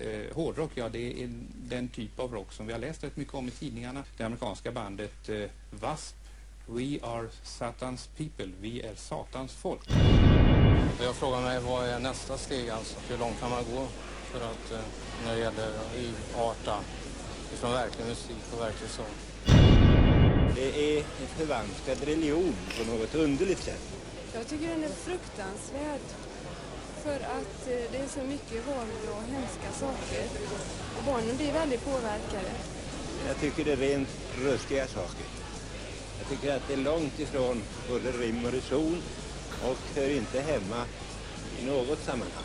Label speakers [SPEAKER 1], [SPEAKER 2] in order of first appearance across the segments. [SPEAKER 1] Eh, Hårdrock, ja det är den typ av rock som vi har läst rätt mycket om i tidningarna. Det amerikanska bandet eh, W.A.S.P. We are Satans people. Vi är Satans folk.
[SPEAKER 2] Jag frågar mig vad är nästa steg alltså? Hur långt kan man gå för att eh, när det gäller att urarta ifrån verklig musik och verklig sång?
[SPEAKER 3] Det är en förvanskad religion på något underligt sätt.
[SPEAKER 4] Jag tycker den är fruktansvärd. För att eh, det är så mycket våld och hemska saker. Och barnen blir väldigt påverkade.
[SPEAKER 3] Jag tycker det är rent ruskiga saker. Jag tycker att det är långt ifrån både rim och reson och hör inte hemma i något sammanhang.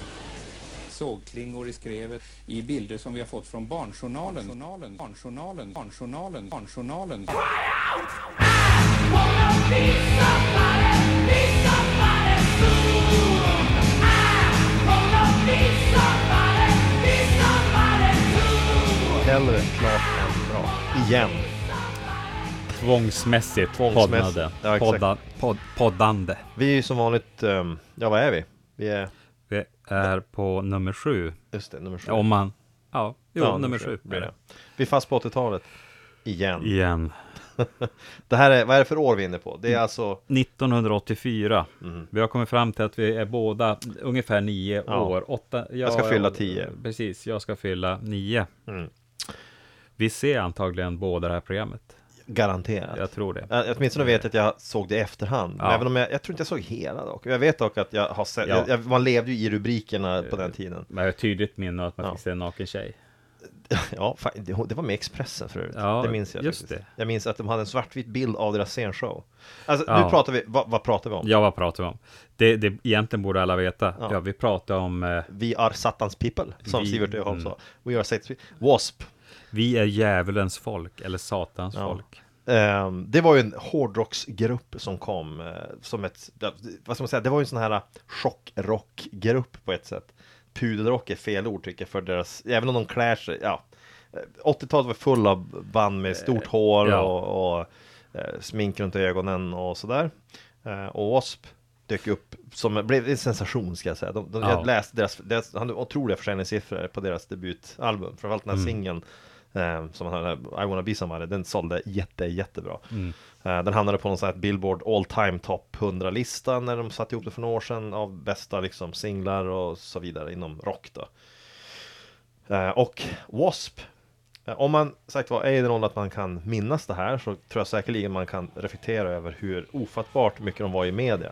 [SPEAKER 1] Sågklingor i skrevet i bilder som vi har fått från Barnjournalen. Journalen, barnjournalen, barnjournalen, barnjournalen.
[SPEAKER 5] Hellre klart än bra. Igen.
[SPEAKER 6] Tvångsmässigt,
[SPEAKER 5] Tvångsmässigt,
[SPEAKER 6] poddande.
[SPEAKER 5] ja, exakt.
[SPEAKER 6] Podda, pod, poddande.
[SPEAKER 5] Vi är ju som vanligt, ehm, ja vad är vi? Vi är,
[SPEAKER 6] Vi är på nummer sju.
[SPEAKER 5] just det, nummer sju.
[SPEAKER 6] Om man... Ja, jo,
[SPEAKER 5] Ja,
[SPEAKER 6] nummer sju
[SPEAKER 5] blir
[SPEAKER 6] blir
[SPEAKER 5] det.
[SPEAKER 6] det.
[SPEAKER 5] Vi är fast på 80-talet. Igen.
[SPEAKER 6] Igen.
[SPEAKER 5] Det här är, vad är det för år vi är inne på? Det är alltså
[SPEAKER 6] 1984. Vi har kommit fram till att vi är båda ungefär nio
[SPEAKER 5] Mhm. Ja.
[SPEAKER 6] år. Åtta, ja,
[SPEAKER 5] ska
[SPEAKER 6] ja,
[SPEAKER 5] fylla tio.
[SPEAKER 6] Precis, jag ska fylla nio.
[SPEAKER 5] Mm.
[SPEAKER 6] Vi ser antagligen båda det här programmet.
[SPEAKER 5] garanterat.
[SPEAKER 6] Jag tror det.
[SPEAKER 5] Ä- Åtminstone vet jag att jag såg det i efterhand. Men
[SPEAKER 6] Ja.
[SPEAKER 5] även om jag, jag tror inte jag såg hela dock. Jag vet dock att jag har sett,
[SPEAKER 6] Ja. Eh.
[SPEAKER 5] jag, jag, man levde ju i rubrikerna på den tiden.
[SPEAKER 6] Men jag har ett tydligt minne av att man
[SPEAKER 5] Ja.
[SPEAKER 6] fick se en naken tjej.
[SPEAKER 5] Ja, fan, det, det var med Expressen förut.
[SPEAKER 6] Ja,
[SPEAKER 5] det minns jag
[SPEAKER 6] just
[SPEAKER 5] faktiskt.
[SPEAKER 6] det.
[SPEAKER 5] Jag minns att de hade en svartvit bild av deras scenshow. Alltså, nu
[SPEAKER 6] Ja.
[SPEAKER 5] pratar vi, vad, vad pratar vi om?
[SPEAKER 6] Ja, vad pratar vi om? Det, det egentligen borde alla veta.
[SPEAKER 5] Ja.
[SPEAKER 6] Ja, vi pratar om eh,
[SPEAKER 5] Vi är Satans people, som
[SPEAKER 6] Vi-
[SPEAKER 5] Sivert Öholm
[SPEAKER 6] mm.
[SPEAKER 5] sa. We are Satans people. Wasp.
[SPEAKER 6] Vi är djävulens folk, eller satans
[SPEAKER 5] Ja.
[SPEAKER 6] folk.
[SPEAKER 5] Ehm, det var ju en hårdrocksgrupp som kom eh, som ett, ja, vad ska man säga, det var ju en sån här chockrockgrupp på ett sätt. Pudelrock är fel ord tycker jag för deras, även om de klär sig, ja. Eh, 80-talet var full av band med stort hår
[SPEAKER 6] Eh, ja.
[SPEAKER 5] och, och eh, smink runt ögonen och sådär. Eh, och W.A.S.P. dök upp som, blev en sensation ska jag säga. De, de,
[SPEAKER 6] Ja.
[SPEAKER 5] Jag läste deras, deras, han hade otroliga försäljningssiffror på deras debutalbum, framförallt den här singeln eh, som han hade, I wanna be somebody, den sålde jätte, jättebra. Eh, den hamnade på någon sån här Billboard all time top 100-lista när de satte ihop det för några år sedan av bästa liksom singlar och så vidare inom rock då. Eh, och W.A.S.P. Eh, Om man sagt var är i den åldern att man kan minnas det här så tror jag säkerligen man kan reflektera över hur ofattbart mycket de var i media.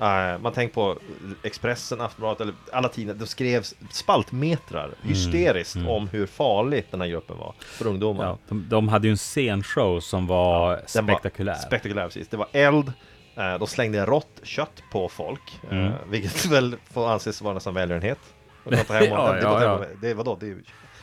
[SPEAKER 5] Eh, man tänker på Expressen, Aftonbladet eller alla tidningar. Det skrevs spaltmetrar
[SPEAKER 6] Mm,
[SPEAKER 5] hysteriskt om hur farligt den här gruppen var för ungdomar.
[SPEAKER 6] Ja, de, de hade ju en scenshow som var
[SPEAKER 5] Den var
[SPEAKER 6] spektakulär.
[SPEAKER 5] spektakulär, precis. Det var eld, eh, de slängde rått kött på folk, eh,
[SPEAKER 6] Mm.
[SPEAKER 5] vilket väl får anses vara nästan välgörenhet. Och prata hem om-
[SPEAKER 6] Ja,
[SPEAKER 5] det-
[SPEAKER 6] ja,
[SPEAKER 5] det-
[SPEAKER 6] ja.
[SPEAKER 5] det- Det, vadå, det är ju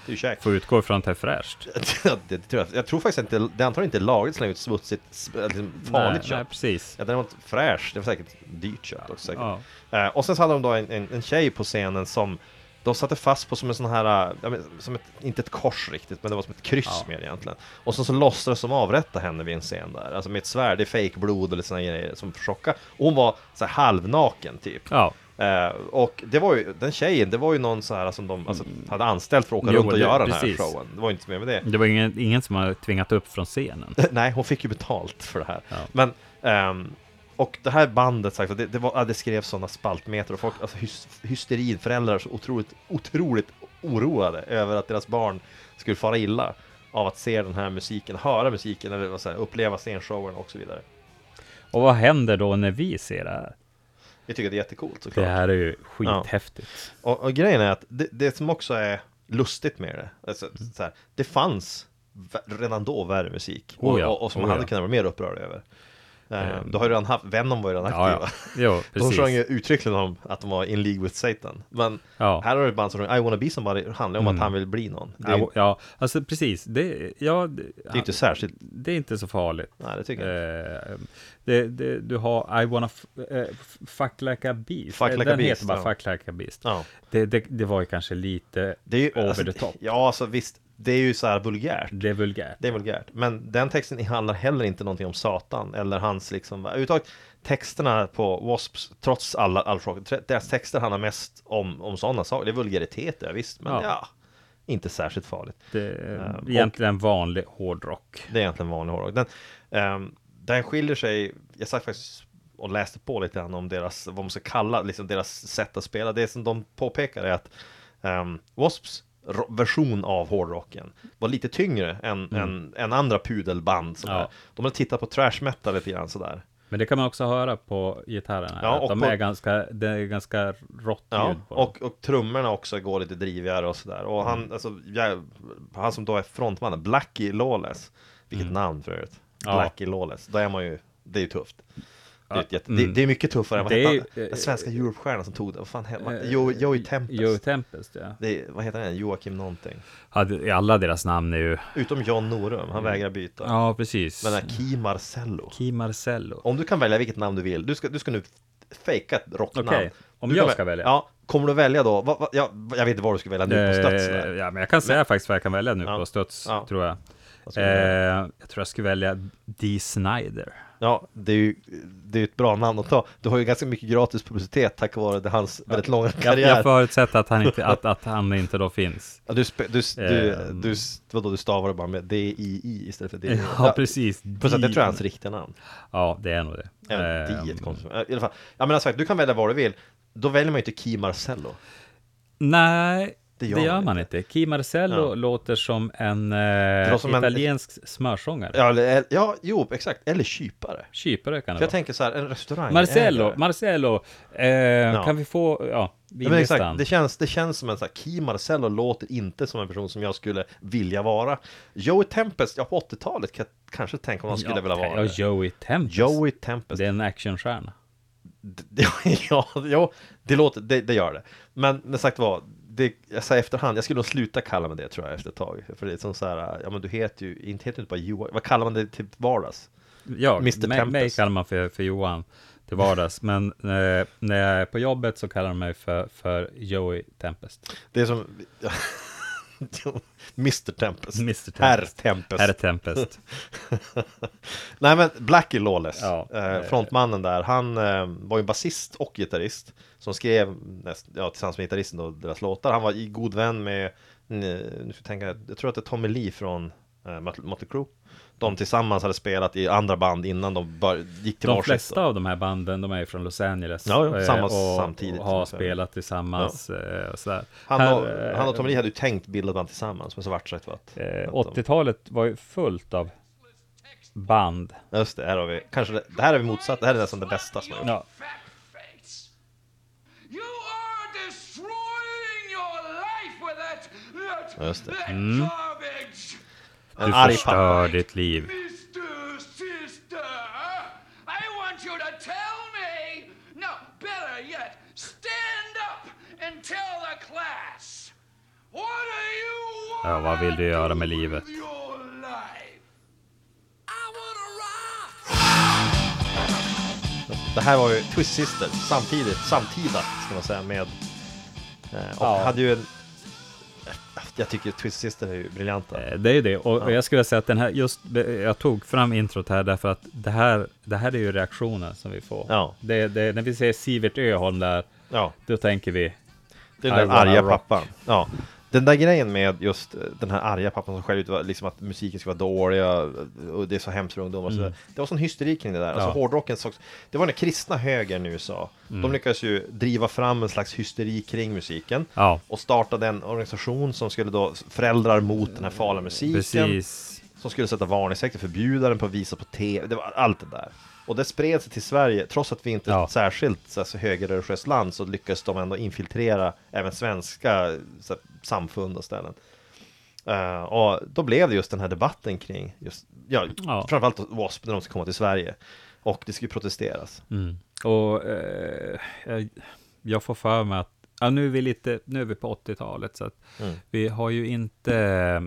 [SPEAKER 5] det är ju käk.
[SPEAKER 6] Får utgå ifrån att det är fräscht.
[SPEAKER 5] det, det tror jag. jag tror faktiskt inte, det antar inte är lagligt att slänga ut smutsigt, sp- liksom farligt
[SPEAKER 6] nej, nej,
[SPEAKER 5] kött.
[SPEAKER 6] precis.
[SPEAKER 5] Ja, däremot fräsch, det var säkert dyrt kött också säkert.
[SPEAKER 6] Ja.
[SPEAKER 5] Eh, och sen så hade de då en, en, en tjej på scenen som de satte fast på som en sån här, eh, ja, men, som ett, inte ett kors riktigt, men det var som ett kryss
[SPEAKER 6] Ja.
[SPEAKER 5] mer egentligen. Och sen så låtsades de avrätta henne vid en scen där, alltså med ett svärd, det är fejkblod eller såna grejer som chockar. Och hon var så här halvnaken typ.
[SPEAKER 6] Ja,
[SPEAKER 5] Eh, och det var ju, den tjejen, det var ju någon så här som de alltså, hade anställt för att åka
[SPEAKER 6] Mm. Jo,
[SPEAKER 5] runt och
[SPEAKER 6] det-
[SPEAKER 5] göra den här
[SPEAKER 6] precis.
[SPEAKER 5] showen. Det var ju inte mer med det.
[SPEAKER 6] det var ingen, ingen som hade tvingat upp från scenen.
[SPEAKER 5] Nej, hon fick ju betalt för det här.
[SPEAKER 6] Ja.
[SPEAKER 5] Men, ehm, och det här bandet, sagt, det, det, var, ja, det skrevs sådana spaltmeter och folk, alltså hys, hysterin, föräldrar så otroligt, otroligt oroade över att deras barn skulle fara illa av att se den här musiken, höra musiken eller vad säger, jag, uppleva scenshowen och så vidare.
[SPEAKER 6] Och vad händer då när vi ser det här?
[SPEAKER 5] Vi tycker det är jättecoolt såklart.
[SPEAKER 6] Det här är ju skithäftigt.
[SPEAKER 5] Och, och grejen är att det, det som också är lustigt med det,
[SPEAKER 6] Mm.
[SPEAKER 5] alltså, så här, det fanns v- redan då värre musik och,
[SPEAKER 6] Oh ja,
[SPEAKER 5] och, och som man
[SPEAKER 6] oh
[SPEAKER 5] hade
[SPEAKER 6] ja.
[SPEAKER 5] kunnat vara mer upprörd över. Eh,
[SPEAKER 6] Ehm.
[SPEAKER 5] Du har ju redan haft, Venom var ju redan aktiva.
[SPEAKER 6] Ja, ja. Jo,
[SPEAKER 5] De
[SPEAKER 6] precis.
[SPEAKER 5] sjöng ju uttryckligen om att de var in League with Satan Men
[SPEAKER 6] Ja. Mm.
[SPEAKER 5] här har du ett band som sjunger I wanna be somebody Det handlar om att han vill bli någon Det är,
[SPEAKER 6] Ja, ja, alltså precis. Det, ja, det,
[SPEAKER 5] det är inte särskilt
[SPEAKER 6] det är inte så farligt.
[SPEAKER 5] Nej det tycker jag inte
[SPEAKER 6] Eh, det, det, du har I wanna f- eh, f- fuck like a beast. Eh,
[SPEAKER 5] Fuck like a
[SPEAKER 6] Den
[SPEAKER 5] beast,
[SPEAKER 6] heter bara
[SPEAKER 5] ja.
[SPEAKER 6] fuck like a beast.
[SPEAKER 5] ja.
[SPEAKER 6] Det, det, det var ju kanske lite
[SPEAKER 5] Det är ju
[SPEAKER 6] over
[SPEAKER 5] alltså,
[SPEAKER 6] the top.
[SPEAKER 5] Ja alltså visst Det är ju så här vulgärt
[SPEAKER 6] Det är vulgärt.
[SPEAKER 5] Det är vulgärt Men den texten handlar heller inte någonting om Satan Eller hans liksom Överhuvudtaget Texterna på Wasps Trots alla all, Deras texter handlar mest om, om sådana saker Det är vulgaritet ja, visst Men ja,
[SPEAKER 6] Ja.
[SPEAKER 5] inte särskilt farligt.
[SPEAKER 6] Det är
[SPEAKER 5] och-
[SPEAKER 6] egentligen vanlig hårdrock.
[SPEAKER 5] Det är egentligen vanlig hårdrock. Den, ehm, den skiljer sig, jag satt faktiskt och läste på lite grann om deras, vad man ska kalla liksom deras sätt att spela. Det som de påpekar är att ehm, Wasps ro- version av hårdrocken var lite tyngre än, än, än andra pudelband. Som
[SPEAKER 6] Ja.
[SPEAKER 5] är. De har tittat på trash metal lite grann sådär.
[SPEAKER 6] Men det kan man också höra på gitarrerna.
[SPEAKER 5] Ja,
[SPEAKER 6] att
[SPEAKER 5] och
[SPEAKER 6] de
[SPEAKER 5] på-
[SPEAKER 6] är ganska, det är ganska rått
[SPEAKER 5] Ja,
[SPEAKER 6] ljud på dem.
[SPEAKER 5] och, och trummorna också går lite drivigare och sådär. Och han,
[SPEAKER 6] Mm.
[SPEAKER 5] alltså, jag, han som då är frontmannen, Blackie Lawless, vilket namn för övrigt.
[SPEAKER 6] Mm. Ja.
[SPEAKER 5] Blackie Lawless, då är man ju, det är ju tufft. Det är, ett jätte,
[SPEAKER 6] Ja,
[SPEAKER 5] det,
[SPEAKER 6] mm.
[SPEAKER 5] det är mycket tuffare än vad
[SPEAKER 6] Det är
[SPEAKER 5] hette
[SPEAKER 6] ju-
[SPEAKER 5] han? den svenska Europestjärnan som tog det, vad fan hette han? Jo- Joey Tempest.
[SPEAKER 6] Joey Tempest, ja.
[SPEAKER 5] det är, vad heter han? Joakim någonting.
[SPEAKER 6] ja. det- Alla deras namn är ju...
[SPEAKER 5] Utom John Norum, han vägrar byta.
[SPEAKER 6] Mm. Ja, precis.
[SPEAKER 5] Men den här Key Marcello.
[SPEAKER 6] Key Marcello.
[SPEAKER 5] Om du kan välja vilket namn du vill, du ska, du ska nu fejka ett rocknamn.
[SPEAKER 6] Okej, om
[SPEAKER 5] Du
[SPEAKER 6] jag
[SPEAKER 5] kan
[SPEAKER 6] ska
[SPEAKER 5] väl-
[SPEAKER 6] välja?
[SPEAKER 5] Ja, kommer du välja då? Va, va, ja, jag vet inte vad du ska välja nu på studs
[SPEAKER 6] Eh,
[SPEAKER 5] sådär.
[SPEAKER 6] Ja, men jag kan säga faktiskt vad jag kan välja nu
[SPEAKER 5] Ja.
[SPEAKER 6] på studs,
[SPEAKER 5] Ja.
[SPEAKER 6] tror jag.
[SPEAKER 5] Vad ska du välja?
[SPEAKER 6] Eh, jag tror jag skulle välja Dee Snider.
[SPEAKER 5] Ja, det är ju det är ju ett bra namn att ta. Du har ju ganska mycket gratis publicitet tack vare det, hans väldigt långa
[SPEAKER 6] Jag,
[SPEAKER 5] karriär.
[SPEAKER 6] jag förutsätter att han inte, att, att han inte då finns.
[SPEAKER 5] ja, du, spe, du, du,
[SPEAKER 6] Ehm.
[SPEAKER 5] du, vadå, du stavar det bara med D-I-I istället för D.
[SPEAKER 6] Ja, precis.
[SPEAKER 5] Plus att jag tror är
[SPEAKER 6] Dee-
[SPEAKER 5] hans riktiga namn.
[SPEAKER 6] Ja, det är nog det.
[SPEAKER 5] Även
[SPEAKER 6] Ehm,
[SPEAKER 5] D är ett konstigt I alla fall, ja men alltså, du kan välja vad du vill. Då väljer man ju inte Key Marcello.
[SPEAKER 6] Nej,
[SPEAKER 5] Det
[SPEAKER 6] det
[SPEAKER 5] gör
[SPEAKER 6] gör,
[SPEAKER 5] man
[SPEAKER 6] man inte. Key Marcello
[SPEAKER 5] Ja.
[SPEAKER 6] låter som en
[SPEAKER 5] låter
[SPEAKER 6] eh,
[SPEAKER 5] som en-
[SPEAKER 6] italiensk smörsångare.
[SPEAKER 5] Ja, eller, ja jo, exakt. Eller kypare.
[SPEAKER 6] Kypare kan det
[SPEAKER 5] För jag
[SPEAKER 6] vara.
[SPEAKER 5] tänker så här, en restaurang.
[SPEAKER 6] Marcello, Marcello, eh, kan vi få, ja,
[SPEAKER 5] Ja, men exakt,
[SPEAKER 6] vinlistan?
[SPEAKER 5] det känns, det känns som en sån här, Key Marcello låter inte som en person som jag skulle vilja vara Joey Tempest, ja på 80-talet kan jag kanske tänka om han skulle
[SPEAKER 6] Mm, ja,
[SPEAKER 5] vilja vara
[SPEAKER 6] Ja,
[SPEAKER 5] det.
[SPEAKER 6] Joey Tempest.
[SPEAKER 5] Joey Tempest,
[SPEAKER 6] Det är en actionstjärna.
[SPEAKER 5] det, ja, ja, det låter, det, det gör det Men med sagt vad, det, jag säger efterhand, jag skulle nog sluta kalla mig det tror jag efter ett tag För det är som så här, ja men du heter ju, inte heter du inte bara Johan, vad kallar man det till vardags?
[SPEAKER 6] Ja,
[SPEAKER 5] Mr.
[SPEAKER 6] mig, mig
[SPEAKER 5] Tempest.
[SPEAKER 6] kallar man för, för Johan till vardags, men eh, när jag är på jobbet så kallar de mig för, för Joey Tempest.
[SPEAKER 5] Det är som, Mr Tempest,
[SPEAKER 6] Mr. Tempest.
[SPEAKER 5] Herr Tempest
[SPEAKER 6] Herr Tempest.
[SPEAKER 5] Nej men Blackie Lawless,
[SPEAKER 6] Ja,
[SPEAKER 5] eh,
[SPEAKER 6] eh,
[SPEAKER 5] frontmannen där, han eh, var ju basist och gitarrist Som skrev, näst, ja, tillsammans med gitarristen då, deras låtar Han var i god vän med, eh, nu ska jag tänka, jag tror att det är Tommy Lee från eh, Möt- Mötley Crüe De tillsammans hade spelat i andra band innan de bör, gick till
[SPEAKER 6] Mm. De
[SPEAKER 5] varsitt
[SPEAKER 6] flesta
[SPEAKER 5] då.
[SPEAKER 6] av de här banden, de är ju från Los Angeles.
[SPEAKER 5] Ja, ja,
[SPEAKER 6] eh,
[SPEAKER 5] samma-
[SPEAKER 6] och,
[SPEAKER 5] samtidigt,
[SPEAKER 6] Och
[SPEAKER 5] som
[SPEAKER 6] har
[SPEAKER 5] jag säger.
[SPEAKER 6] spelat tillsammans. eh, Och sådär.
[SPEAKER 5] han,
[SPEAKER 6] Här,
[SPEAKER 5] och,
[SPEAKER 6] eh,
[SPEAKER 5] han och Tommy Lee hade ju tänkt bilda ett band tillsammans, men så vart det så att- att
[SPEAKER 6] Eh,
[SPEAKER 5] de-
[SPEAKER 6] 80-talet var ju fullt av band.
[SPEAKER 5] Just det, här har vi, kanske det, det här är vi motsatt, det här är nästan det bästa som har gjorts
[SPEAKER 6] Ja.
[SPEAKER 7] fat face. You are destroying your life with that, that,
[SPEAKER 5] Just det.
[SPEAKER 7] that
[SPEAKER 6] Hmm?
[SPEAKER 7] garbage.
[SPEAKER 5] En
[SPEAKER 6] Du
[SPEAKER 5] arg pappa
[SPEAKER 6] förstör ditt liv.
[SPEAKER 7] Mr. Sister, I want you to tell me, no, better yet, stand up and tell the class. What do you want
[SPEAKER 6] Ja, vad vill du göra med livet?
[SPEAKER 7] with your life? I wanna rock!
[SPEAKER 5] Det här var ju Twist Sisters samtidigt, samtida ska man säga med eh, Och
[SPEAKER 6] Ja.
[SPEAKER 5] hade ju en Jag tycker Twist Sisters är ju briljanta
[SPEAKER 6] Eh, Det är ju det, och, och jag skulle säga att den här, just, jag tog fram introt här därför att det här, det här är ju reaktionen som vi får.
[SPEAKER 5] Ja.
[SPEAKER 6] Det, det, när vi ser Sivert Öholm där,
[SPEAKER 5] Ja,
[SPEAKER 6] då tänker vi,
[SPEAKER 5] det är den där
[SPEAKER 6] I wanna
[SPEAKER 5] arga
[SPEAKER 6] rock.
[SPEAKER 5] pappan Ja den där grejen med just eh, den här arga pappan som skäller ut var liksom att musiken ska vara dålig och- och det är så hemskt för ungdomar och sådär. Det var sån hysteri kring det där. Alltså
[SPEAKER 6] Mm. Ja. Mm.
[SPEAKER 5] hårdrocken, sågs- det var den kristna högern i USA. De lyckades ju driva fram en slags hysteri kring musiken
[SPEAKER 6] Ja.
[SPEAKER 5] och startade en organisation som skulle då föräldrar mot den här farliga musiken.
[SPEAKER 6] precis,
[SPEAKER 5] som skulle sätta varningstecken, förbjuda den på att visa på tv, det var allt det där. Och det spred sig till Sverige, trots att vi inte är
[SPEAKER 6] Ja.
[SPEAKER 5] ett särskilt så här, så högerreligiöst land så lyckades de ändå infiltrera även svenska så här, samfund och ställen. Eh, och då blev det just den här debatten kring, just, ja,
[SPEAKER 6] Ja.
[SPEAKER 5] framförallt W.A.S.P. när de ska komma till Sverige. Och det skulle protesteras.
[SPEAKER 6] Mm. Och eh, jag- jag får för mig att, ja, nu, är vi lite, nu är vi på 80-talet, så att
[SPEAKER 5] Mm.
[SPEAKER 6] vi har ju inte eh,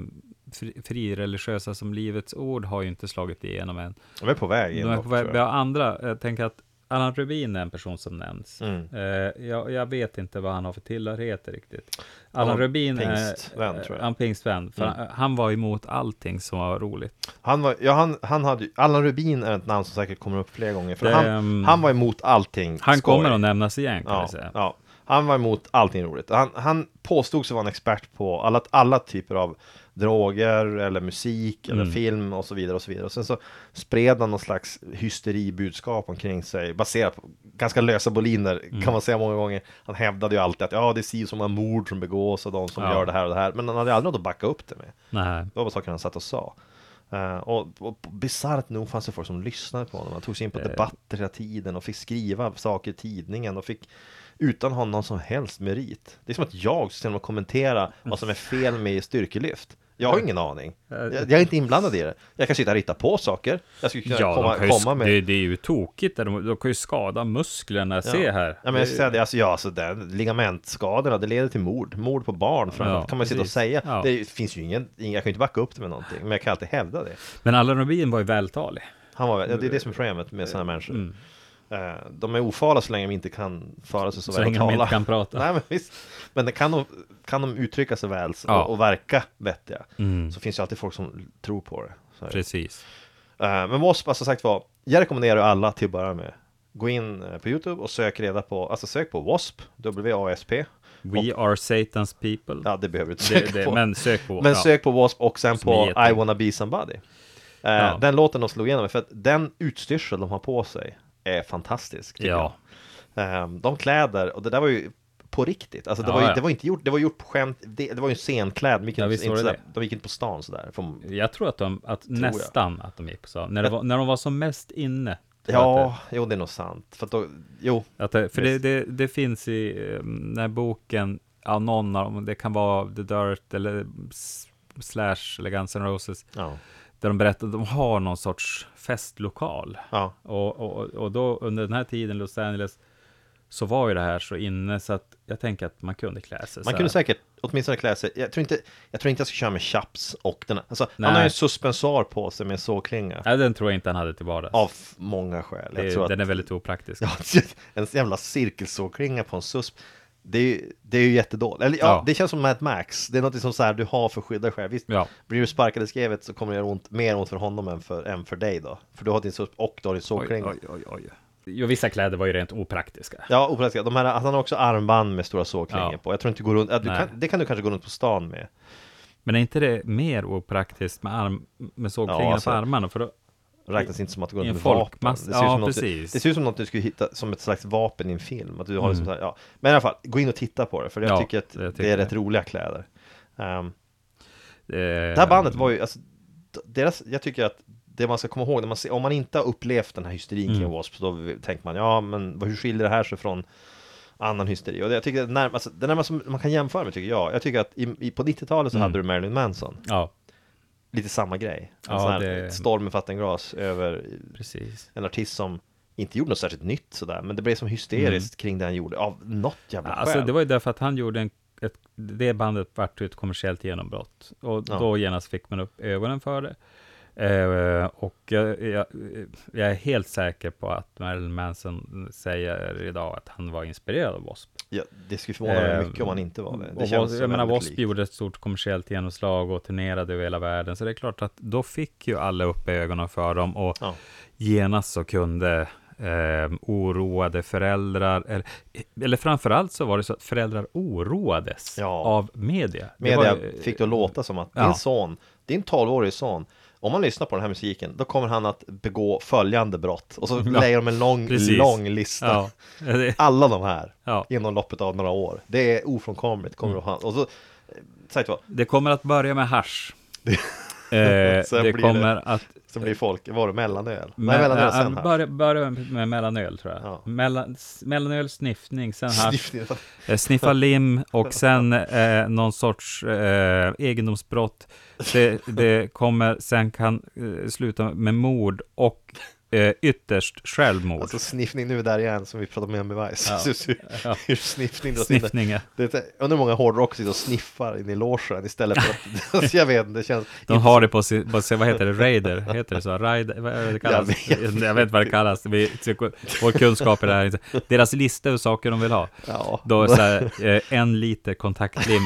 [SPEAKER 6] fri, frireligiösa som Livets Ord har ju inte slagit igenom än.
[SPEAKER 5] De är på väg in
[SPEAKER 6] De är
[SPEAKER 5] dock,
[SPEAKER 6] på väg,
[SPEAKER 5] tror
[SPEAKER 6] vi
[SPEAKER 5] jag.
[SPEAKER 6] har andra, jag tänker att Allan Rubin är en person som nämns.
[SPEAKER 5] Mm.
[SPEAKER 6] Eh, jag, jag vet inte vad han har för tillhörigheter riktigt. Allan
[SPEAKER 5] var
[SPEAKER 6] Rubin
[SPEAKER 5] pingstvän,
[SPEAKER 6] är eh,
[SPEAKER 5] tror jag.
[SPEAKER 6] han är pingstvän, för
[SPEAKER 5] Mm.
[SPEAKER 6] han, han var emot allting som var roligt.
[SPEAKER 5] Han var, ja, han, han hade, ju- Allan Rubin är ett namn som säkert kommer upp fler gånger. För
[SPEAKER 6] Det,
[SPEAKER 5] han,
[SPEAKER 6] ehm,
[SPEAKER 5] han var emot allting
[SPEAKER 6] Han
[SPEAKER 5] skoj.
[SPEAKER 6] kommer att nämnas igen kan
[SPEAKER 5] ja,
[SPEAKER 6] vi säga.
[SPEAKER 5] ja. Han var emot allting roligt. Han, han påstod sig vara en expert på alla, alla typer av droger eller musik eller
[SPEAKER 6] Mm.
[SPEAKER 5] film och så vidare och så vidare. Och sen så spred han någon slags hysteribudskap omkring sig baserat på ganska lösa boliner
[SPEAKER 6] Mm.
[SPEAKER 5] kan man säga många gånger. Han hävdade ju alltid att ja, det är si och så många mord som begås och de som
[SPEAKER 6] Ja.
[SPEAKER 5] gör det här och det här. Men han hade aldrig något att backa upp det med.
[SPEAKER 6] Nej.
[SPEAKER 5] Det var bara saker han satt och sa. Eh, och, och bisarrt nog fanns det folk som lyssnade på honom. Han tog sig in på debatter hela tiden och fick skriva saker i tidningen och fick utan att ha någon som helst merit. Det är som att jag ska och kommentera vad som är fel med styrkelyft. Jag har ingen aning. Jag, jag är inte inblandad i det. Jag kan sitta och rita på saker. Jag skulle kunna
[SPEAKER 6] Ja,
[SPEAKER 5] komma,
[SPEAKER 6] de kan ju,
[SPEAKER 5] komma med...
[SPEAKER 6] det, det är ju tokigt. där. De, de kan ju skada musklerna. Se här.
[SPEAKER 5] Ja, men jag ska säga det, alltså, ja, alltså det, ligamentskadorna, det leder till mord. Mord på barn framförallt,
[SPEAKER 6] Ja,
[SPEAKER 5] kan man ju sitta och
[SPEAKER 6] precis.
[SPEAKER 5] säga.
[SPEAKER 6] Ja.
[SPEAKER 5] Det finns ju ingen, ingen, jag kan ju inte backa upp det med någonting, men jag kan alltid hävda det.
[SPEAKER 6] Men Allan Rubin var ju vältalig.
[SPEAKER 5] Han var, ja, det är
[SPEAKER 6] Mm.
[SPEAKER 5] det som är problemet med sådana här människor. Eh, De är ofarliga så länge de inte kan föra sig så,
[SPEAKER 6] Så
[SPEAKER 5] väl
[SPEAKER 6] länge
[SPEAKER 5] och
[SPEAKER 6] de
[SPEAKER 5] tala.
[SPEAKER 6] inte kan prata.
[SPEAKER 5] Nej, men visst. Men det kan, de, kan de uttrycka sig väl så-
[SPEAKER 6] Ja. Mm.
[SPEAKER 5] och, och verka vettiga så finns ju alltid folk som tror på det. Så är det.
[SPEAKER 6] Precis.
[SPEAKER 5] Eh, Men Wasp, alltså sagt var, jag rekommenderar ju alla till att börja med Gå in eh, på Youtube och sök reda på, alltså sök på W.A.S.P. W-A-S-P
[SPEAKER 6] We are Satan's people.
[SPEAKER 5] Ja, det behöver du inte söka
[SPEAKER 6] det, det,
[SPEAKER 5] på
[SPEAKER 6] men sök på.
[SPEAKER 5] Men
[SPEAKER 6] ja.
[SPEAKER 5] sök på W.A.S.P. och sen
[SPEAKER 6] Som
[SPEAKER 5] på
[SPEAKER 6] heter-
[SPEAKER 5] I wanna be somebody eh,
[SPEAKER 6] Ja.
[SPEAKER 5] Den låten de slog igenom med, för att den utstyrsel de har på sig Är fantastisk tycker
[SPEAKER 6] Ja.
[SPEAKER 5] jag. Eh, De kläder, och det där var ju på riktigt, alltså det,
[SPEAKER 6] Ja,
[SPEAKER 5] var, ju,
[SPEAKER 6] ja.
[SPEAKER 5] det var inte gjort, det var gjort på skämt Det, det var ju en scenkläd, de gick,
[SPEAKER 6] Ja,
[SPEAKER 5] inte,
[SPEAKER 6] visst
[SPEAKER 5] inte
[SPEAKER 6] var det
[SPEAKER 5] sådär,
[SPEAKER 6] det.
[SPEAKER 5] de gick inte på stan sådär Från,
[SPEAKER 6] Jag tror att de, att
[SPEAKER 5] jag.
[SPEAKER 6] nästan att de gick på stan. När, det var, när de var som mest inne. tror jag
[SPEAKER 5] Ja, jo det är nog sant, för att då, jo
[SPEAKER 6] Att det, för det,
[SPEAKER 5] Visst.
[SPEAKER 6] det, det finns i eh, den här boken, ja, någon av dem, det kan vara The Dirt eller s- Slash eller Guns N' Roses,
[SPEAKER 5] Ja,
[SPEAKER 6] där de berättar att de har någon sorts festlokal.
[SPEAKER 5] ja,
[SPEAKER 6] Och, och, och då under den här tiden, Los Angeles, så var ju det här så inne så att jag tänker att man kunde klä sig så
[SPEAKER 5] man
[SPEAKER 6] här.
[SPEAKER 5] kunde säkert åtminstone klä sig Jag tror inte jag, tror inte jag ska köra med chaps och den här- alltså, Han
[SPEAKER 6] Nej.
[SPEAKER 5] har ju en suspensar på sig med en sågklinga
[SPEAKER 6] Nej, den tror jag inte han hade till vardags.
[SPEAKER 5] Av många skäl
[SPEAKER 6] det,
[SPEAKER 5] jag tror att,
[SPEAKER 6] den är väldigt opraktisk.
[SPEAKER 5] Ja, Alltså, en jävla cirkelsågklinga på en susp det är, ju- det är ju jättedåligt. Eller ja,
[SPEAKER 6] Ja.
[SPEAKER 5] det känns som Mad Max. Det är något som så här, du har för att skydda dig själv. Visst,
[SPEAKER 6] Ja.
[SPEAKER 5] blir du sparkad i skrevet så kommer det göra ont, mer ont för honom än för, än för dig då. För du har din susp och du har din sågklinga.
[SPEAKER 6] oj, oj. Jo, vissa kläder var ju rent opraktiska.
[SPEAKER 5] Ja, opraktiska. De här, han har också armband med stora sågklingor
[SPEAKER 6] Ja.
[SPEAKER 5] på. Jag tror inte du går runt, ja, du
[SPEAKER 6] Nej.
[SPEAKER 5] kan, det kan du kanske gå runt på stan med.
[SPEAKER 6] Men är inte det mer opraktiskt med, arm, med sågklingorna
[SPEAKER 5] Ja, alltså.
[SPEAKER 6] på armarna? För då,
[SPEAKER 5] Räknas inte som att du går
[SPEAKER 6] I
[SPEAKER 5] runt
[SPEAKER 6] en
[SPEAKER 5] med vapen.
[SPEAKER 6] folkmass-
[SPEAKER 5] Det ser, ut
[SPEAKER 6] ja,
[SPEAKER 5] som något du,
[SPEAKER 6] precis.
[SPEAKER 5] det ser ut som något du skulle hitta som ett slags vapen i en film. Att du har liksom så här, ja. Men i alla fall, gå in och titta på det. För jag
[SPEAKER 6] Mm. Ja,
[SPEAKER 5] tycker att
[SPEAKER 6] jag
[SPEAKER 5] det
[SPEAKER 6] tycker
[SPEAKER 5] är
[SPEAKER 6] det.
[SPEAKER 5] rätt roliga kläder. Ehm,
[SPEAKER 6] eh,
[SPEAKER 5] Det här bandet var ju, alltså, d- deras, jag tycker att det man ska komma ihåg, när man ser, om man inte har upplevt den här hysterin kring
[SPEAKER 6] Mm.
[SPEAKER 5] W.A.S.P. så då tänker man, ja men vad- hur skiljer det här sig från annan hysteri? Och det, jag tycker att när, alltså, det närmaste man kan jämföra med tycker jag, jag tycker att i, i, på 90-talet
[SPEAKER 6] Mm.
[SPEAKER 5] så hade du Marilyn Manson,
[SPEAKER 6] Ja,
[SPEAKER 5] lite samma grej. En
[SPEAKER 6] Ja,
[SPEAKER 5] sån här
[SPEAKER 6] det-
[SPEAKER 5] storm med fattenglas över
[SPEAKER 6] precis.
[SPEAKER 5] en artist som inte gjorde något särskilt nytt sådär, men det blev som hysteriskt kring det han gjorde, av något jävla
[SPEAKER 6] Mm. Alltså,
[SPEAKER 5] skäl.
[SPEAKER 6] det var ju därför att han gjorde en, ett, det bandet vart ju ett kommersiellt genombrott. Och
[SPEAKER 5] Ja.
[SPEAKER 6] då genast fick man upp ögonen för det. Eh, och jag, jag, jag är helt säker på att Marilyn Manson säger idag att han var inspirerad av W.A.S.P.
[SPEAKER 5] ja, det skulle förvåna mig
[SPEAKER 6] Eh,
[SPEAKER 5] mycket om han inte var det. det
[SPEAKER 6] och
[SPEAKER 5] känns
[SPEAKER 6] Wasp,
[SPEAKER 5] som
[SPEAKER 6] jag menar,
[SPEAKER 5] väldigt
[SPEAKER 6] W.A.S.P.
[SPEAKER 5] likt.
[SPEAKER 6] gjorde ett stort kommersiellt genomslag och turnerade över hela världen. Så det är klart att då fick ju alla upp ögonen för dem och
[SPEAKER 5] Ja.
[SPEAKER 6] genast så kunde eh, oroade föräldrar, eller, eller framförallt så var det så att föräldrar oroades
[SPEAKER 5] Ja.
[SPEAKER 6] av media. Det
[SPEAKER 5] Media
[SPEAKER 6] var ju-
[SPEAKER 5] fick det att låta som att
[SPEAKER 6] Ja.
[SPEAKER 5] din son, din 12-årig son, om man lyssnar på den här musiken, då kommer han att begå följande brott. Och så lägger de en lång,
[SPEAKER 6] precis.
[SPEAKER 5] lång lista.
[SPEAKER 6] Ja, det,
[SPEAKER 5] Alla de här,
[SPEAKER 6] Ja.
[SPEAKER 5] inom loppet av några år. Det är ofrånkomligt. Kommer mm. och så, eh, sagt vad,
[SPEAKER 6] det kommer att börja med hasch. Eh,
[SPEAKER 5] Sen
[SPEAKER 6] det
[SPEAKER 5] blir
[SPEAKER 6] kommer
[SPEAKER 5] det-
[SPEAKER 6] att...
[SPEAKER 5] så blir folk, var det mellanöl?
[SPEAKER 6] men-
[SPEAKER 5] Nej, mellanöl
[SPEAKER 6] äh,
[SPEAKER 5] sen här.
[SPEAKER 6] börja, börja med mellanöl tror jag.
[SPEAKER 5] Ja.
[SPEAKER 6] Mellan, s- mellanöl, sniffning, sen hasch.
[SPEAKER 5] Sniffning.
[SPEAKER 6] Eh, Sniffa lim och sen eh, någon sorts eh, egendomsbrott. Det, det kommer, sen kan eh, sluta med mord och eh, ytterst självmord.
[SPEAKER 5] Alltså sniffning nu där igen, som vi pratade om med Vice.
[SPEAKER 6] Ja.
[SPEAKER 5] Så- så-
[SPEAKER 6] Ja.
[SPEAKER 5] Hur sniffning dras in där.
[SPEAKER 6] Sniffningar.
[SPEAKER 5] Det är- Undrar hur många hårdrock sitter och sniffar in i logen istället för att, alltså, jag vet inte, det känns
[SPEAKER 6] De har det på sin, på sin, vad heter det, Raider? Heter det så? Raider? Vad är det det kallas?
[SPEAKER 5] Jag
[SPEAKER 6] Jag vet,
[SPEAKER 5] vet
[SPEAKER 6] vad det kallas. Vi, vår kunskap är det här inte. Deras lista över saker de vill ha.
[SPEAKER 5] Ja.
[SPEAKER 6] Då är så här, eh, en liter kontaktlim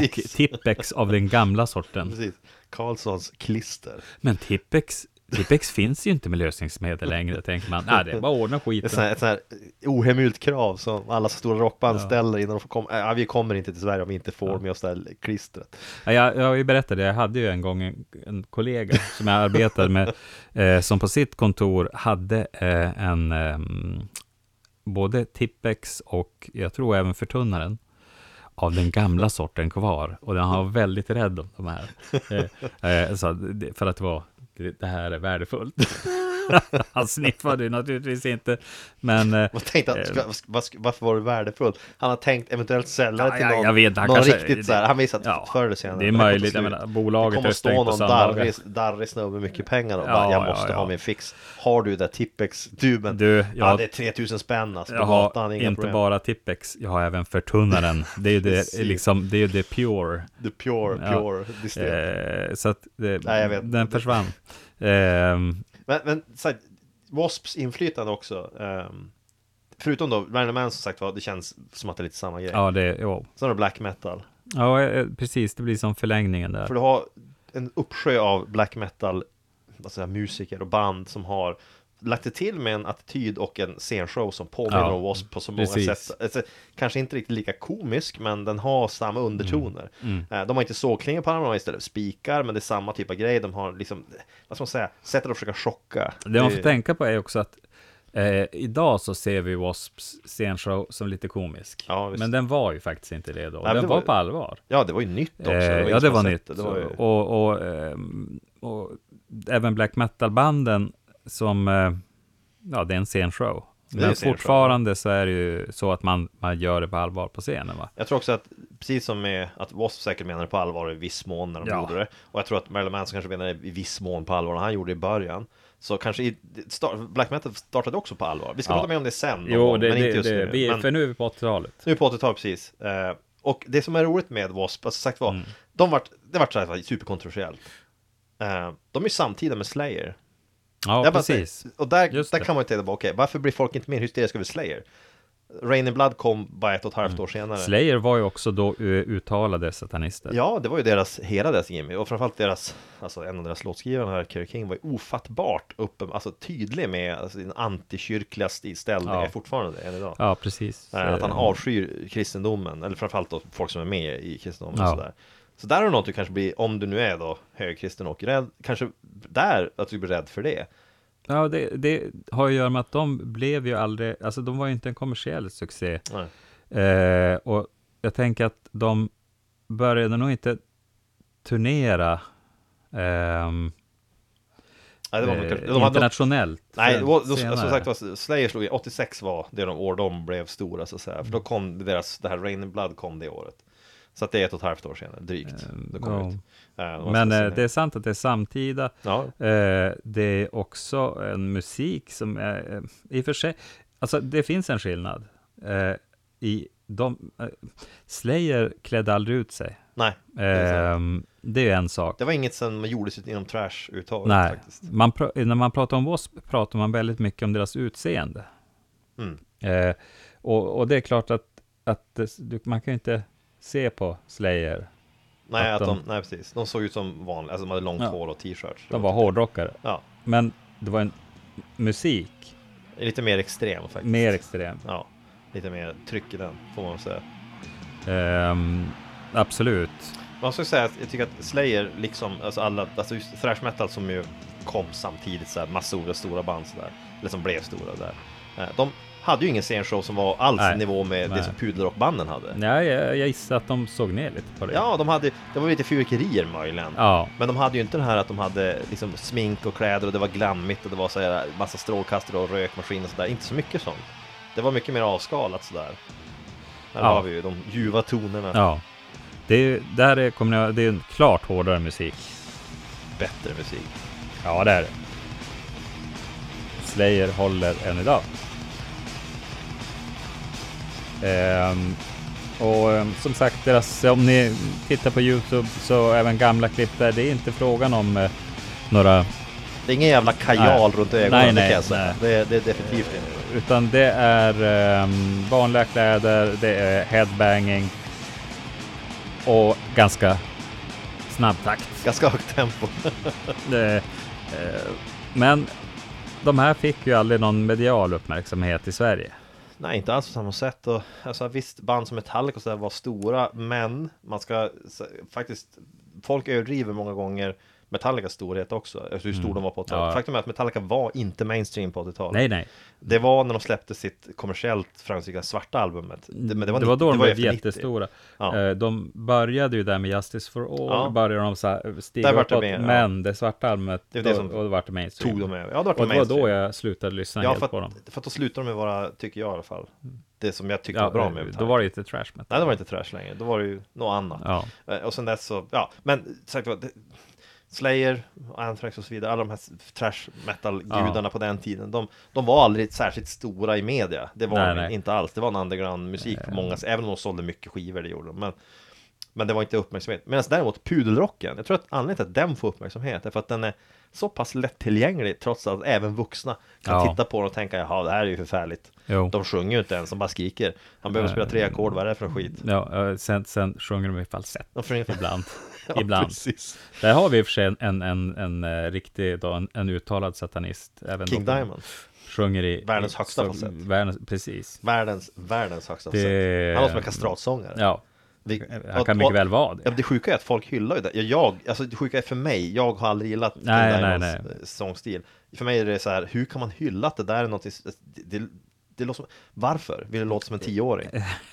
[SPEAKER 5] Precis.
[SPEAKER 6] Tippex av den gamla sorten.
[SPEAKER 5] Precis. Karlssons klister.
[SPEAKER 6] Men Tippex Tippex finns ju inte med lösningsmedel längre, tänker man. Nej, det är bara att ordna
[SPEAKER 5] Ett sånt
[SPEAKER 6] skiten.
[SPEAKER 5] här, ett sånt här eh, ohemult krav som alla stora rockband ställer innan de får komma. eh, Ja, vi kommer inte till Sverige om vi inte får med oss det här klistret.
[SPEAKER 6] Ja, Jag, jag har ju berättat det, jag hade ju en gång en, en kollega som jag arbetade med, eh, som på sitt kontor hade eh, en, ehm, både Tippex och jag tror även förtunnaren, av den gamla sorten kvar. Och den var väldigt rädd om de här. Eh, eh, så, att det- för att det var, det det här är värdefullt. Han sniffade ju naturligtvis inte, men... eh,
[SPEAKER 5] Man tänkte att,
[SPEAKER 6] eh,
[SPEAKER 5] ska, ska- vad ska- varför var det värdefullt? Han har tänkt eventuellt sälja det
[SPEAKER 6] Ja,
[SPEAKER 5] till
[SPEAKER 6] ja,
[SPEAKER 5] någon,
[SPEAKER 6] jag vet, han
[SPEAKER 5] någon
[SPEAKER 6] kanske-
[SPEAKER 5] riktigt så här. Han visar att
[SPEAKER 6] Ja,
[SPEAKER 5] förr eller senare.
[SPEAKER 6] det är
[SPEAKER 5] här kommer
[SPEAKER 6] möjligt.
[SPEAKER 5] ta
[SPEAKER 6] Jag
[SPEAKER 5] slut.
[SPEAKER 6] menar, bolaget
[SPEAKER 5] det kommer
[SPEAKER 6] är
[SPEAKER 5] att stå
[SPEAKER 6] stängt på
[SPEAKER 5] någon
[SPEAKER 6] söndagar.
[SPEAKER 5] darrig, darrig snubbe med mycket pengar och
[SPEAKER 6] Ja,
[SPEAKER 5] bara, jag
[SPEAKER 6] ja,
[SPEAKER 5] måste
[SPEAKER 6] ja.
[SPEAKER 5] ha min fix. Har du det Tippex-tuben?
[SPEAKER 6] Du,
[SPEAKER 5] ja,
[SPEAKER 6] jag-
[SPEAKER 5] det är 3000 spänn alltså, på
[SPEAKER 6] Jag har
[SPEAKER 5] gatan, inga
[SPEAKER 6] inte
[SPEAKER 5] problem.
[SPEAKER 6] bara Tippex, jag har även förtunnaren. Det är ju det,
[SPEAKER 5] Precis.
[SPEAKER 6] liksom, det, är ju det pure.
[SPEAKER 5] The pure,
[SPEAKER 6] Ja.
[SPEAKER 5] pure distilled.
[SPEAKER 6] Eh, så att det,
[SPEAKER 5] Nej, jag vet.
[SPEAKER 6] den försvann. Ehm,
[SPEAKER 5] Men, men så här, Wasps inflytande också ehm, Förutom då Random Man som sagt var Det känns som att det är lite samma grej
[SPEAKER 6] ja, det, ja.
[SPEAKER 5] Sen har du black metal
[SPEAKER 6] ja, eh, precis. Det blir som förlängningen där.
[SPEAKER 5] För du har en uppsjö av black metal vad säger jag, musiker och band som har lagt det till med en attityd och en scenshow som påminner
[SPEAKER 6] Ja,
[SPEAKER 5] om Wasp på så många
[SPEAKER 6] precis.
[SPEAKER 5] sätt. Alltså, kanske inte riktigt lika komisk, men den har
[SPEAKER 6] Mm.
[SPEAKER 5] samma undertoner. Eh, De har inte sågklingor på armarna, de har istället spikar, men det är samma typ av grej. De har liksom, vad ska man säga, sättet att försöka chocka.
[SPEAKER 6] Det man
[SPEAKER 5] är-
[SPEAKER 6] får tänka på är också att eh, idag så ser vi Wasps scenshow som lite komisk.
[SPEAKER 5] Ja, visst.
[SPEAKER 6] men den var ju faktiskt inte det då.
[SPEAKER 5] men
[SPEAKER 6] den
[SPEAKER 5] det
[SPEAKER 6] var
[SPEAKER 5] var-
[SPEAKER 6] på allvar.
[SPEAKER 5] Ja, det var ju nytt också.
[SPEAKER 6] Eh,
[SPEAKER 5] ingen
[SPEAKER 6] ja, det
[SPEAKER 5] som
[SPEAKER 6] var
[SPEAKER 5] hade
[SPEAKER 6] nytt.
[SPEAKER 5] sett Det Det var ju...
[SPEAKER 6] och, och, ehm, och även black metal-banden som, eh, ja, det är en scenshow.
[SPEAKER 5] är en
[SPEAKER 6] Men
[SPEAKER 5] scenshow,
[SPEAKER 6] fortfarande så är det ju så att man, man gör det på allvar på scenen, va?
[SPEAKER 5] Jag tror också att, precis som med att Wasp säkert menade på allvar i viss mån när de
[SPEAKER 6] Ja.
[SPEAKER 5] gjorde det Och jag tror att Marilyn Manson kanske menade i viss mån på allvar när han gjorde det i början Så kanske i, start, Black Metal startade också på allvar Vi ska
[SPEAKER 6] Ja.
[SPEAKER 5] prata mer om det sen någon
[SPEAKER 6] Jo,
[SPEAKER 5] gång,
[SPEAKER 6] det,
[SPEAKER 5] men
[SPEAKER 6] det,
[SPEAKER 5] inte just
[SPEAKER 6] det,
[SPEAKER 5] nu
[SPEAKER 6] vi,
[SPEAKER 5] men,
[SPEAKER 6] för nu är vi på 80-talet.
[SPEAKER 5] Nu är vi på 80-talet precis Eh, Och det som är roligt med Wasp, alltså sagt var
[SPEAKER 6] Mm.
[SPEAKER 5] de vart, Det vart så här superkontroversiellt Eh, De är ju samtida med Slayer
[SPEAKER 6] Ja,
[SPEAKER 5] jag bara
[SPEAKER 6] precis.
[SPEAKER 5] säger- Och där,
[SPEAKER 6] Just
[SPEAKER 5] där
[SPEAKER 6] det.
[SPEAKER 5] kan man ju tänka bara, okej, varför blir folk inte mer hysteriska över Slayer? Rain in Blood kom bara ett och ett halvt år senare
[SPEAKER 6] Mm. Slayer var ju också då eh, uttalade satanister.
[SPEAKER 5] Ja, det var ju deras, hela deras gimmick och framförallt deras, alltså en av deras låtskrivare här, Kerry King, var ju ofattbart uppen, alltså tydlig med alltså, sin antikyrkliga inställning,
[SPEAKER 6] Ja.
[SPEAKER 5] är fortfarande än idag.
[SPEAKER 6] Ja, precis.
[SPEAKER 5] Eh, Att han
[SPEAKER 6] Eh,
[SPEAKER 5] avskyr kristendomen, eller framförallt då folk som är med i kristendomen
[SPEAKER 6] Ja.
[SPEAKER 5] och sådär. Så där har du något du kanske blir, om du nu är då högkristen och rädd, kanske där att du blir rädd för det.
[SPEAKER 6] Ja, det, det har ju att göra med att de blev ju aldrig, alltså de var ju inte en kommersiell succé.
[SPEAKER 5] Nej.
[SPEAKER 6] Eh, och jag tänker att de började nog inte turnera ehm,
[SPEAKER 5] Nej, det var,
[SPEAKER 6] eh,
[SPEAKER 5] de hade-
[SPEAKER 6] internationellt.
[SPEAKER 5] Nej,
[SPEAKER 6] förrän
[SPEAKER 5] då, då,
[SPEAKER 6] senare.
[SPEAKER 5] som sagt var, Slayer slog i 86 var det de år de blev stora så att säga. För då kom deras, det här Rain in Blood kom det året. Så att det är ett och ett halvt år senare, drygt. Det kom
[SPEAKER 6] ja.
[SPEAKER 5] ut. Eh, de var
[SPEAKER 6] Men
[SPEAKER 5] så-
[SPEAKER 6] eh, det är sant att det är samtida.
[SPEAKER 5] Ja,
[SPEAKER 6] Eh, det är också en musik som är, eh, i och för sig, alltså det finns en skillnad. Eh, i de, eh, Slayer klädde aldrig ut sig.
[SPEAKER 5] nej. det är sant.
[SPEAKER 6] Ehm, det är ju en sak.
[SPEAKER 5] det var inget som gjordes inom trash överhuvudtaget
[SPEAKER 6] Nej,
[SPEAKER 5] faktiskt.
[SPEAKER 6] man pra- när man pratar om W.A.S.P. pratar man väldigt mycket om deras utseende.
[SPEAKER 5] Mm.
[SPEAKER 6] Eh, och, och det är klart att, att det- du, man kan ju inte se på Slayer.
[SPEAKER 5] Nej,
[SPEAKER 6] Att
[SPEAKER 5] att de,
[SPEAKER 6] de-
[SPEAKER 5] nej, precis. De såg ut som vanligt, alltså de hade långt
[SPEAKER 6] Ja.
[SPEAKER 5] hår och t-shirts.
[SPEAKER 6] De var hårdrockare.
[SPEAKER 5] Ja,
[SPEAKER 6] Men det var en musik,
[SPEAKER 5] lite mer extrem faktiskt.
[SPEAKER 6] mer extrem.
[SPEAKER 5] Ja, lite mer tryck i den, får man säga.
[SPEAKER 6] Ehm, absolut.
[SPEAKER 5] Man ska säga att jag tycker att Slayer, liksom alltså alla, alltså just thrash metal som ju kom samtidigt så här, massor av stora band så där, eller som blev stora där. eh, De hade ju ingen scenshow som var alls
[SPEAKER 6] Nej.
[SPEAKER 5] i nivå med
[SPEAKER 6] Nej.
[SPEAKER 5] det som pudelrockbanden hade.
[SPEAKER 6] Nej, jag, jag gissar att de såg ner lite på det.
[SPEAKER 5] Ja, de hade, det var lite fyrverkerier möjligen.
[SPEAKER 6] Ja.
[SPEAKER 5] Men de hade ju inte det här att de hade liksom smink och kläder och det var glammigt och det var så här massa strålkastare och rökmaskin och sådär. Inte så mycket sånt. Det var mycket mer avskalat sådär. Där
[SPEAKER 6] Ja.
[SPEAKER 5] har vi ju de ljuva tonerna.
[SPEAKER 6] ja. Det är, ju- där är, kommer jag, det är en klart hårdare musik.
[SPEAKER 5] Bättre musik.
[SPEAKER 6] Ja, det är det. Slayer håller än idag. Ehm, och ehm, som sagt, deras, om ni tittar på Youtube så även gamla klipp där, det är inte frågan om eh, några,
[SPEAKER 5] Det är ingen jävla kajal
[SPEAKER 6] Nej.
[SPEAKER 5] runt ögonen,
[SPEAKER 6] Nej,
[SPEAKER 5] det
[SPEAKER 6] nej,
[SPEAKER 5] kan jag säga.
[SPEAKER 6] nej.
[SPEAKER 5] Det, är- det är definitivt inte.
[SPEAKER 6] utan det är ehm, vanliga kläder, det är headbanging och ganska snabb takt.
[SPEAKER 5] Ganska högt tempo.
[SPEAKER 6] Det, eh, Men de här fick ju aldrig någon medial uppmärksamhet i Sverige.
[SPEAKER 5] Nej, inte alls på samma sätt. Och, alltså, visst, band som Metallica och så där var stora, men man ska s- faktiskt... Folk överdriver många gånger Metallicas storhet också, alltså hur stor de var på 80-talet.
[SPEAKER 6] Mm. Ja.
[SPEAKER 5] Faktum är att Metallica var inte mainstream på 80-talet.
[SPEAKER 6] Nej, nej.
[SPEAKER 5] Det var när de släppte sitt kommersiellt framgångsrika svarta albumet. Det, men det, var,
[SPEAKER 6] Mm. det var
[SPEAKER 5] nitt-
[SPEAKER 6] då de
[SPEAKER 5] ju
[SPEAKER 6] blev
[SPEAKER 5] efter 90.
[SPEAKER 6] jättestora.
[SPEAKER 5] Ja.
[SPEAKER 6] Eh, De började ju där med Justice for All,
[SPEAKER 5] Ja.
[SPEAKER 6] började de så här stiga
[SPEAKER 5] Där vart det
[SPEAKER 6] uppåt,
[SPEAKER 5] med, ja.
[SPEAKER 6] men det svarta albumet,
[SPEAKER 5] Det
[SPEAKER 6] det
[SPEAKER 5] är
[SPEAKER 6] då,
[SPEAKER 5] det som
[SPEAKER 6] och då vart det mainstream.
[SPEAKER 5] Tog de med. Ja, det var
[SPEAKER 6] och det var
[SPEAKER 5] mainstream.
[SPEAKER 6] då jag slutade lyssna
[SPEAKER 5] Ja,
[SPEAKER 6] helt
[SPEAKER 5] för
[SPEAKER 6] på dem.
[SPEAKER 5] att, för att då slutade de med vara, tycker jag i alla fall, det som jag tyckte var bra med Metallica.
[SPEAKER 6] eh, då var det ju inte trash metal.
[SPEAKER 5] Nej, det var inte trash längre, då var det ju något annat.
[SPEAKER 6] Ja.
[SPEAKER 5] Eh, Och sen dess så, ja, men sagt var, det- Slayer, Anthrax och så vidare, alla de här s- trash metal-gudarna på den tiden, de, de var aldrig särskilt stora i media. Det var
[SPEAKER 6] Nej,
[SPEAKER 5] de
[SPEAKER 6] nej. Eh.
[SPEAKER 5] inte alls, det var en underground-musik på många, även om de sålde mycket skivor, det gjorde de. Men, men det var inte uppmärksamhet. Medan däremot pudelrocken, jag tror att anledningen till att den får uppmärksamhet är för att den är så pass lättillgänglig trots att även vuxna kan
[SPEAKER 6] Ja.
[SPEAKER 5] titta på den och tänka jaha det här är ju förfärligt.
[SPEAKER 6] Jo.
[SPEAKER 5] De sjunger ju inte ens, de bara skriker. Han behöver spela tre ackord, vad är det för skit?
[SPEAKER 6] Ja, eh, sen, sen sjunger de i falsett
[SPEAKER 5] De sjunger för
[SPEAKER 6] ibland.
[SPEAKER 5] Ja,
[SPEAKER 6] ibland.
[SPEAKER 5] precis.
[SPEAKER 6] Där har vi i och för sig en, en, en, en eh, riktig, då, en, en uttalad satanist. Även
[SPEAKER 5] King
[SPEAKER 6] då hon
[SPEAKER 5] Diamond.
[SPEAKER 6] Sjunger i...
[SPEAKER 5] Världens
[SPEAKER 6] i-
[SPEAKER 5] högsta
[SPEAKER 6] så-
[SPEAKER 5] falsett.
[SPEAKER 6] Världens, precis.
[SPEAKER 5] Världens, världens högsta
[SPEAKER 6] Det-
[SPEAKER 5] det... Han låter som en kastratsångare.
[SPEAKER 6] Ja,
[SPEAKER 5] Vi-
[SPEAKER 6] han
[SPEAKER 5] och-
[SPEAKER 6] kan mycket
[SPEAKER 5] och-
[SPEAKER 6] väl vara
[SPEAKER 5] Ja,
[SPEAKER 6] det.
[SPEAKER 5] det sjuka är att folk hyllar ju det. Ja, Jag, alltså det sjuka är för mig, jag har aldrig gillat King
[SPEAKER 6] Nej, nej,
[SPEAKER 5] Diamonds
[SPEAKER 6] nej.
[SPEAKER 5] eh, sångstil. För mig är det så här, hur kan man hylla att det där är något, det, det, det låter som, varför vill det låta som en tioåring?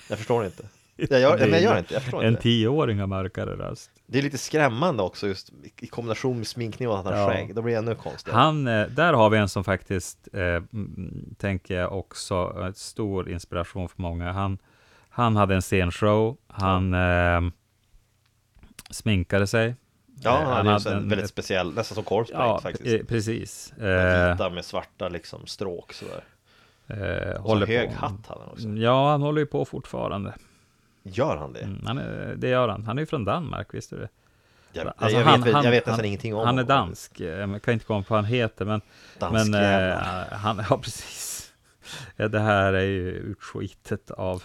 [SPEAKER 5] Jag förstår inte. Jag gör, men jag gör inte, jag förstår
[SPEAKER 6] En
[SPEAKER 5] inte.
[SPEAKER 6] tioåring har mörkare röst.
[SPEAKER 5] Det är lite skrämmande också just i- i kombination med sminkning och att han har
[SPEAKER 6] Ja.
[SPEAKER 5] skägg, då blir det ännu konstigare.
[SPEAKER 6] Han, eh, där har vi en som faktiskt, eh, mm, tänker jag också, är en stor inspiration för många. Han, han hade en scenshow, han eh, sminkade sig.
[SPEAKER 5] ja,
[SPEAKER 6] Eh,
[SPEAKER 5] han, hade ju så en
[SPEAKER 6] en-
[SPEAKER 5] väldigt speciell, nästan som Corpse
[SPEAKER 6] Ja,
[SPEAKER 5] Paint faktiskt.
[SPEAKER 6] eh, precis. Eh,
[SPEAKER 5] Vita med svarta liksom stråk sådär.
[SPEAKER 6] eh,
[SPEAKER 5] Och så
[SPEAKER 6] håller
[SPEAKER 5] alltså, hög
[SPEAKER 6] på.
[SPEAKER 5] hatt hade han också.
[SPEAKER 6] Ja, han håller ju på fortfarande.
[SPEAKER 5] Gör han det?
[SPEAKER 6] Mm, han är, det gör han. Han är ju från Danmark, visste du det?
[SPEAKER 5] Jag,
[SPEAKER 6] Alltså,
[SPEAKER 5] jag,
[SPEAKER 6] han-
[SPEAKER 5] vet,
[SPEAKER 6] han-
[SPEAKER 5] jag vet nästan
[SPEAKER 6] han-
[SPEAKER 5] ingenting om
[SPEAKER 6] Han är
[SPEAKER 5] honom.
[SPEAKER 6] dansk, Eh, jag kan inte komma på vad han heter, men...
[SPEAKER 5] Dansk
[SPEAKER 6] men eh,
[SPEAKER 5] jävlar.
[SPEAKER 6] han, ja, precis. Ja, det här är ju utskitet av...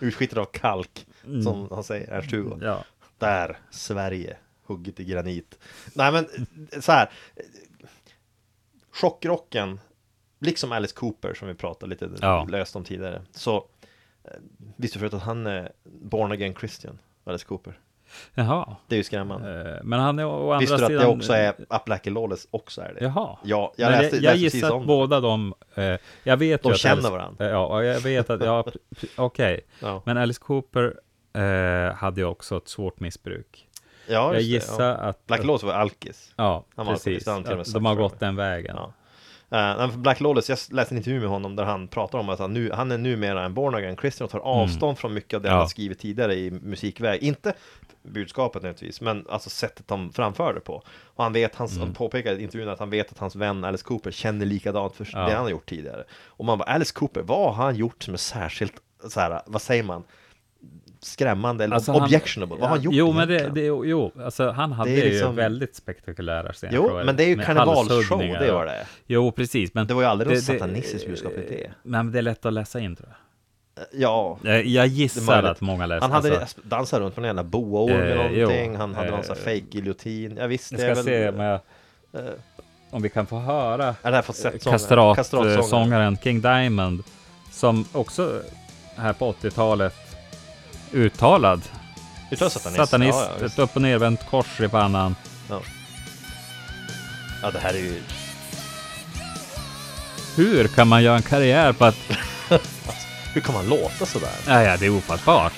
[SPEAKER 5] Utskitad av kalk, som han säger, Ernst Hugo.
[SPEAKER 6] Mm. Ja,
[SPEAKER 5] Där, Sverige, hugget i granit. Nej men, eh, så här. Chockrocken, liksom Alice Cooper som vi pratade lite
[SPEAKER 6] Ja.
[SPEAKER 5] löst om tidigare. Så, eh, visste du förut att han är born again Christian, Alice Cooper?
[SPEAKER 6] jaha.
[SPEAKER 5] Det är ju skrämmande.
[SPEAKER 6] Eh, Men han är å andra
[SPEAKER 5] Visste du att
[SPEAKER 6] sidan... eh,
[SPEAKER 5] det också är, Appalachian Lawless också är det?
[SPEAKER 6] Jaha.
[SPEAKER 5] Ja, jag
[SPEAKER 6] Men
[SPEAKER 5] läste,
[SPEAKER 6] jag,
[SPEAKER 5] läste
[SPEAKER 6] gissar
[SPEAKER 5] precis
[SPEAKER 6] att
[SPEAKER 5] om det.
[SPEAKER 6] båda de... Eh, jag vet
[SPEAKER 5] De
[SPEAKER 6] ju att
[SPEAKER 5] känner
[SPEAKER 6] Alice- eh,
[SPEAKER 5] varandra.
[SPEAKER 6] Ja, och jag vet att... Ja, p- p- okej.
[SPEAKER 5] Ja.
[SPEAKER 6] Men Alice Cooper eh, hade ju också ett svårt missbruk.
[SPEAKER 5] Ja,
[SPEAKER 6] jag
[SPEAKER 5] just det,
[SPEAKER 6] gissar
[SPEAKER 5] ja.
[SPEAKER 6] att...
[SPEAKER 5] Black Lawless var alkis.
[SPEAKER 6] Ja,
[SPEAKER 5] Han var alkoholist,
[SPEAKER 6] precis.
[SPEAKER 5] han till och med
[SPEAKER 6] Att
[SPEAKER 5] sagt
[SPEAKER 6] de har
[SPEAKER 5] för
[SPEAKER 6] gått
[SPEAKER 5] det.
[SPEAKER 6] den vägen.
[SPEAKER 5] Ja. Eh, nej, för Black Lawless, jag läste en intervju med honom där han pratar om att han, nu, han är numera en born again Christian och tar avstånd från mycket av det
[SPEAKER 6] Mm. Ja.
[SPEAKER 5] han skrivit tidigare i musikväg. Inte budskapet nödvändigtvis, men alltså sättet de framför det på. Och han vet, hans,
[SPEAKER 6] Mm.
[SPEAKER 5] han påpekar i intervjun att han vet att hans vän Alice Cooper känner likadant för det han har gjort tidigare. Och man bara, Alice Cooper, vad har han gjort som är särskilt, så här, vad säger man, skrämmande eller
[SPEAKER 6] Alltså, han-
[SPEAKER 5] objectionable? vad har han gjort
[SPEAKER 6] Jo, men det,
[SPEAKER 5] egentligen?
[SPEAKER 6] det, jo alltså, han hade
[SPEAKER 5] Det är liksom-
[SPEAKER 6] ju väldigt spektakulära scener.
[SPEAKER 5] Jo,
[SPEAKER 6] tror jag,
[SPEAKER 5] men det är ju
[SPEAKER 6] med
[SPEAKER 5] karnevalsshow,
[SPEAKER 6] halshuggningar.
[SPEAKER 5] det var det.
[SPEAKER 6] Jo, precis. Men
[SPEAKER 5] Det var ju aldrig något satanistiskt budskap i det.
[SPEAKER 6] Nej, men det är lätt att läsa in, tror jag.
[SPEAKER 5] Ja,
[SPEAKER 6] Jag, jag
[SPEAKER 5] Det är
[SPEAKER 6] gissar
[SPEAKER 5] möjligt.
[SPEAKER 6] att många läser.
[SPEAKER 5] Han hade
[SPEAKER 6] alltså.
[SPEAKER 5] dansat runt på en jävla boaorm eller
[SPEAKER 6] Eh, jo.
[SPEAKER 5] någonting Han hade någon sån här
[SPEAKER 6] Eh,
[SPEAKER 5] fake giljotin Ja visst,
[SPEAKER 6] Jag
[SPEAKER 5] det är
[SPEAKER 6] ska
[SPEAKER 5] väl
[SPEAKER 6] se om, jag,
[SPEAKER 5] eh,
[SPEAKER 6] om vi kan få höra
[SPEAKER 5] Är det här falsettsångaren?
[SPEAKER 6] eh,
[SPEAKER 5] Kastratsångaren.
[SPEAKER 6] kastratsångaren King Diamond, som också här på 80-talet uttalad
[SPEAKER 5] Visst är det satanist?
[SPEAKER 6] satanist,
[SPEAKER 5] Ja, ja, visst.
[SPEAKER 6] ett upp och nervänt kors i pannan.
[SPEAKER 5] ja. ja, det här är ju
[SPEAKER 6] Hur kan man göra en karriär på att...
[SPEAKER 5] Hur kan man låta sådär?
[SPEAKER 6] Nej, ja, det är ofattbart.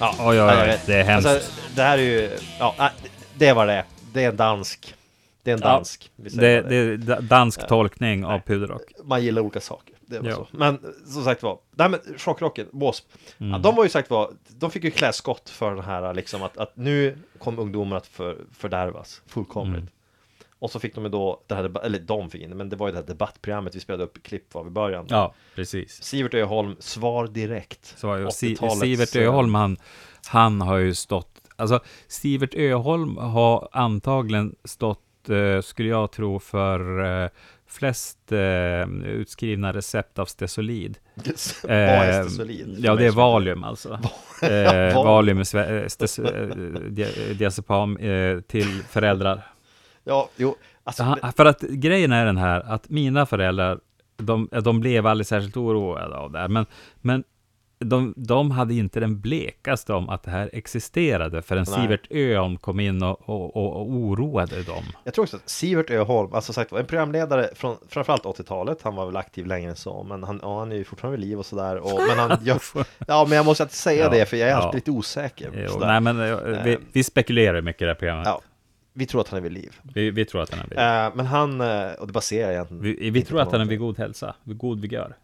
[SPEAKER 5] Ja,
[SPEAKER 6] oj, oj,
[SPEAKER 5] ja, jag
[SPEAKER 6] oj,
[SPEAKER 5] vet. Alltså,
[SPEAKER 6] det är hemskt.
[SPEAKER 5] Det här är ju, ja, nej, det var det Det är en dansk Det är en
[SPEAKER 6] Ja,
[SPEAKER 5] dansk Vi
[SPEAKER 6] Det,
[SPEAKER 5] säger
[SPEAKER 6] det är da- dansk tolkning av puderrock.
[SPEAKER 5] man gillar olika saker. Det var
[SPEAKER 6] Ja.
[SPEAKER 5] så. Men eh, som sagt var, nej men chockrocken, W.A.S.P. Ja,
[SPEAKER 6] Mm.
[SPEAKER 5] de var ju sagt var, de fick ju kläskott för den här liksom att, att nu kom ungdomar att för, fördärvas fullkomligt.
[SPEAKER 6] Mm.
[SPEAKER 5] Och så fick de ju då, det här, deba- eller de fick in det, men det var ju det här debattprogrammet vi spelade upp klipp av i början.
[SPEAKER 6] Ja, precis.
[SPEAKER 5] Sivert Öholm, svar direkt.
[SPEAKER 6] Så var ju Si-
[SPEAKER 5] 80-talets,
[SPEAKER 6] Sivert
[SPEAKER 5] eh,
[SPEAKER 6] Öholm, han, han har ju stått... Alltså, Sivert Öholm har antagligen stått, eh, skulle jag tro, för eh, flest eh, utskrivna recept av Stesolid.
[SPEAKER 5] Vad är
[SPEAKER 6] Eh,
[SPEAKER 5] Stesolid?
[SPEAKER 6] Ja, det är Valium alltså. eh,
[SPEAKER 5] Liksom. Valium.
[SPEAKER 6] valium, är sve- eh, stes- eh, dia- eh, diazepam eh, till föräldrar.
[SPEAKER 5] Ja, jo. Alltså,
[SPEAKER 6] Ja,
[SPEAKER 5] det-
[SPEAKER 6] För att grejen är den här att mina föräldrar, de, eh, de blev aldrig särskilt oroade av det här, men, men de, de hade inte den blekaste om att det här existerade förrän
[SPEAKER 5] Nej.
[SPEAKER 6] Sivert Öholm kom in och, och, och, och oroade dem.
[SPEAKER 5] jag tror också att Sivert Öholm, alltså sagt var, en programledare från framförallt 80-talet, han var väl aktiv längre än så, men han, ja, han är ju fortfarande vid liv och sådär. Och, men han, jag, ja, men jag måste alltid säga
[SPEAKER 6] Ja,
[SPEAKER 5] det, för jag är
[SPEAKER 6] ja.
[SPEAKER 5] alltid lite osäker.
[SPEAKER 6] Jo,
[SPEAKER 5] sådär.
[SPEAKER 6] nej, men eh, vi, vi spekulerar ju mycket i det här programmet.
[SPEAKER 5] ja, vi tror att han är vid liv.
[SPEAKER 6] Vi, vi tror att han är vid,
[SPEAKER 5] Eh, men han, eh, och det baserar jag egentligen
[SPEAKER 6] vi, vi
[SPEAKER 5] inte
[SPEAKER 6] tror
[SPEAKER 5] på
[SPEAKER 6] att han är
[SPEAKER 5] någonting.
[SPEAKER 6] vid god hälsa, vid god vigör.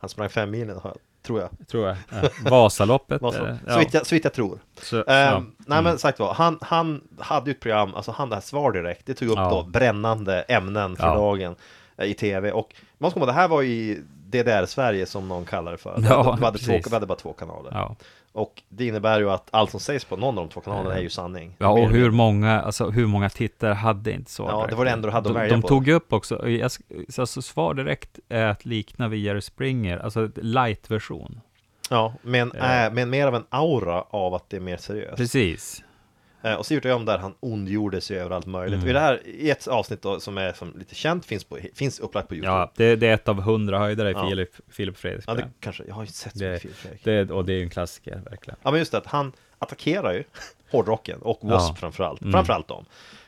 [SPEAKER 5] Han sprang fem milen, har jag- tror jag.
[SPEAKER 6] Tror jag. Ja. Vasaloppet.
[SPEAKER 5] Vad så-
[SPEAKER 6] eh,
[SPEAKER 5] Så vitt jag, så vitt jag tror.
[SPEAKER 6] Så-
[SPEAKER 5] Ehm,
[SPEAKER 6] ja. Mm.
[SPEAKER 5] Nej men sagt var, han, han hade ju ett program, alltså han det här Svar direkt, det tog upp
[SPEAKER 6] Ja.
[SPEAKER 5] då brännande ämnen för
[SPEAKER 6] Ja.
[SPEAKER 5] dagen eh, i tv och man ska komma ihåg, det här var i DDR-Sverige som någon kallar det för.
[SPEAKER 6] Ja,
[SPEAKER 5] vi, hade två,
[SPEAKER 6] precis.
[SPEAKER 5] vi hade bara två kanaler.
[SPEAKER 6] Ja.
[SPEAKER 5] Och det innebär ju att allt som sägs på någon av de två kanalerna är ju sanning.
[SPEAKER 6] Ja, och
[SPEAKER 5] Mer-
[SPEAKER 6] hur många, alltså, hur många tittare hade inte Svar
[SPEAKER 5] Ja,
[SPEAKER 6] direkt?
[SPEAKER 5] det var det enda du hade att
[SPEAKER 6] de,
[SPEAKER 5] välja
[SPEAKER 6] de
[SPEAKER 5] på.
[SPEAKER 6] tog ju upp också, jag, sk- så alltså, Svar direkt är att likna vid Jerry Springer, alltså ett light-version.
[SPEAKER 5] Ja, men, eh, men mer av en aura av att det är mer seriöst.
[SPEAKER 6] Precis.
[SPEAKER 5] Eh, Och Sivert Öholm där, han ondgjorde sig över allt möjligt.
[SPEAKER 6] Mm.
[SPEAKER 5] Och i det här, i ett avsnitt då, som är som lite känt, finns, på, finns upplagt på Youtube.
[SPEAKER 6] Ja, det, det är ett av hundra höjdare i
[SPEAKER 5] Ja.
[SPEAKER 6] Filip, Filip Fredriks
[SPEAKER 5] Ja, det
[SPEAKER 6] program.
[SPEAKER 5] kanske, jag har ju sett så
[SPEAKER 6] det,
[SPEAKER 5] mycket film, Fredrik.
[SPEAKER 6] det, Och det är ju en klassiker, verkligen.
[SPEAKER 5] Ja, men just det, att han attackerar ju hårdrocken och W.A.S.P.
[SPEAKER 6] Ja. Mm.
[SPEAKER 5] framförallt, framförallt dem.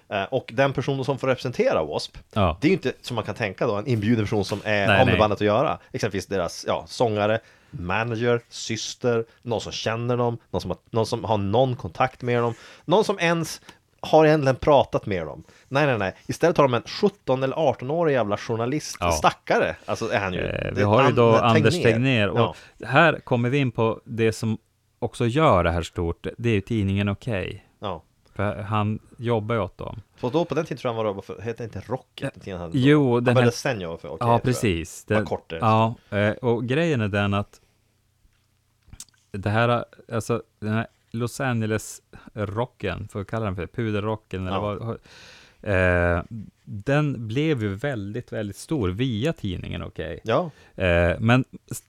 [SPEAKER 5] Eh, Och den personen som får representera W.A.S.P.
[SPEAKER 6] Ja.
[SPEAKER 5] Det är ju inte, som man kan tänka då, en inbjuden person som är,
[SPEAKER 6] Nej,
[SPEAKER 5] har med
[SPEAKER 6] nej.
[SPEAKER 5] bandet att göra. Exempelvis deras, ja, sångare, manager, syster, någon som känner dem, någon som har, någon som har någon kontakt med dem, någon som ens har egentligen pratat med dem. Nej, nej, nej. Istället har de en 17 eller 18-årig jävla journalist,
[SPEAKER 6] Ja.
[SPEAKER 5] stackare. Alltså är han ju.
[SPEAKER 6] Eh,
[SPEAKER 5] Det
[SPEAKER 6] Vi
[SPEAKER 5] är
[SPEAKER 6] har ju
[SPEAKER 5] An-
[SPEAKER 6] då Anders Tegnér och
[SPEAKER 5] Ja.
[SPEAKER 6] här kommer vi in på det som också gör det här stort, det är ju tidningen Okej.
[SPEAKER 5] ja.
[SPEAKER 6] För han jobbar ju åt dem.
[SPEAKER 5] För då på den tiden tror jag han var då, för, hette inte Rocket? Den tiden han hade
[SPEAKER 6] Jo,
[SPEAKER 5] då. han
[SPEAKER 6] den
[SPEAKER 5] började
[SPEAKER 6] här-
[SPEAKER 5] sen jag var för okej, tror
[SPEAKER 6] ja,
[SPEAKER 5] jag.
[SPEAKER 6] precis.
[SPEAKER 5] Vad kort det är.
[SPEAKER 6] Ja, eh, och grejen är den att det här, alltså den här Los Angeles-rocken, får vi kalla den för puderrocken, eller
[SPEAKER 5] Ja.
[SPEAKER 6] vad, eh, den blev ju väldigt, väldigt stor via tidningen Okej.
[SPEAKER 5] Ja,
[SPEAKER 6] Eh, men,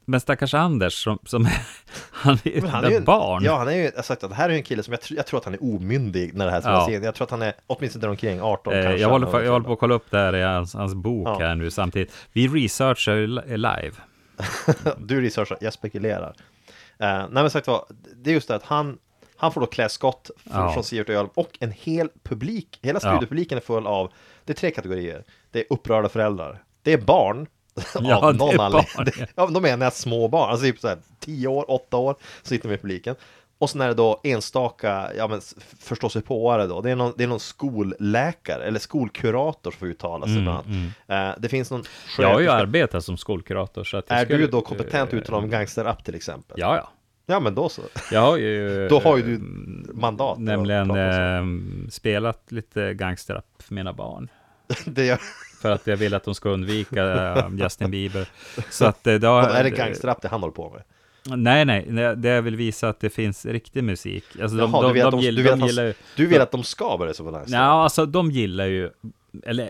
[SPEAKER 6] men stackars Anders, som, som han är ju
[SPEAKER 5] men han
[SPEAKER 6] ett
[SPEAKER 5] är ju
[SPEAKER 6] litet
[SPEAKER 5] en,
[SPEAKER 6] barn.
[SPEAKER 5] Ja, han är ju, jag har sagt att det här är ju en kille som jag, tr- jag tror att han är omyndig när det här spelas
[SPEAKER 6] Ja.
[SPEAKER 5] in. Jag tror att han är åtminstone omkring 18
[SPEAKER 6] Eh,
[SPEAKER 5] kanske.
[SPEAKER 6] jag, håller
[SPEAKER 5] Han
[SPEAKER 6] på,
[SPEAKER 5] var
[SPEAKER 6] jag håller på att kolla upp det här i hans, hans bok
[SPEAKER 5] Ja.
[SPEAKER 6] här nu samtidigt. Vi researchar ju li- eh, live.
[SPEAKER 5] Du researchar, jag spekulerar. Eh, nej men sagt var, det är just det att han, han får då klä skott fr-
[SPEAKER 6] Ja.
[SPEAKER 5] från Sivert Öholm och en hel publik, hela
[SPEAKER 6] Ja.
[SPEAKER 5] studiopubliken är full av, det är tre kategorier. Det är upprörda föräldrar, det är barn,
[SPEAKER 6] Ja,
[SPEAKER 5] av
[SPEAKER 6] det
[SPEAKER 5] någon
[SPEAKER 6] är barn,
[SPEAKER 5] anledning.
[SPEAKER 6] ja.
[SPEAKER 5] Ja, men då menar jag små barn, alltså typ så här 10 år, 8 år, sitter de i publiken. Och sen är det då enstaka, ja men s- förståsigpåare då, det är, någon, det är någon skolläkare eller skolkurator som får uttala
[SPEAKER 6] Mm,
[SPEAKER 5] sig bland annat. Eh, det finns någon
[SPEAKER 6] Jag har ju
[SPEAKER 5] sköterska-
[SPEAKER 6] arbetat som skolkurator så att jag
[SPEAKER 5] är
[SPEAKER 6] skulle-
[SPEAKER 5] du då kompetent utan om gangster-app till exempel?
[SPEAKER 6] Eh, Ja, ja.
[SPEAKER 5] Ja, men då så.
[SPEAKER 6] Jag har ju...
[SPEAKER 5] Då har ju
[SPEAKER 6] eh,
[SPEAKER 5] du mandat. att
[SPEAKER 6] Nämligen
[SPEAKER 5] prata om
[SPEAKER 6] eh, spelat lite gangsterrap för mina barn.
[SPEAKER 5] så. Det gör...
[SPEAKER 6] För att jag vill att de ska undvika eh, Justin Bieber. Så att eh, det har,
[SPEAKER 5] Vadå, Är det gangster-app det han håller på med?
[SPEAKER 6] Nej, nej. nej, Det jag vill visa att det finns riktig musik. Alltså, de,
[SPEAKER 5] Jaha,
[SPEAKER 6] de,
[SPEAKER 5] du vill att
[SPEAKER 6] de,
[SPEAKER 5] de- du
[SPEAKER 6] gillar,
[SPEAKER 5] vill att
[SPEAKER 6] de gillar ju...
[SPEAKER 5] han- du vill att de ska börja som en
[SPEAKER 6] Ja,
[SPEAKER 5] gangster?
[SPEAKER 6] alltså de gillar ju... Eller,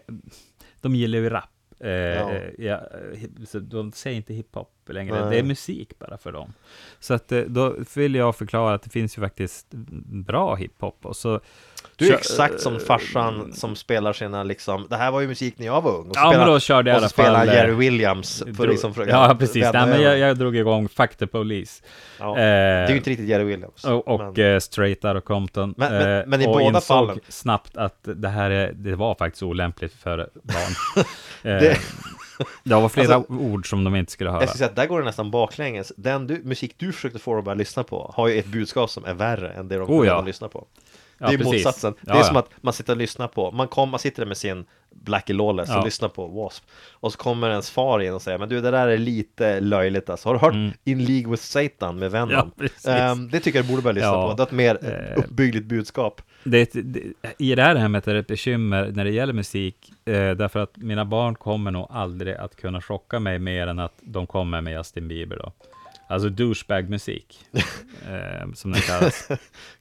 [SPEAKER 6] de gillar ju rap. Eh,
[SPEAKER 5] Ja.
[SPEAKER 6] eh, ja. hi- så de säger inte hiphop längre,
[SPEAKER 5] Nej.
[SPEAKER 6] det är musik bara för dem. Så att eh, då vill jag förklara att det finns ju faktiskt bra hiphop och så
[SPEAKER 5] Du är
[SPEAKER 6] Kör-
[SPEAKER 5] exakt som farsan som spelar sina liksom, det här var ju musik när jag var ung. Och så
[SPEAKER 6] Ja, men
[SPEAKER 5] spelar-
[SPEAKER 6] då körde jag
[SPEAKER 5] och så
[SPEAKER 6] i alla fall,
[SPEAKER 5] spelar
[SPEAKER 6] eh,
[SPEAKER 5] Jerry Williams för
[SPEAKER 6] Drog-
[SPEAKER 5] liksom för-
[SPEAKER 6] Ja, precis. Nej, men
[SPEAKER 5] vända
[SPEAKER 6] jag,
[SPEAKER 5] över.
[SPEAKER 6] jag drog igång Fuck the Police.
[SPEAKER 5] Ja,
[SPEAKER 6] eh,
[SPEAKER 5] det är ju inte riktigt Jerry Williams.
[SPEAKER 6] Och, och
[SPEAKER 5] men,
[SPEAKER 6] eh, Straight Outta Compton.
[SPEAKER 5] Men- men-
[SPEAKER 6] eh,
[SPEAKER 5] men i
[SPEAKER 6] och
[SPEAKER 5] båda
[SPEAKER 6] insåg
[SPEAKER 5] fallen-
[SPEAKER 6] snabbt att det här är, det var faktiskt olämpligt för barn. Eh,
[SPEAKER 5] Det-
[SPEAKER 6] det... var flera
[SPEAKER 5] Alltså,
[SPEAKER 6] ord som de inte skulle höra.
[SPEAKER 5] jag ska säga att där går det nästan baklänges. Den du, musik du försökte få dem att börja lyssna på har ju ett budskap som är värre än det de
[SPEAKER 6] Oh, ja.
[SPEAKER 5] redan lyssnar på.
[SPEAKER 6] Ja,
[SPEAKER 5] det är
[SPEAKER 6] precis.
[SPEAKER 5] motsatsen.
[SPEAKER 6] Ja,
[SPEAKER 5] det är
[SPEAKER 6] ja.
[SPEAKER 5] som att man sitter och lyssnar på, man, kom, man sitter där med sin Blackie Lawless
[SPEAKER 6] Ja.
[SPEAKER 5] och lyssnar på W.A.S.P. Och så kommer ens far in och säger, men du det där är lite löjligt alltså. Har du hört In League with Satan med Venom?
[SPEAKER 6] Mm. Ja, precis.
[SPEAKER 5] Ehm, det tycker jag du borde börja lyssna
[SPEAKER 6] Ja.
[SPEAKER 5] på. Det är ett mer
[SPEAKER 6] Eh.
[SPEAKER 5] uppbyggligt budskap.
[SPEAKER 6] det, är ett- det, I det här hemmet är det ett bekymmer när det gäller musik, eh, därför att mina barn kommer nog aldrig att kunna chocka mig mer än att de kommer med Justin Bieber då. Alltså douchebag-musik, eh, som den kallas.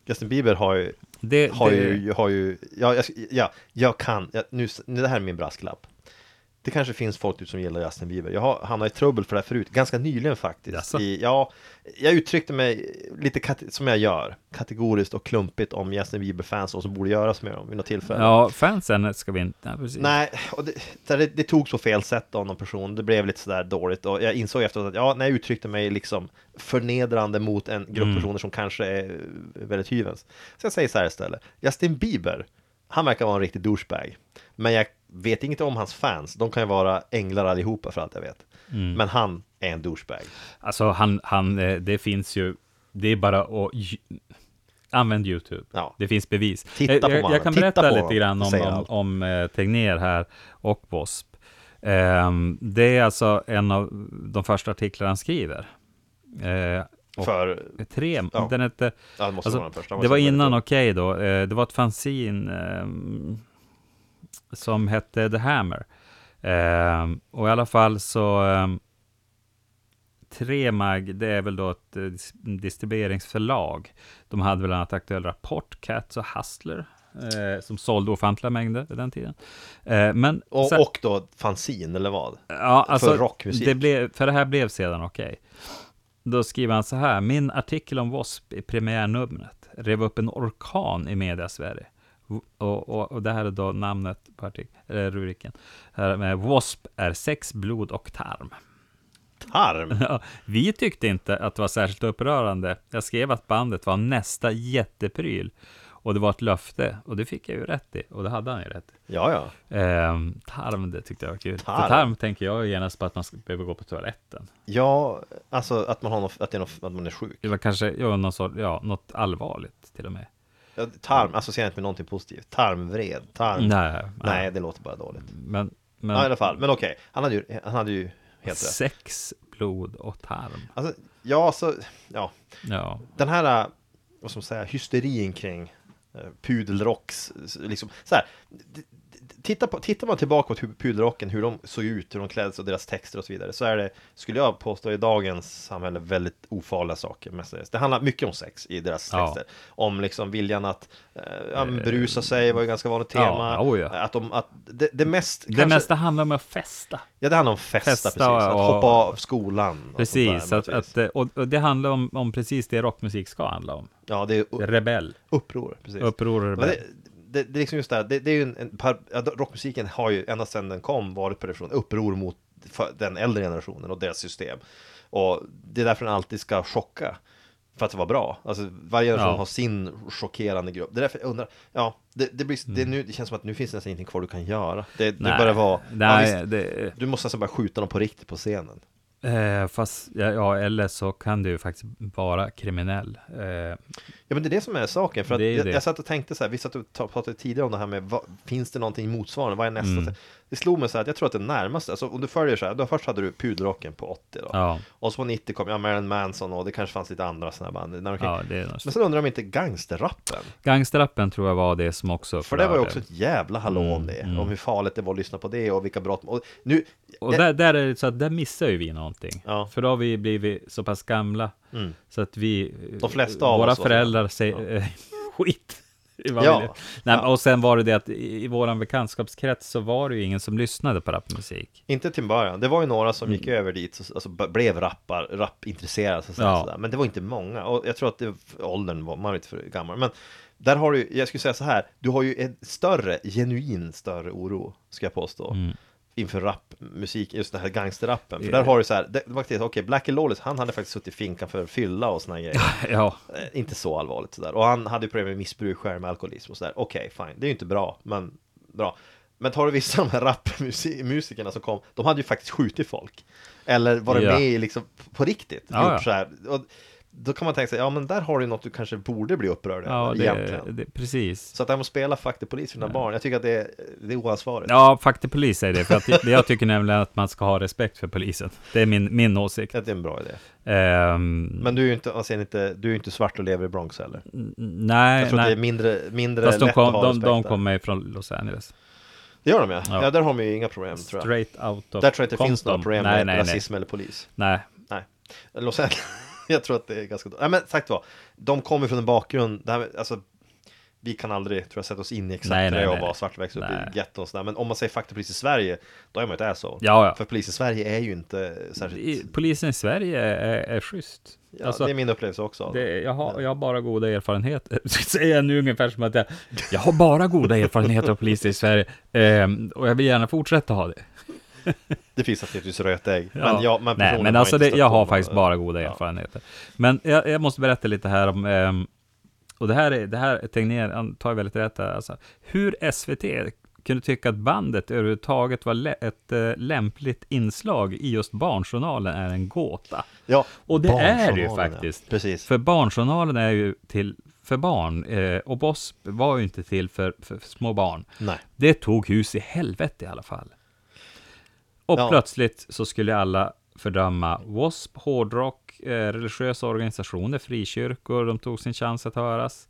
[SPEAKER 5] Justin Bieber har ju,
[SPEAKER 6] Det,
[SPEAKER 5] har
[SPEAKER 6] det,
[SPEAKER 5] ju, har ju ja, jag, ja, jag kan, jag, nu, nu, det här är min brasklapp. det kanske finns folk typ som gillar Justin Bieber. Jag har hamnat i trubbel för det här förut, ganska nyligen faktiskt.
[SPEAKER 6] Jaså?
[SPEAKER 5] I, ja, jag uttryckte mig lite kate- som jag gör, kategoriskt och klumpigt om Justin Bieber-fans och som borde göras med dem vid något tillfälle.
[SPEAKER 6] Ja, fansen ska vi inte... Nej, precis.
[SPEAKER 5] Nej, och det, det, det togs på fel sätt av någon person, det blev lite sådär dåligt och jag insåg efteråt att ja, när jag uttryckte mig liksom förnedrande mot en grupp
[SPEAKER 6] Mm.
[SPEAKER 5] personer som kanske är eh, väldigt hyvens. Så jag säger så här istället, Justin Bieber, han verkar vara en riktig douchebag, men jag vet inget om hans fans, de kan ju vara änglar allihopa för allt jag vet.
[SPEAKER 6] Mm.
[SPEAKER 5] Men han är en douchebag.
[SPEAKER 6] Alltså, han, han, eh, det finns ju... Det är bara att... ju- Använd YouTube.
[SPEAKER 5] Ja.
[SPEAKER 6] Det finns bevis. Eh,
[SPEAKER 5] Titta
[SPEAKER 6] jag,
[SPEAKER 5] på
[SPEAKER 6] jag,
[SPEAKER 5] mannen.
[SPEAKER 6] jag kan
[SPEAKER 5] Titta
[SPEAKER 6] berätta
[SPEAKER 5] på
[SPEAKER 6] lite
[SPEAKER 5] honom.
[SPEAKER 6] grann om,
[SPEAKER 5] Säger
[SPEAKER 6] om,
[SPEAKER 5] allt.
[SPEAKER 6] om eh, Tegnér här och W.A.S.P. Ehm, det är alltså en av de första artiklar han skriver. Eh, och
[SPEAKER 5] För,
[SPEAKER 6] tre,
[SPEAKER 5] Ja.
[SPEAKER 6] den hette...
[SPEAKER 5] ja, det måste
[SPEAKER 6] Alltså,
[SPEAKER 5] vara den första.
[SPEAKER 6] det var
[SPEAKER 5] så väldigt
[SPEAKER 6] innan
[SPEAKER 5] bra.
[SPEAKER 6] Okej då. Eh, Det var ett fanzin ehm, som hette The Hammer. Ehm, och i alla fall så... ehm, Tremag, det är väl då ett eh, dis- distribueringsförlag. De hade väl annat aktuell rapport, Cats och Hustler, eh, som sålde ofantliga mängder vid den tiden. Eh, men
[SPEAKER 5] Och,
[SPEAKER 6] sen-
[SPEAKER 5] och då fanzine eller vad?
[SPEAKER 6] Ja, alltså,
[SPEAKER 5] rockmusik.
[SPEAKER 6] Det blev, för det här blev sedan okej. Då skriver han så här. Min artikel om W.A.S.P. i premiärnumret rev upp en orkan i media-Sverige. V- Och, och, och det här är då namnet på artikeln, eller rubriken. Här med W.A.S.P. är sex, blod och tarm.
[SPEAKER 5] Tarm!
[SPEAKER 6] Ja, vi tyckte inte att det var särskilt upprörande. Jag skrev att bandet var nästa jättepryl. Och det var ett löfte. Och det fick jag ju rätt i. Och det hade han ju rätt i.
[SPEAKER 5] Ja, ja.
[SPEAKER 6] Ehm, tarm, det tyckte jag var kul. Tarm.
[SPEAKER 5] Tarm.
[SPEAKER 6] För tarm tänker jag genast på att man ska behöva gå på toaletten.
[SPEAKER 5] Ja, alltså att man, har något, att det är något, att man är sjuk.
[SPEAKER 6] Det var kanske ja, någon sort, ja, något allvarligt till och med.
[SPEAKER 5] Ja, Tarm, associerar inte med någonting positivt. Tarmvred, tarm...
[SPEAKER 6] Nej,
[SPEAKER 5] Mm. Nej, det låter bara dåligt.
[SPEAKER 6] Men, men
[SPEAKER 5] Ja, i alla fall. Men okej, han, hade ju, han hade ju helt rätt.
[SPEAKER 6] sex, blod och tarm.
[SPEAKER 5] Alltså, ja, så... Ja,
[SPEAKER 6] Ja,
[SPEAKER 5] den här, äh, vad ska man säga, hysterin kring eh, pudelrocks, s- liksom så här. d- d- Titta på, tittar man tillbaka på hur pudelrocken, hur de såg ut, hur de kläddes och deras texter och så vidare, så är det, skulle jag påstå, i dagens samhälle väldigt ofarliga saker. mestadels. Det handlar mycket om sex i deras
[SPEAKER 6] Ja.
[SPEAKER 5] texter. Om liksom viljan att eh, ja, men berusa sig var ju ganska vanligt
[SPEAKER 6] ja,
[SPEAKER 5] tema.
[SPEAKER 6] oja.
[SPEAKER 5] Att de, att det, det mest,
[SPEAKER 6] det
[SPEAKER 5] kanske,
[SPEAKER 6] mesta handlar om att festa.
[SPEAKER 5] ja det handlar om festa,
[SPEAKER 6] Festa
[SPEAKER 5] precis. Att
[SPEAKER 6] och-
[SPEAKER 5] hoppa av skolan. och sånt
[SPEAKER 6] Precis,
[SPEAKER 5] där,
[SPEAKER 6] att, att, eh, och, och det handlar om, om precis det rockmusik ska handla om.
[SPEAKER 5] ja, det är
[SPEAKER 6] Rebell,
[SPEAKER 5] Uppror, precis.
[SPEAKER 6] uppror och
[SPEAKER 5] Men
[SPEAKER 6] rebell.
[SPEAKER 5] det, det, det är liksom just det här, det, det är ju en, en par, ja, rockmusiken har ju ända sedan den kom varit på version uppror mot för- den äldre generationen och deras system. Och det är därför den alltid ska chocka. För att det var bra. Alltså varje generation
[SPEAKER 6] Ja.
[SPEAKER 5] har sin chockerande grupp. Det är därför jag undrar, ja, det, det, blir, det, är nu, det känns som att nu finns det nästan ingenting kvar du kan göra. Det, det
[SPEAKER 6] Mm. Nej,
[SPEAKER 5] börjar vara,
[SPEAKER 6] Nej,
[SPEAKER 5] ja, visst,
[SPEAKER 6] det,
[SPEAKER 5] du måste nästan bara skjuta dem på riktigt på scenen.
[SPEAKER 6] eh, fast, ja, ja, eller så kan du ju faktiskt vara kriminell. Eh,
[SPEAKER 5] Ja men det är det som är saken, för att
[SPEAKER 6] Det är ju
[SPEAKER 5] jag,
[SPEAKER 6] det.
[SPEAKER 5] jag satt och tänkte så här, vi satt och ta- pratade tidigare om det här med vad, Finns det någonting motsvarande, vad är nästa?
[SPEAKER 6] Mm.
[SPEAKER 5] Det slog mig så här att jag tror att det närmaste, alltså om du följer så här, då först hade du pudelrocken på 80 då
[SPEAKER 6] Ja.
[SPEAKER 5] Och så på 90 kom, ja Marilyn Manson och det kanske fanns lite andra sådana här band när de kring.
[SPEAKER 6] ja, det är något.
[SPEAKER 5] Men sen undrar jag om inte gangsterrappen,
[SPEAKER 6] Gangsterrappen tror jag var det Mm, som också
[SPEAKER 5] för det var ju
[SPEAKER 6] upprörde.
[SPEAKER 5] också ett jävla hallå om det, om hur farligt det var att lyssna på det och vilka brott, och nu,
[SPEAKER 6] Och
[SPEAKER 5] jag-
[SPEAKER 6] där, där är det så att där missar ju vi någonting.
[SPEAKER 5] Ja. Mm.
[SPEAKER 6] För då har vi blivit så pass gamla så att vi,
[SPEAKER 5] De flesta av
[SPEAKER 6] våra
[SPEAKER 5] oss var så.
[SPEAKER 6] föräldrar säger eh, skit. i vad
[SPEAKER 5] Ja.
[SPEAKER 6] vi- Nej,
[SPEAKER 5] Ja.
[SPEAKER 6] Och sen var det det att i, i våran bekantskapskrets så var det ju ingen som lyssnade på rapmusik.
[SPEAKER 5] Inte till början, det var ju några som gick över dit, så- alltså b- blev rappar, rappintresserade så att säga,
[SPEAKER 6] Ja.
[SPEAKER 5] sådär. Men det var inte många, och jag tror att det, åldern var, man var lite för gammal Men där har du, jag skulle säga så här, du har ju en större, genuin större oro, ska jag påstå Inför rapmusik, just den här gangsterrappen För där har du så här, det, faktiskt, okej, Blackie Lawless, han hade faktiskt suttit i finkan för fylla och såna grejer
[SPEAKER 6] Ja,
[SPEAKER 5] Eh, Inte så allvarligt sådär. Och han hade ju problem med missbruk, skärm, alkoholism och sådär. Okej, fine. Det är ju inte bra, men bra. Men tar du vissa av de här rapmusikerna som kom, de hade ju faktiskt skjutit folk. Eller varit
[SPEAKER 6] Ja.
[SPEAKER 5] med i liksom på riktigt.
[SPEAKER 6] Ja,
[SPEAKER 5] gjort
[SPEAKER 6] ja.
[SPEAKER 5] Så här. Och då kan man tänka sig, ja men där har du något du kanske borde bli upprörd över
[SPEAKER 6] ja det,
[SPEAKER 5] egentligen.
[SPEAKER 6] det, precis.
[SPEAKER 5] Så att det här med att spela Fuck the Police för dina barn, jag tycker att det är, det är oansvarigt.
[SPEAKER 6] Ja, faktiskt polis säger det, för att jag- jag tycker nämligen att man ska ha respekt för polisen. Det är min, min åsikt.
[SPEAKER 5] Att Det är en bra idé.
[SPEAKER 6] Ehm,
[SPEAKER 5] Men du är ju inte, alltså, inte, du är ju inte svart och lever i Bronx heller.
[SPEAKER 6] nej,
[SPEAKER 5] Jag tror att det
[SPEAKER 6] nej.
[SPEAKER 5] är mindre, mindre
[SPEAKER 6] Fast de,
[SPEAKER 5] lätt
[SPEAKER 6] kom,
[SPEAKER 5] att ha
[SPEAKER 6] de,
[SPEAKER 5] respekt
[SPEAKER 6] de
[SPEAKER 5] där.
[SPEAKER 6] kommer ju från Los Angeles.
[SPEAKER 5] Det gör de ja. ja.
[SPEAKER 6] Ja.
[SPEAKER 5] där har de ju inga problem tror jag.
[SPEAKER 6] Straight out of
[SPEAKER 5] Där tror jag inte det finns
[SPEAKER 6] Compton.
[SPEAKER 5] några problem
[SPEAKER 6] nej,
[SPEAKER 5] med
[SPEAKER 6] nej,
[SPEAKER 5] rasism eller polis.
[SPEAKER 6] Nej. nej,
[SPEAKER 5] Nej. Los Angeles, jag tror att det är ganska... Nej men sagt var, de kommer från en bakgrund, det här med, alltså vi kan aldrig, tror jag, sätta oss in i exakt
[SPEAKER 6] Nej,
[SPEAKER 5] det
[SPEAKER 6] nej,
[SPEAKER 5] och
[SPEAKER 6] nej.
[SPEAKER 5] vara svart växt upp
[SPEAKER 6] Nej.
[SPEAKER 5] i getton och sådär. Men om man säger faktapolis i Sverige, då är man ju ett asshole.
[SPEAKER 6] Ja, ja.
[SPEAKER 5] För polis i Sverige är ju inte särskilt...
[SPEAKER 6] I, polisen i Sverige är, är schysst.
[SPEAKER 5] ja,
[SPEAKER 6] alltså,
[SPEAKER 5] det är min upplevelse också. av
[SPEAKER 6] det, jag, har, jag har bara goda erfarenheter. Säger jag nu ungefär som att jag, jag har bara goda erfarenheter av poliser i Sverige. Ehm, och jag vill gärna fortsätta ha det.
[SPEAKER 5] Det finns naturligtvis rötägg.
[SPEAKER 6] Ja.
[SPEAKER 5] Men, jag, men,
[SPEAKER 6] Nej,
[SPEAKER 5] personligen
[SPEAKER 6] men
[SPEAKER 5] har
[SPEAKER 6] alltså
[SPEAKER 5] inte
[SPEAKER 6] det,
[SPEAKER 5] stött
[SPEAKER 6] jag
[SPEAKER 5] på
[SPEAKER 6] har
[SPEAKER 5] någon-
[SPEAKER 6] faktiskt bara goda
[SPEAKER 5] Ja.
[SPEAKER 6] erfarenheter. Men jag, jag måste berätta lite här om, ehm, och det här, är, det här Tegnér han tar ju väldigt rätt här, alltså, hur SVT kunde tycka att bandet överhuvudtaget var lä- ett eh, lämpligt inslag i just Barnjournalen är en gåta.
[SPEAKER 5] Ja,
[SPEAKER 6] Och det är det ju
[SPEAKER 5] Barnjournalen, ja.
[SPEAKER 6] faktiskt.
[SPEAKER 5] Precis.
[SPEAKER 6] För Barnjournalen är ju till för barn, eh, och BOSP var ju inte till för, för, för små barn.
[SPEAKER 5] Nej.
[SPEAKER 6] Det tog hus i helvete i alla fall. Och
[SPEAKER 5] Ja.
[SPEAKER 6] plötsligt så skulle alla fördöma W.A.S.P, hårdrock, eh, religiösa organisationer, frikyrkor, de tog sin chans att höras.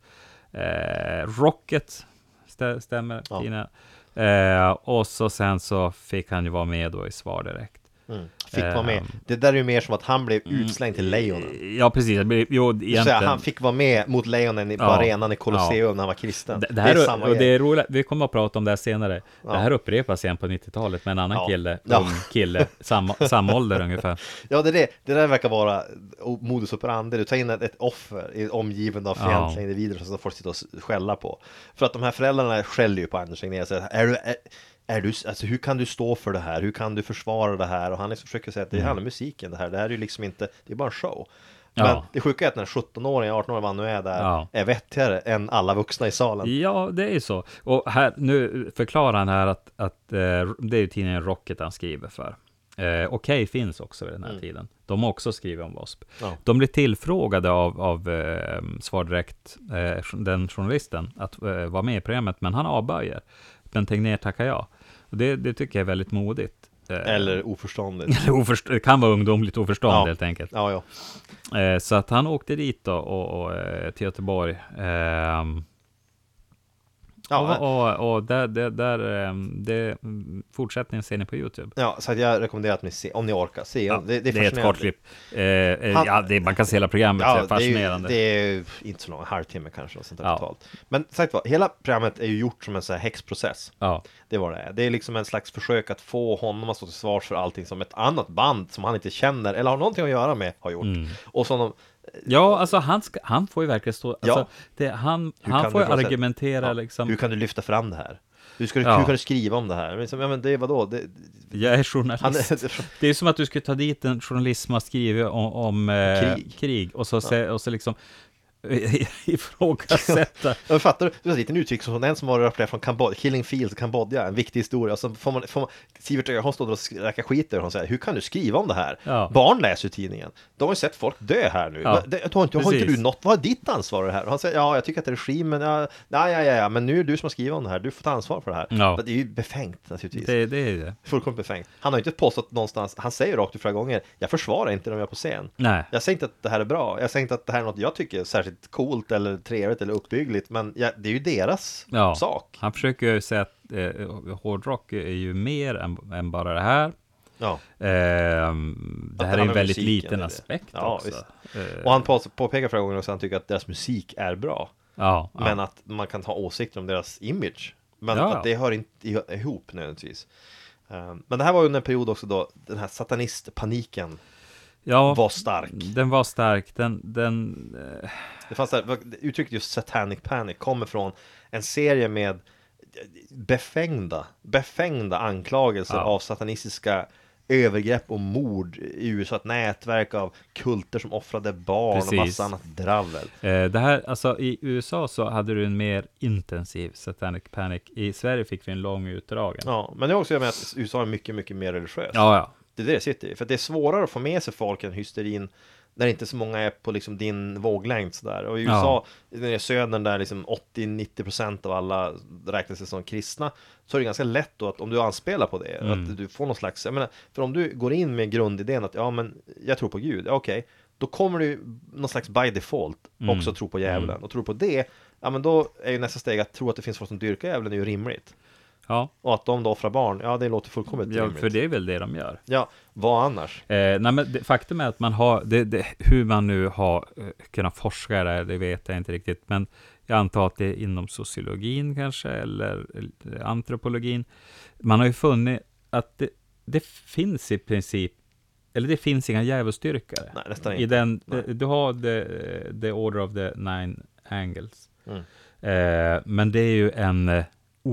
[SPEAKER 6] Eh, rocket, stä, stämmer
[SPEAKER 5] Ja.
[SPEAKER 6] Tina. Eh, och så sen så fick han ju vara med då i Svar direkt.
[SPEAKER 5] Mm. Fick vara med.
[SPEAKER 6] Ehm. Mm.
[SPEAKER 5] Det där är ju mer som att han blev utslängd till lejonen.
[SPEAKER 6] Ja, precis. Det blir- Jo,
[SPEAKER 5] Så
[SPEAKER 6] egentligen.
[SPEAKER 5] han fick vara med mot lejonen i- på
[SPEAKER 6] Ja.
[SPEAKER 5] arenan i Colosseum
[SPEAKER 6] Ja.
[SPEAKER 5] när han var kristen.
[SPEAKER 6] Det, det här,
[SPEAKER 5] är samma
[SPEAKER 6] och det
[SPEAKER 5] grej.
[SPEAKER 6] är roligt, vi kommer att prata om det här senare.
[SPEAKER 5] Ja.
[SPEAKER 6] Det här upprepas igen på 90-talet med en annan
[SPEAKER 5] Ja.
[SPEAKER 6] kille,
[SPEAKER 5] Ja.
[SPEAKER 6] ung kille, samma, samma ålder ungefär.
[SPEAKER 5] Ja, det, är det. det där verkar vara oh, modus operandi. Du tar in ett, ett offer i- omgiven av fientliga
[SPEAKER 6] Ja.
[SPEAKER 5] individer som folk sitter och s- skälla på. För att de här föräldrarna skäller ju på Anders Tegnér. och säger, Är du, är, är du, alltså, hur kan du stå för det här? Hur kan du försvara det här? Och han liksom försöker säga att det handlar om musiken det här. Det här är ju liksom inte, det är bara en show. Men
[SPEAKER 6] Mm. Ja.
[SPEAKER 5] det sjuka är att den 17-åringen, 18-åringen, vad han nu är där,
[SPEAKER 6] Ja.
[SPEAKER 5] är vettigare än alla vuxna i salen.
[SPEAKER 6] Ja, det är ju så. Och här, nu förklarar han här att, att eh, det är ju tidningen Rocket han skriver för. Eh, Okej finns också vid den här tiden. De har också skrivit om W.A.S.P.
[SPEAKER 5] Mm. Ja.
[SPEAKER 6] De blev tillfrågade av, av eh, Svar Direkt, eh, den journalisten, att eh, vara med i programmet, men han avböjer. Men Tegnér tackar ja. Och det, det tycker jag är väldigt modigt. Eh,
[SPEAKER 5] Eller oförståndigt.
[SPEAKER 6] Eller oförst- det kan vara ungdomligt oförstånd
[SPEAKER 5] Ja.
[SPEAKER 6] helt enkelt.
[SPEAKER 5] Ja, ja.
[SPEAKER 6] Eh, så att han åkte dit då och, och, eh, till Göteborg. Ehm,
[SPEAKER 5] Ja,
[SPEAKER 6] och och, och där, där, där ehm, det, mm, fortsättningen ser ni på YouTube.
[SPEAKER 5] Ja, så att jag rekommenderar att ni ser, om ni orkar, se. det, det är,
[SPEAKER 6] ett
[SPEAKER 5] fascinerande.
[SPEAKER 6] kort klipp. Eh, eh,
[SPEAKER 5] Han-
[SPEAKER 6] ja, det, man kan se hela programmet, det är alltså, fascinerande.
[SPEAKER 5] Det är, ju, det är ju inte så långt, en halvtimme kanske och sånt där
[SPEAKER 6] Ja.
[SPEAKER 5] totalt. Men sagt var, hela programmet är ju gjort som en sån här häxprocess.
[SPEAKER 6] Ja.
[SPEAKER 5] Det var det är. Det är liksom en slags försök att få honom att stå till svars för allting som ett annat band som han inte känner eller har någonting att göra med har gjort.
[SPEAKER 6] Mm.
[SPEAKER 5] Och som de,
[SPEAKER 6] ja, alltså han, ska, han får ju verkligen stå... Alltså,
[SPEAKER 5] Ja.
[SPEAKER 6] det, han
[SPEAKER 5] Hur
[SPEAKER 6] han
[SPEAKER 5] kan
[SPEAKER 6] får
[SPEAKER 5] du
[SPEAKER 6] ju
[SPEAKER 5] fråga-
[SPEAKER 6] argumentera
[SPEAKER 5] ja,
[SPEAKER 6] liksom...
[SPEAKER 5] hur kan du lyfta fram det här? Hur, ska du,
[SPEAKER 6] Ja.
[SPEAKER 5] hur kan du skriva om det här? Men Liksom, ja, men det, vadå? Det,
[SPEAKER 6] Jag är journalist.
[SPEAKER 5] han, är-
[SPEAKER 6] Det är som att du skulle ta dit en journalist som har skrivit om, om eh,
[SPEAKER 5] Krig.
[SPEAKER 6] krig. och, så, se- och så liksom eh, ifrågasätta.
[SPEAKER 5] Ja, men fattar du? Det var en liten uttryck som en som var rapporterad från Kambodja, Killing Fields, Kambodja, en viktig historia. Och så får man, får man Sivert Öholm står där och räkar skit över honom och säger, hur kan du skriva om det här?
[SPEAKER 6] Ja.
[SPEAKER 5] Barn läser ju tidningen. De har ju sett folk dö här nu.
[SPEAKER 6] Ja.
[SPEAKER 5] Va- Det, har, inte, har inte
[SPEAKER 6] Precis.
[SPEAKER 5] du något, vad är ditt ansvar i det här? Och han säger, ja, jag tycker att det är regimen, ja, nej, ja, ja, ja, men nu är det du som har skrivit om det här, du får ta ansvar för det här.
[SPEAKER 6] Ja.
[SPEAKER 5] Men Det är ju befängt naturligtvis.
[SPEAKER 6] Det, det är det.
[SPEAKER 5] Fullkomligt befängt. Han har ju inte påstått någonstans, han säger rakt ut flera gånger, jag försvarar inte dem jag är på scen.
[SPEAKER 6] Nej.
[SPEAKER 5] Jag säger inte att det här är bra, jag säger inte att det här är något jag tycker är särskilt coolt eller trevligt eller uppbyggligt, men ja, det är ju deras
[SPEAKER 6] Ja.
[SPEAKER 5] sak.
[SPEAKER 6] Han försöker ju säga att eh, hårdrock är ju mer än, än bara det här.
[SPEAKER 5] Ja.
[SPEAKER 6] Ehm,
[SPEAKER 5] Att
[SPEAKER 6] det här
[SPEAKER 5] det
[SPEAKER 6] är en
[SPEAKER 5] handlar om
[SPEAKER 6] väldigt
[SPEAKER 5] musiken, är
[SPEAKER 6] liten
[SPEAKER 5] det.
[SPEAKER 6] aspekt
[SPEAKER 5] Ja,
[SPEAKER 6] också.
[SPEAKER 5] visst.
[SPEAKER 6] Eh,
[SPEAKER 5] Och han på- påpekar flera gånger också att han tycker att deras musik är bra,
[SPEAKER 6] ja, ja.
[SPEAKER 5] men att man kan ha åsikter om deras image. Men
[SPEAKER 6] Ja, ja.
[SPEAKER 5] att det hör inte i- ihop nödvändigtvis. Ehm, Men det här var under en period också då den här satanistpaniken
[SPEAKER 6] ja,
[SPEAKER 5] var stark.
[SPEAKER 6] den var stark. Den, den, eh,
[SPEAKER 5] Det fanns där, uttrycket just satanic panic kommer från en serie med befängda, befängda anklagelser
[SPEAKER 6] Ja.
[SPEAKER 5] av satanistiska övergrepp och mord i USA, ett nätverk av kulter som offrade barn och
[SPEAKER 6] Precis.
[SPEAKER 5] massa annat dravel.
[SPEAKER 6] Eh, Det här, alltså i USA så hade du en mer intensiv satanic panic. I Sverige fick vi en lång utdragen.
[SPEAKER 5] Ja, men det har också med att USA är mycket, mycket mer religiöst.
[SPEAKER 6] Ja, ja.
[SPEAKER 5] Det är det det sitter i, för att det är svårare att få med sig folk än hysterin när inte så många är på liksom din våglängd sådär. Och i USA, nere i södern där liksom 80-90% av alla räknas sig som kristna, så är det ganska lätt då att om du anspelar på det,
[SPEAKER 6] Mm.
[SPEAKER 5] att du får någon slags, jag menar, för om du går in med grundidén att ja men jag tror på Gud, ja, okej, då kommer du någon slags by default
[SPEAKER 6] Mm.
[SPEAKER 5] också tro på djävulen. Och tror du på det, ja men då är ju nästa steg att tro att det finns folk som dyrkar djävulen är ju rimligt.
[SPEAKER 6] Ja,
[SPEAKER 5] Och att de då offrar barn, ja det låter fullkomligt
[SPEAKER 6] ja
[SPEAKER 5] rimligt.
[SPEAKER 6] för det är väl det de gör.
[SPEAKER 5] Ja, vad annars?
[SPEAKER 6] Eh, nej, men det, faktum är att man har, det, det, hur man nu har eh, kunnat forska det, här, det vet jag inte riktigt, men jag antar att det är inom sociologin kanske, eller eh, antropologin. Man har ju funnit att det, det finns i princip, eller det finns inga djävulsdyrkare.
[SPEAKER 5] Nej, nästan
[SPEAKER 6] I
[SPEAKER 5] inte.
[SPEAKER 6] den, eh,
[SPEAKER 5] Nej.
[SPEAKER 6] Du har the, the Order of the Nine Angles.
[SPEAKER 5] Mm.
[SPEAKER 6] Eh, men det är ju en eh,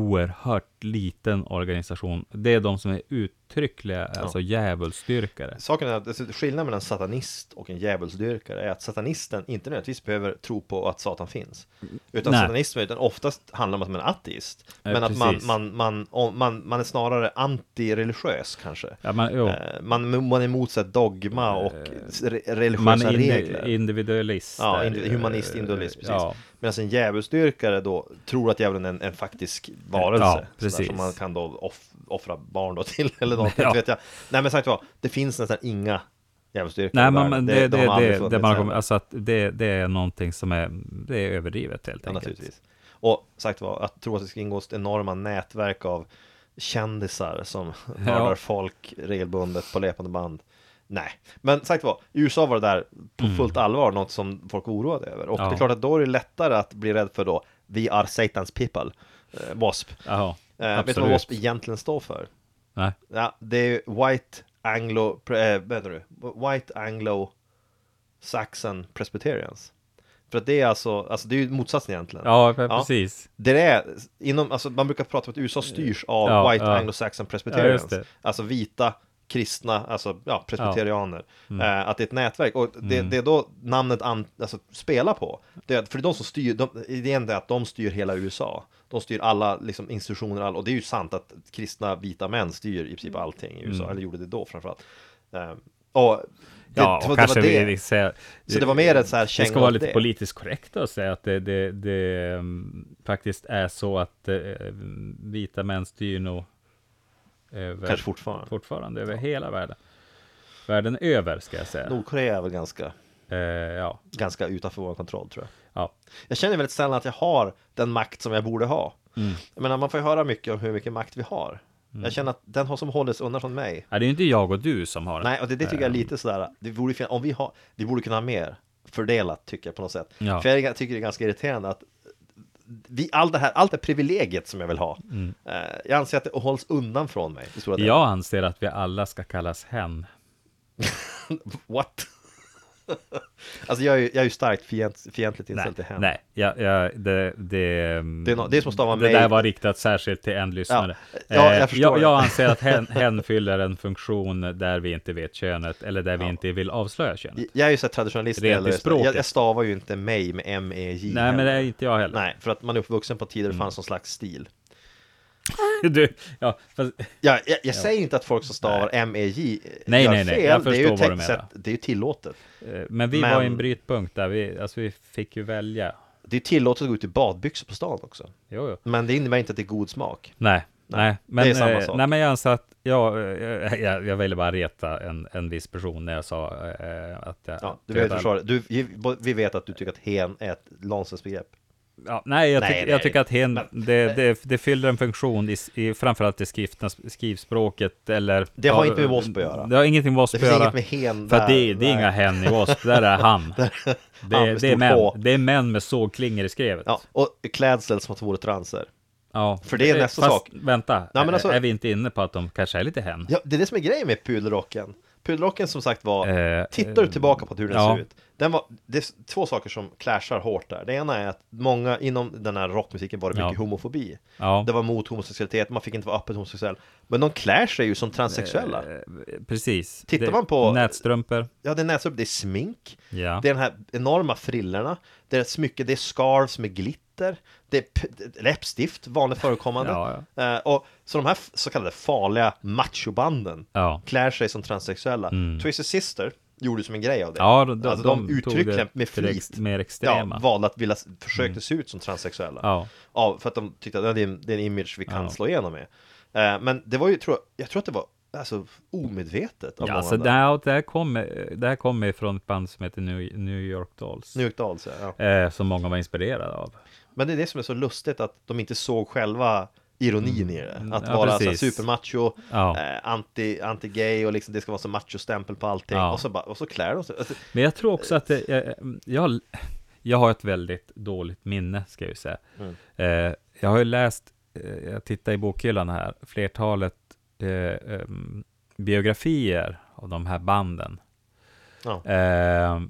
[SPEAKER 6] oerhört liten organisation. Det är de som är uttryckliga, alltså djävulsdyrkare.
[SPEAKER 5] Saken är att alltså, skillnaden mellan en satanist och en djävulsdyrkare är att satanisten inte nödvändigtvis behöver tro på att satan finns. Utan
[SPEAKER 6] Nej.
[SPEAKER 5] satanismen utan oftast handlar om att man är ateist.
[SPEAKER 6] Eh,
[SPEAKER 5] men att man,
[SPEAKER 6] precis.
[SPEAKER 5] man, man, om- man, man är snarare antireligiös kanske.
[SPEAKER 6] Ja, man, jo.
[SPEAKER 5] Eh, Man, man är emot så här dogma och s- re- religiösa
[SPEAKER 6] man är
[SPEAKER 5] regler.
[SPEAKER 6] indi- individualist.
[SPEAKER 5] Ja,
[SPEAKER 6] där
[SPEAKER 5] indi-
[SPEAKER 6] ju. eh,
[SPEAKER 5] humanist, individualist, precis.
[SPEAKER 6] Ja.
[SPEAKER 5] Medan en djävulsdyrkare då tror att djävulen är en, en faktisk varelse.
[SPEAKER 6] Ja,
[SPEAKER 5] sådär
[SPEAKER 6] precis.
[SPEAKER 5] Som man kan då off, offra barn då till eller något,
[SPEAKER 6] Ja.
[SPEAKER 5] inte vet jag. Nej men sagt vad, det finns nästan inga djävulsdyrkare
[SPEAKER 6] Nej,
[SPEAKER 5] i
[SPEAKER 6] men
[SPEAKER 5] världen.
[SPEAKER 6] men det, det,
[SPEAKER 5] de
[SPEAKER 6] det,
[SPEAKER 5] har aldrig
[SPEAKER 6] det,
[SPEAKER 5] funnits
[SPEAKER 6] man
[SPEAKER 5] heller.
[SPEAKER 6] kommer, alltså att det, det är någonting som är, det är överdrivet helt
[SPEAKER 5] Ja,
[SPEAKER 6] enkelt.
[SPEAKER 5] naturligtvis. Och sagt vad, att tro att det ska ingå enorma nätverk av kändisar som mördar folk regelbundet på löpande band. Nej, men sagt vad, i USA var det där på fullt allvar något som folk oroade över. Och det
[SPEAKER 6] Mm. Ja.
[SPEAKER 5] är klart att då är det lättare att bli rädd för då, vi are Satans people, eh, WASP.
[SPEAKER 6] Ja,
[SPEAKER 5] Eh, vet du vad
[SPEAKER 6] absolut.
[SPEAKER 5] WASP egentligen står för?
[SPEAKER 6] Nej.
[SPEAKER 5] Ja, det är White Anglo, pre- eh, vad heter det? White Anglo Saxon Presbyterians. För att det är alltså, alltså det är ju motsatsen egentligen.
[SPEAKER 6] Ja, men precis.
[SPEAKER 5] Det är, inom, alltså man brukar prata om att USA styrs av
[SPEAKER 6] Ja,
[SPEAKER 5] White
[SPEAKER 6] ja.
[SPEAKER 5] Anglo-Saxon
[SPEAKER 6] Ja,
[SPEAKER 5] Presbyterians.
[SPEAKER 6] just det.
[SPEAKER 5] alltså vita kristna, alltså ja, presbyterianer.
[SPEAKER 6] Mm.
[SPEAKER 5] Eh, att det är ett nätverk. Och det, det är då namnet an, alltså, spelar på. Det är, att- för det är de som styr, de, idén är att de styr hela USA. De styr alla liksom, institutioner, all, och det är ju sant att kristna vita män styr i princip allting i USA, eller gjorde det då framförallt. Eh, och det,
[SPEAKER 6] Mm. Ja,
[SPEAKER 5] så
[SPEAKER 6] och
[SPEAKER 5] det
[SPEAKER 6] kanske
[SPEAKER 5] var det.
[SPEAKER 6] vi, vi säger,
[SPEAKER 5] Så det var mer ett så här
[SPEAKER 6] Vi
[SPEAKER 5] känga
[SPEAKER 6] ska vara
[SPEAKER 5] åt
[SPEAKER 6] lite
[SPEAKER 5] det.
[SPEAKER 6] politiskt korrekta och säga att det, det, det mm, faktiskt är så att eh, mm, vita män styr nog över,
[SPEAKER 5] Kanske fortfarande.
[SPEAKER 6] fortfarande över hela världen. Världen över, ska jag säga.
[SPEAKER 5] Nordkorea är väl ganska,
[SPEAKER 6] Eh, ja,
[SPEAKER 5] ganska utanför vår kontroll tror jag.
[SPEAKER 6] ja.
[SPEAKER 5] Jag känner väldigt sällan att jag har den makt som jag borde ha.
[SPEAKER 6] Mm.
[SPEAKER 5] Jag menar, man får ju höra mycket om hur mycket makt vi har. Jag känner att den har som hållits undan från mig.
[SPEAKER 6] Ja, det är ju inte jag och du som har den.
[SPEAKER 5] Nej, och det, det tycker jag är lite sådär, det borde, fin- om vi, har, vi borde kunna ha mer fördelat tycker jag på något sätt.
[SPEAKER 6] Ja.
[SPEAKER 5] För jag tycker det är ganska irriterande att vi, allt det här, allt det här privilegiet som jag vill ha,
[SPEAKER 6] Mm.
[SPEAKER 5] eh, jag anser att det hålls undan från mig. I stora delar.
[SPEAKER 6] Jag anser att vi alla ska kallas hen.
[SPEAKER 5] What? alltså jag är, ju- jag är ju starkt fient, fientligt inställd till henne.
[SPEAKER 6] nej ja, ja, det, det,
[SPEAKER 5] Det är nå- det är som att stava
[SPEAKER 6] Det
[SPEAKER 5] mig-
[SPEAKER 6] där var riktat särskilt till en lyssnare.
[SPEAKER 5] Ja, ja, jag
[SPEAKER 6] Eh,
[SPEAKER 5] förstår
[SPEAKER 6] jag,
[SPEAKER 5] det.
[SPEAKER 6] jag anser att hen, hen fyller en funktion där vi inte vet könet, eller där vi inte vill avslöja könet.
[SPEAKER 5] Jag är ju så här traditionalist,
[SPEAKER 6] Rent i
[SPEAKER 5] eller,
[SPEAKER 6] språket.
[SPEAKER 5] jag, jag stavar ju inte mig med E M-E-J
[SPEAKER 6] Nej, men
[SPEAKER 5] heller.
[SPEAKER 6] det är inte jag heller.
[SPEAKER 5] Nej, för att man är uppvuxen på tider det fanns någon slags stil.
[SPEAKER 6] Du, ja, fast,
[SPEAKER 5] Ja, jag, jag säger inte att folk som stavar M-E-J
[SPEAKER 6] Nej,
[SPEAKER 5] gör
[SPEAKER 6] nej, nej,
[SPEAKER 5] fel.
[SPEAKER 6] jag
[SPEAKER 5] det är
[SPEAKER 6] förstår
[SPEAKER 5] ju
[SPEAKER 6] vad
[SPEAKER 5] ett
[SPEAKER 6] du
[SPEAKER 5] sätt,
[SPEAKER 6] menar.
[SPEAKER 5] det är ju tillåtet.
[SPEAKER 6] eh, men vi
[SPEAKER 5] Men-
[SPEAKER 6] var i en brytpunkt där, vi, alltså, vi fick ju välja.
[SPEAKER 5] Det är tillåtet att gå ut i badbyxor på stan också.
[SPEAKER 6] Jo, jo.
[SPEAKER 5] Men det innebär inte att det är god smak.
[SPEAKER 6] Nej, nej, men,
[SPEAKER 5] det är samma
[SPEAKER 6] eh,
[SPEAKER 5] sak.
[SPEAKER 6] nej, men jag anser att jag, jag, jag, jag ville bara reta en, en viss person när jag sa eh, att
[SPEAKER 5] Ja,
[SPEAKER 6] jag...
[SPEAKER 5] du
[SPEAKER 6] att
[SPEAKER 5] behöver
[SPEAKER 6] jag-
[SPEAKER 5] inte försvara det. Du, vi vet att du tycker att hen är ett nonsensbegrepp.
[SPEAKER 6] Ja, nej, jag,
[SPEAKER 5] Nej,
[SPEAKER 6] tycker-
[SPEAKER 5] nej.
[SPEAKER 6] jag tycker att hen, det, det, det fyller en funktion i, i framförallt i skriftna, skrivspråket eller... eh,
[SPEAKER 5] Det har inte med W A S P att göra.
[SPEAKER 6] Det har ingenting med W A S P
[SPEAKER 5] Det
[SPEAKER 6] att
[SPEAKER 5] finns
[SPEAKER 6] göra.
[SPEAKER 5] inget med hen
[SPEAKER 6] För att det,
[SPEAKER 5] där,
[SPEAKER 6] det är
[SPEAKER 5] nej.
[SPEAKER 6] inga hen i W A S P, där är han.
[SPEAKER 5] Han
[SPEAKER 6] Det,
[SPEAKER 5] med
[SPEAKER 6] det, är
[SPEAKER 5] stort H.
[SPEAKER 6] män, det är män med sågklingor i skrevet.
[SPEAKER 5] Ja, och klädsel som att det vore transer.
[SPEAKER 6] Ja.
[SPEAKER 5] För det är nästa
[SPEAKER 6] Fast,
[SPEAKER 5] sak.
[SPEAKER 6] vänta,
[SPEAKER 5] Nej, men alltså-
[SPEAKER 6] är vi inte inne på att de kanske är lite hen?
[SPEAKER 5] Ja, det är det som är grejen med pudelrocken. Pudelrocken som sagt var,
[SPEAKER 6] Eh,
[SPEAKER 5] tittar du
[SPEAKER 6] eh,
[SPEAKER 5] tillbaka på hur den
[SPEAKER 6] ja.
[SPEAKER 5] ser ut. Den var, det är s- två saker som clashar hårt där. Det ena är att många inom den här rockmusiken var det mycket
[SPEAKER 6] Ja.
[SPEAKER 5] homofobi.
[SPEAKER 6] Ja.
[SPEAKER 5] Det var mot homosexualitet, man fick inte vara öppet homosexuell. Men de klär sig ju som transsexuella.
[SPEAKER 6] Eh. Precis.
[SPEAKER 5] Tittar
[SPEAKER 6] Det-
[SPEAKER 5] man på-
[SPEAKER 6] Nätstrumpor.
[SPEAKER 5] Ja, det är näsduk, det är smink,
[SPEAKER 6] Ja.
[SPEAKER 5] det är de här enorma frillorna, det är ett smycke, det är scarves med glitter, det är p- läppstift, vanligt förekommande.
[SPEAKER 6] Ja,
[SPEAKER 5] Eh, och så de här f- så kallade farliga machobanden
[SPEAKER 6] Ja.
[SPEAKER 5] klär sig som transsexuella. Twisted Sister gjorde som en grej av det.
[SPEAKER 6] Mm. Ja, de- de-
[SPEAKER 5] alltså, de,
[SPEAKER 6] de tog
[SPEAKER 5] uttryckligen
[SPEAKER 6] det
[SPEAKER 5] med
[SPEAKER 6] till det
[SPEAKER 5] flit
[SPEAKER 6] ex- mer extrema. Mm.
[SPEAKER 5] Ja, valde att vilja, försökte se ut som transsexuella.
[SPEAKER 6] Ja.
[SPEAKER 5] Ja, för att de tyckte att ja, det är en, det är en image vi kan slå igenom med. Eh, men det var ju, tror jag, jag tror att det var alltså, omedvetet av
[SPEAKER 6] Ja,
[SPEAKER 5] många.
[SPEAKER 6] alltså,
[SPEAKER 5] där.
[SPEAKER 6] det, här, det, här kommer, det här kommer från ett band som heter New, New York Dolls.
[SPEAKER 5] New York Dolls, ja. ja.
[SPEAKER 6] Eh, som många var inspirerade av.
[SPEAKER 5] Men det är det som är så lustigt att de inte såg själva ironin i det. Att
[SPEAKER 6] Mm. Ja,
[SPEAKER 5] vara så här
[SPEAKER 6] precis.
[SPEAKER 5] supermacho,
[SPEAKER 6] Ja.
[SPEAKER 5] eh, anti, anti-gay och liksom det ska vara så macho-stämpel på allting.
[SPEAKER 6] Ja.
[SPEAKER 5] Och, så bara, och så klär de sig. Alltså,
[SPEAKER 6] Men jag tror också att det, jag, jag, jag har ett väldigt dåligt minne, ska jag ju säga.
[SPEAKER 5] Mm.
[SPEAKER 6] Eh, jag har ju läst, eh, jag tittar i bokhyllan här, flertalet eh, em, biografier av de här banden.
[SPEAKER 5] Ja.
[SPEAKER 6] Eh,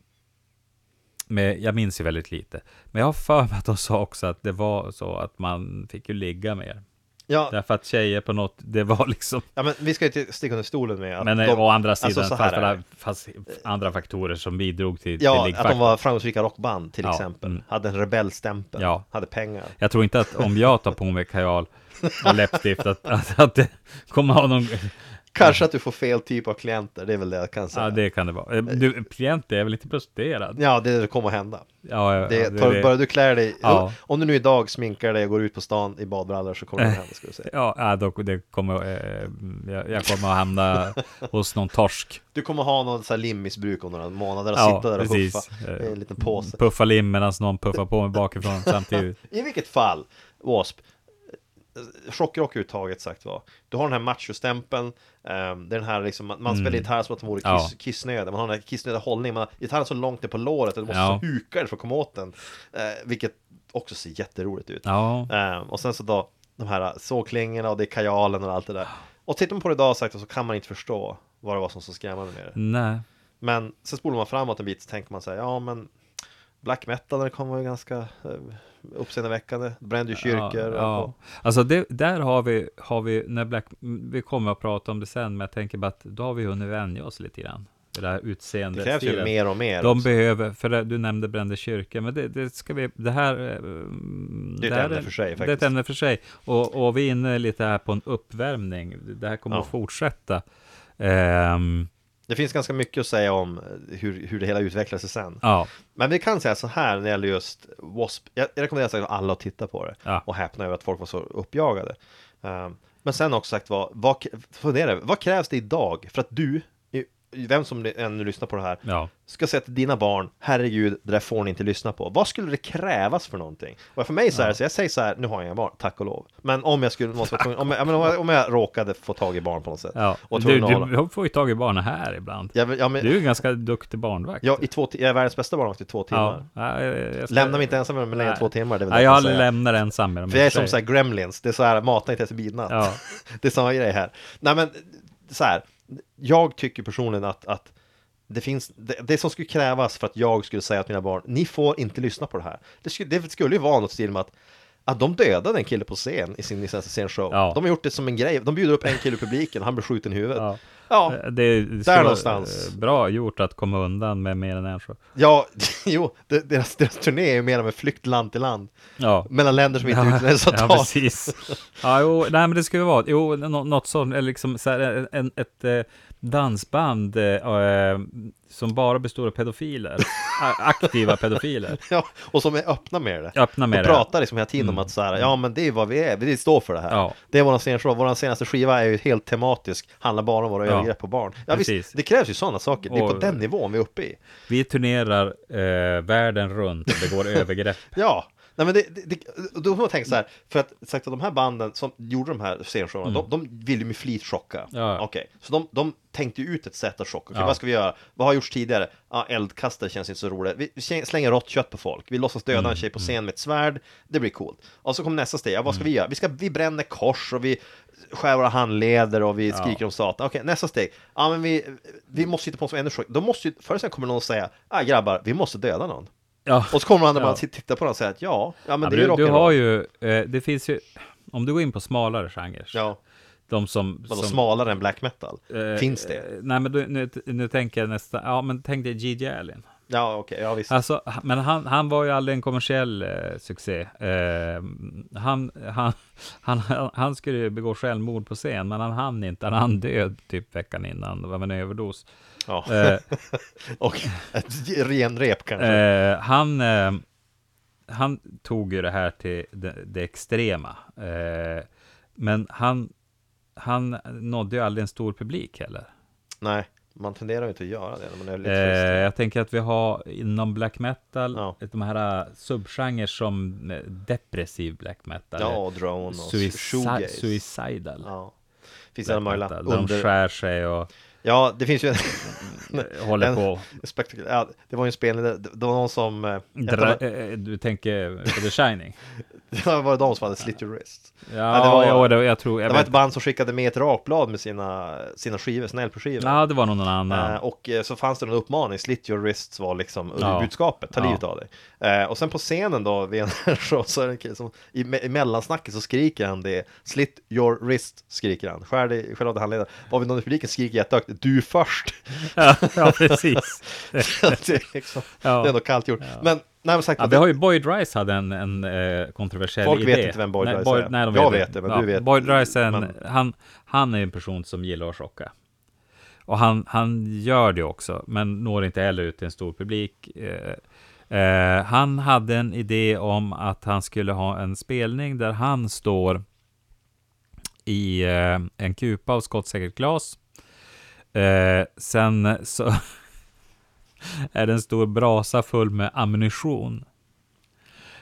[SPEAKER 6] men jag minns ju väldigt lite. Men jag har för mig att de sa också att det var så att man fick ju ligga mer.
[SPEAKER 5] ja,
[SPEAKER 6] Därför att tjejer på något, det var liksom
[SPEAKER 5] ja, men vi ska ju inte sticka under stolen med att
[SPEAKER 6] men eh,
[SPEAKER 5] de,
[SPEAKER 6] å andra
[SPEAKER 5] alltså,
[SPEAKER 6] sidan,
[SPEAKER 5] så här
[SPEAKER 6] fanns,
[SPEAKER 5] är
[SPEAKER 6] alla-
[SPEAKER 5] det.
[SPEAKER 6] fanns andra faktorer som bidrog till,
[SPEAKER 5] ja,
[SPEAKER 6] till
[SPEAKER 5] att de
[SPEAKER 6] liggfaktorn.
[SPEAKER 5] var framgångsrika rockband till
[SPEAKER 6] Ja,
[SPEAKER 5] exempel.
[SPEAKER 6] mm.
[SPEAKER 5] Hade en rebellstämpel,
[SPEAKER 6] Ja. Mm.
[SPEAKER 5] hade pengar.
[SPEAKER 6] Jag tror inte att om jag tar på mig kajal och läppstift att, att, att det kommer ha någon...
[SPEAKER 5] Kanske att du får fel typ av klienter, det är väl det jag kan säga.
[SPEAKER 6] Ja, det kan det vara. Eh, Du, klient är väl inte prostituerad?
[SPEAKER 5] Ja, det, är det kommer att hända.
[SPEAKER 6] Ja, ja,
[SPEAKER 5] Det,
[SPEAKER 6] ja,
[SPEAKER 5] tar, Bara du klär dig,
[SPEAKER 6] Ja.
[SPEAKER 5] om du nu idag sminkar dig och går ut på stan i badbrallor så kommer det hända, ska du säga.
[SPEAKER 6] Ja, ja, då, det kommer, eh, jag, jag kommer att hamna hos någon torsk.
[SPEAKER 5] Du kommer ha någon så här limmissbruk om några månader och
[SPEAKER 6] Ja,
[SPEAKER 5] sitta där och
[SPEAKER 6] precis. Mm.
[SPEAKER 5] huffa i en liten påse.
[SPEAKER 6] Puffa lim medan någon puffar på mig bakifrån samtidigt.
[SPEAKER 5] I vilket fall, W.A.S.P. eh, Chockrock-uttaget sagt var. Du har den här machostämpeln, ehm, det är den här liksom, man man spelar gitarr som att man vore kiss,
[SPEAKER 6] Mm. Ja.
[SPEAKER 5] kissnödig, man har den här kissnödiga hållningen, man har gitarren så långt ner på låret att du måste
[SPEAKER 6] Ja.
[SPEAKER 5] huka dig för att komma åt den. Eh, vilket också ser jätteroligt ut.
[SPEAKER 6] Ja,
[SPEAKER 5] Ehm, och sen så då, de här såklingorna och det är kajalen och allt det där. Och tittar man på det idag sagt så kan man inte förstå vad det var som så skrämmande med det.
[SPEAKER 6] nej.
[SPEAKER 5] Men sen spolar man framåt en bit så tänker man så här, ja men Black metal den kom var ju ganska eh, uppseendeväckande, brände ju kyrkor
[SPEAKER 6] Ja,
[SPEAKER 5] och,
[SPEAKER 6] ja. Alltså det, där har vi, har vi, när Black, m, vi kommer att prata om det sen, men jag tänker bara att då har vi hunnit vänja oss lite grann. Det där utseendet.
[SPEAKER 5] det krävs ju mer och mer
[SPEAKER 6] De
[SPEAKER 5] också.
[SPEAKER 6] behöver, för det, du nämnde brände kyrka, men det, det ska vi, det här... eh,
[SPEAKER 5] Det är ett
[SPEAKER 6] här
[SPEAKER 5] ämne för sig,
[SPEAKER 6] Det är
[SPEAKER 5] faktiskt.
[SPEAKER 6] ett ämne för sig. Och, och vi är inne lite här på en uppvärmning. Det här kommer
[SPEAKER 5] Ja.
[SPEAKER 6] att fortsätta. Ehm,
[SPEAKER 5] Det finns ganska mycket att säga om eh, hur, hur det hela utvecklar sig sen
[SPEAKER 6] ja,
[SPEAKER 5] Men vi kan säga så här när det gäller just W.A.S.P. Jag jag rekommenderar säkert alla att titta på det
[SPEAKER 6] Ja.
[SPEAKER 5] och häpna över att folk var så uppjagade. Ehm, men sen också sagt vad, vad, k- fundera, över, vad krävs det idag för att du, i- i- vem som än lyssnar på det här,
[SPEAKER 6] ja.
[SPEAKER 5] ska säga till dina barn, herregud, det där får ni inte lyssna på. Vad skulle det krävas för någonting? Och för mig så är det så, jag säger så här, nu har jag inga barn, tack och lov. Men om jag skulle, måste vara tvungen, om, jag, ja, men om, jag, om jag råkade få tag i barn på något sätt.
[SPEAKER 6] ja.
[SPEAKER 5] Och
[SPEAKER 6] Du,
[SPEAKER 5] tvungen att hålla.
[SPEAKER 6] du får ju tag i barnen här ibland.
[SPEAKER 5] Jag, vill- ja,
[SPEAKER 6] Du är
[SPEAKER 5] men,
[SPEAKER 6] ju ganska duktig barnvakt.
[SPEAKER 5] jag, i två, ti- jag är världens bästa barnvakt i två timmar.
[SPEAKER 6] Ja, jag- jag ska-
[SPEAKER 5] Lämna mig inte ensam med dem i
[SPEAKER 6] Nej.
[SPEAKER 5] två timmar, det är väl
[SPEAKER 6] Nej,
[SPEAKER 5] det
[SPEAKER 6] jag
[SPEAKER 5] kan
[SPEAKER 6] aldrig
[SPEAKER 5] säga.
[SPEAKER 6] lämnar ensam med dem. i
[SPEAKER 5] För jag är
[SPEAKER 6] och för
[SPEAKER 5] som så
[SPEAKER 6] sig.
[SPEAKER 5] här gremlins, det är så här, matar inte efter midnatt.
[SPEAKER 6] Ja.
[SPEAKER 5] det är samma grej här. Nej men, så här, jag tycker personligen att, att det finns, det, det som skulle krävas för att jag skulle säga till mina barn, ni får inte lyssna på det här. Det skulle, det skulle ju vara något stil med att att de dödade en kille på scen i sin senaste scenshow.
[SPEAKER 6] Ja.
[SPEAKER 5] De har gjort det som en grej. De bjuder upp en kille i publiken, han blir skjuten i huvudet. Ja,
[SPEAKER 6] Ja.
[SPEAKER 5] ja,
[SPEAKER 6] Det, är- det ska vara,
[SPEAKER 5] någonstans.
[SPEAKER 6] eh, bra gjort att komma undan med mer än en show.
[SPEAKER 5] jo, de- deras, deras turné är ju mer av en flykt land till land.
[SPEAKER 6] Ja.
[SPEAKER 5] Mellan länder som inte har
[SPEAKER 6] ja,
[SPEAKER 5] utlänningsavtal.
[SPEAKER 6] precis. Ja, jo, nej, men det skulle vara, jo, nå- något sånt, eller liksom så här, en- en, ett eh, dansband eh, eh, som bara består av pedofiler, A- aktiva pedofiler.
[SPEAKER 5] Ja, och som är öppna med det.
[SPEAKER 6] Öppna med
[SPEAKER 5] och
[SPEAKER 6] det. Mm.
[SPEAKER 5] pratar liksom hela tiden om att så här, ja men det är vad vi är, vi står för det här.
[SPEAKER 6] Ja.
[SPEAKER 5] Det är vår senaste skiva, vår senaste skiva är ju helt tematisk, handlar bara om våra
[SPEAKER 6] Ja.
[SPEAKER 5] övergrepp på barn. Ja,
[SPEAKER 6] Precis.
[SPEAKER 5] visst, det krävs ju sådana saker, det är på
[SPEAKER 6] Och-
[SPEAKER 5] den nivån vi är uppe i.
[SPEAKER 6] Vi turnerar eh, världen runt och begår övergrepp.
[SPEAKER 5] Ja, nej men det, det, det, och då får man tänka så här, för att sagt att de här banden som gjorde de här scenshowerna, de, de ville ju med flit chocka.
[SPEAKER 6] Mm. Ja, ja.
[SPEAKER 5] Okej, så de, de tänkte ju ut ett sätt att chocka. Okej,
[SPEAKER 6] Ja.
[SPEAKER 5] vad ska vi göra? Vad har gjorts tidigare? Ja, eldkastare känns inte så roligt. Vi vi slänger rått kött på folk. Vi låtsas döda
[SPEAKER 6] Mm,
[SPEAKER 5] en tjej på scen med ett svärd. Det blir coolt. Och så kommer nästa steg. Ja, vad ska
[SPEAKER 6] Mm.
[SPEAKER 5] vi göra? Vi, ska, vi bränner kors och vi skär våra handleder och vi skriker om satan. Okej, nästa steg. Ja, men vi, vi måste hitta på något som är ännu chock. Då måste ju, förr eller senare kommer någon att säga, ah, grabbar, vi måste döda någon.
[SPEAKER 6] Ja.
[SPEAKER 5] Och så kommer andra
[SPEAKER 6] Ja.
[SPEAKER 5] man att titta på den och säga att ja, ja men
[SPEAKER 6] Ja,
[SPEAKER 5] det
[SPEAKER 6] men
[SPEAKER 5] är ju
[SPEAKER 6] du, du har
[SPEAKER 5] rock'n'roll.
[SPEAKER 6] ju, eh, det finns ju, om du går in på smalare genrer,
[SPEAKER 5] Ja,
[SPEAKER 6] de som...
[SPEAKER 5] vadå
[SPEAKER 6] som
[SPEAKER 5] smalare än black metal?
[SPEAKER 6] eh,
[SPEAKER 5] Finns det?
[SPEAKER 6] eh, Nej, men du, nu, nu tänker jag nästan, ja men tänk dig Gigi Allen.
[SPEAKER 5] Ja, okej, ja visst.
[SPEAKER 6] Alltså, ha- men han, han var ju aldrig en kommersiell eh, succé. Eh, han, han, han, han skulle ju begå självmord på scen, men han hann inte. Han hann död typ veckan innan av en överdos.
[SPEAKER 5] Ja.
[SPEAKER 6] Eh,
[SPEAKER 5] och ett renrep kanske.
[SPEAKER 6] Eh, han, eh, han tog ju det här till det, det extrema. Eh, men han, han nådde ju aldrig en stor publik heller.
[SPEAKER 5] Nej, Man tenderar ju inte att göra det när man är lite
[SPEAKER 6] Eh,
[SPEAKER 5] fristad.
[SPEAKER 6] jag tänker att vi har inom black metal,
[SPEAKER 5] Ja.
[SPEAKER 6] de här eh, subgenrer som eh, depressiv black metal,
[SPEAKER 5] Ja,
[SPEAKER 6] eh,
[SPEAKER 5] och drone och
[SPEAKER 6] suicide,
[SPEAKER 5] shoegaze.
[SPEAKER 6] suicidal.
[SPEAKER 5] Ja. Finns en
[SPEAKER 6] black
[SPEAKER 5] mangla
[SPEAKER 6] metal, där de
[SPEAKER 5] under...
[SPEAKER 6] skär sig och
[SPEAKER 5] Ja, det finns ju en...
[SPEAKER 6] håller
[SPEAKER 5] en
[SPEAKER 6] på.
[SPEAKER 5] Spektakulär. Ja, det var ju en spelning, där- det var någon som... eh, ett av
[SPEAKER 6] Dra,
[SPEAKER 5] de-
[SPEAKER 6] eh, eh, du tänker på The Shining?
[SPEAKER 5] Det var de som hade slit your wrist.
[SPEAKER 6] Ja,
[SPEAKER 5] det var-
[SPEAKER 6] ja, det, jag tror, jag
[SPEAKER 5] Det var
[SPEAKER 6] vet.
[SPEAKER 5] ett band som skickade med ett rakblad med sina, sina skivor, sina LP-skivor.
[SPEAKER 6] ja, det var nog någon annan.
[SPEAKER 5] Eh, och eh, så fanns det en uppmaning, slit your wrists var liksom
[SPEAKER 6] Ja.
[SPEAKER 5] budskapet, ta
[SPEAKER 6] Ja.
[SPEAKER 5] livet av dig. Eh, och sen på scenen då, vid en show, så är det en kille som i, me- i mellansnacket så skriker han det, slit your wrist, skriker han, skär dig, skär av dig handleden. Var vi någon i publiken skriker jättehögt, du först.
[SPEAKER 6] ja, ja, precis.
[SPEAKER 5] det, är liksom,
[SPEAKER 6] Ja.
[SPEAKER 5] det är ändå kallt gjort. Men, nej men sagt,
[SPEAKER 6] Ja,
[SPEAKER 5] att
[SPEAKER 6] vi
[SPEAKER 5] det,
[SPEAKER 6] har ju Boyd Rice hade en, en eh, kontroversiell
[SPEAKER 5] Folk
[SPEAKER 6] idé.
[SPEAKER 5] vet inte vem Boyd
[SPEAKER 6] nej,
[SPEAKER 5] Rice
[SPEAKER 6] Boyd,
[SPEAKER 5] är.
[SPEAKER 6] Nej, de
[SPEAKER 5] Jag
[SPEAKER 6] vet,
[SPEAKER 5] vet det, men du vet-
[SPEAKER 6] Boyd Rice är en,
[SPEAKER 5] men-
[SPEAKER 6] han, han är en person som gillar att chocka. Och han, han gör det också, men når inte heller ut till en stor publik. Eh, eh, han hade en idé om att han skulle ha en spelning där han står i eh, en kupa av skottsäkert glas. Eh, sen så är det en stor brasa full med ammunition.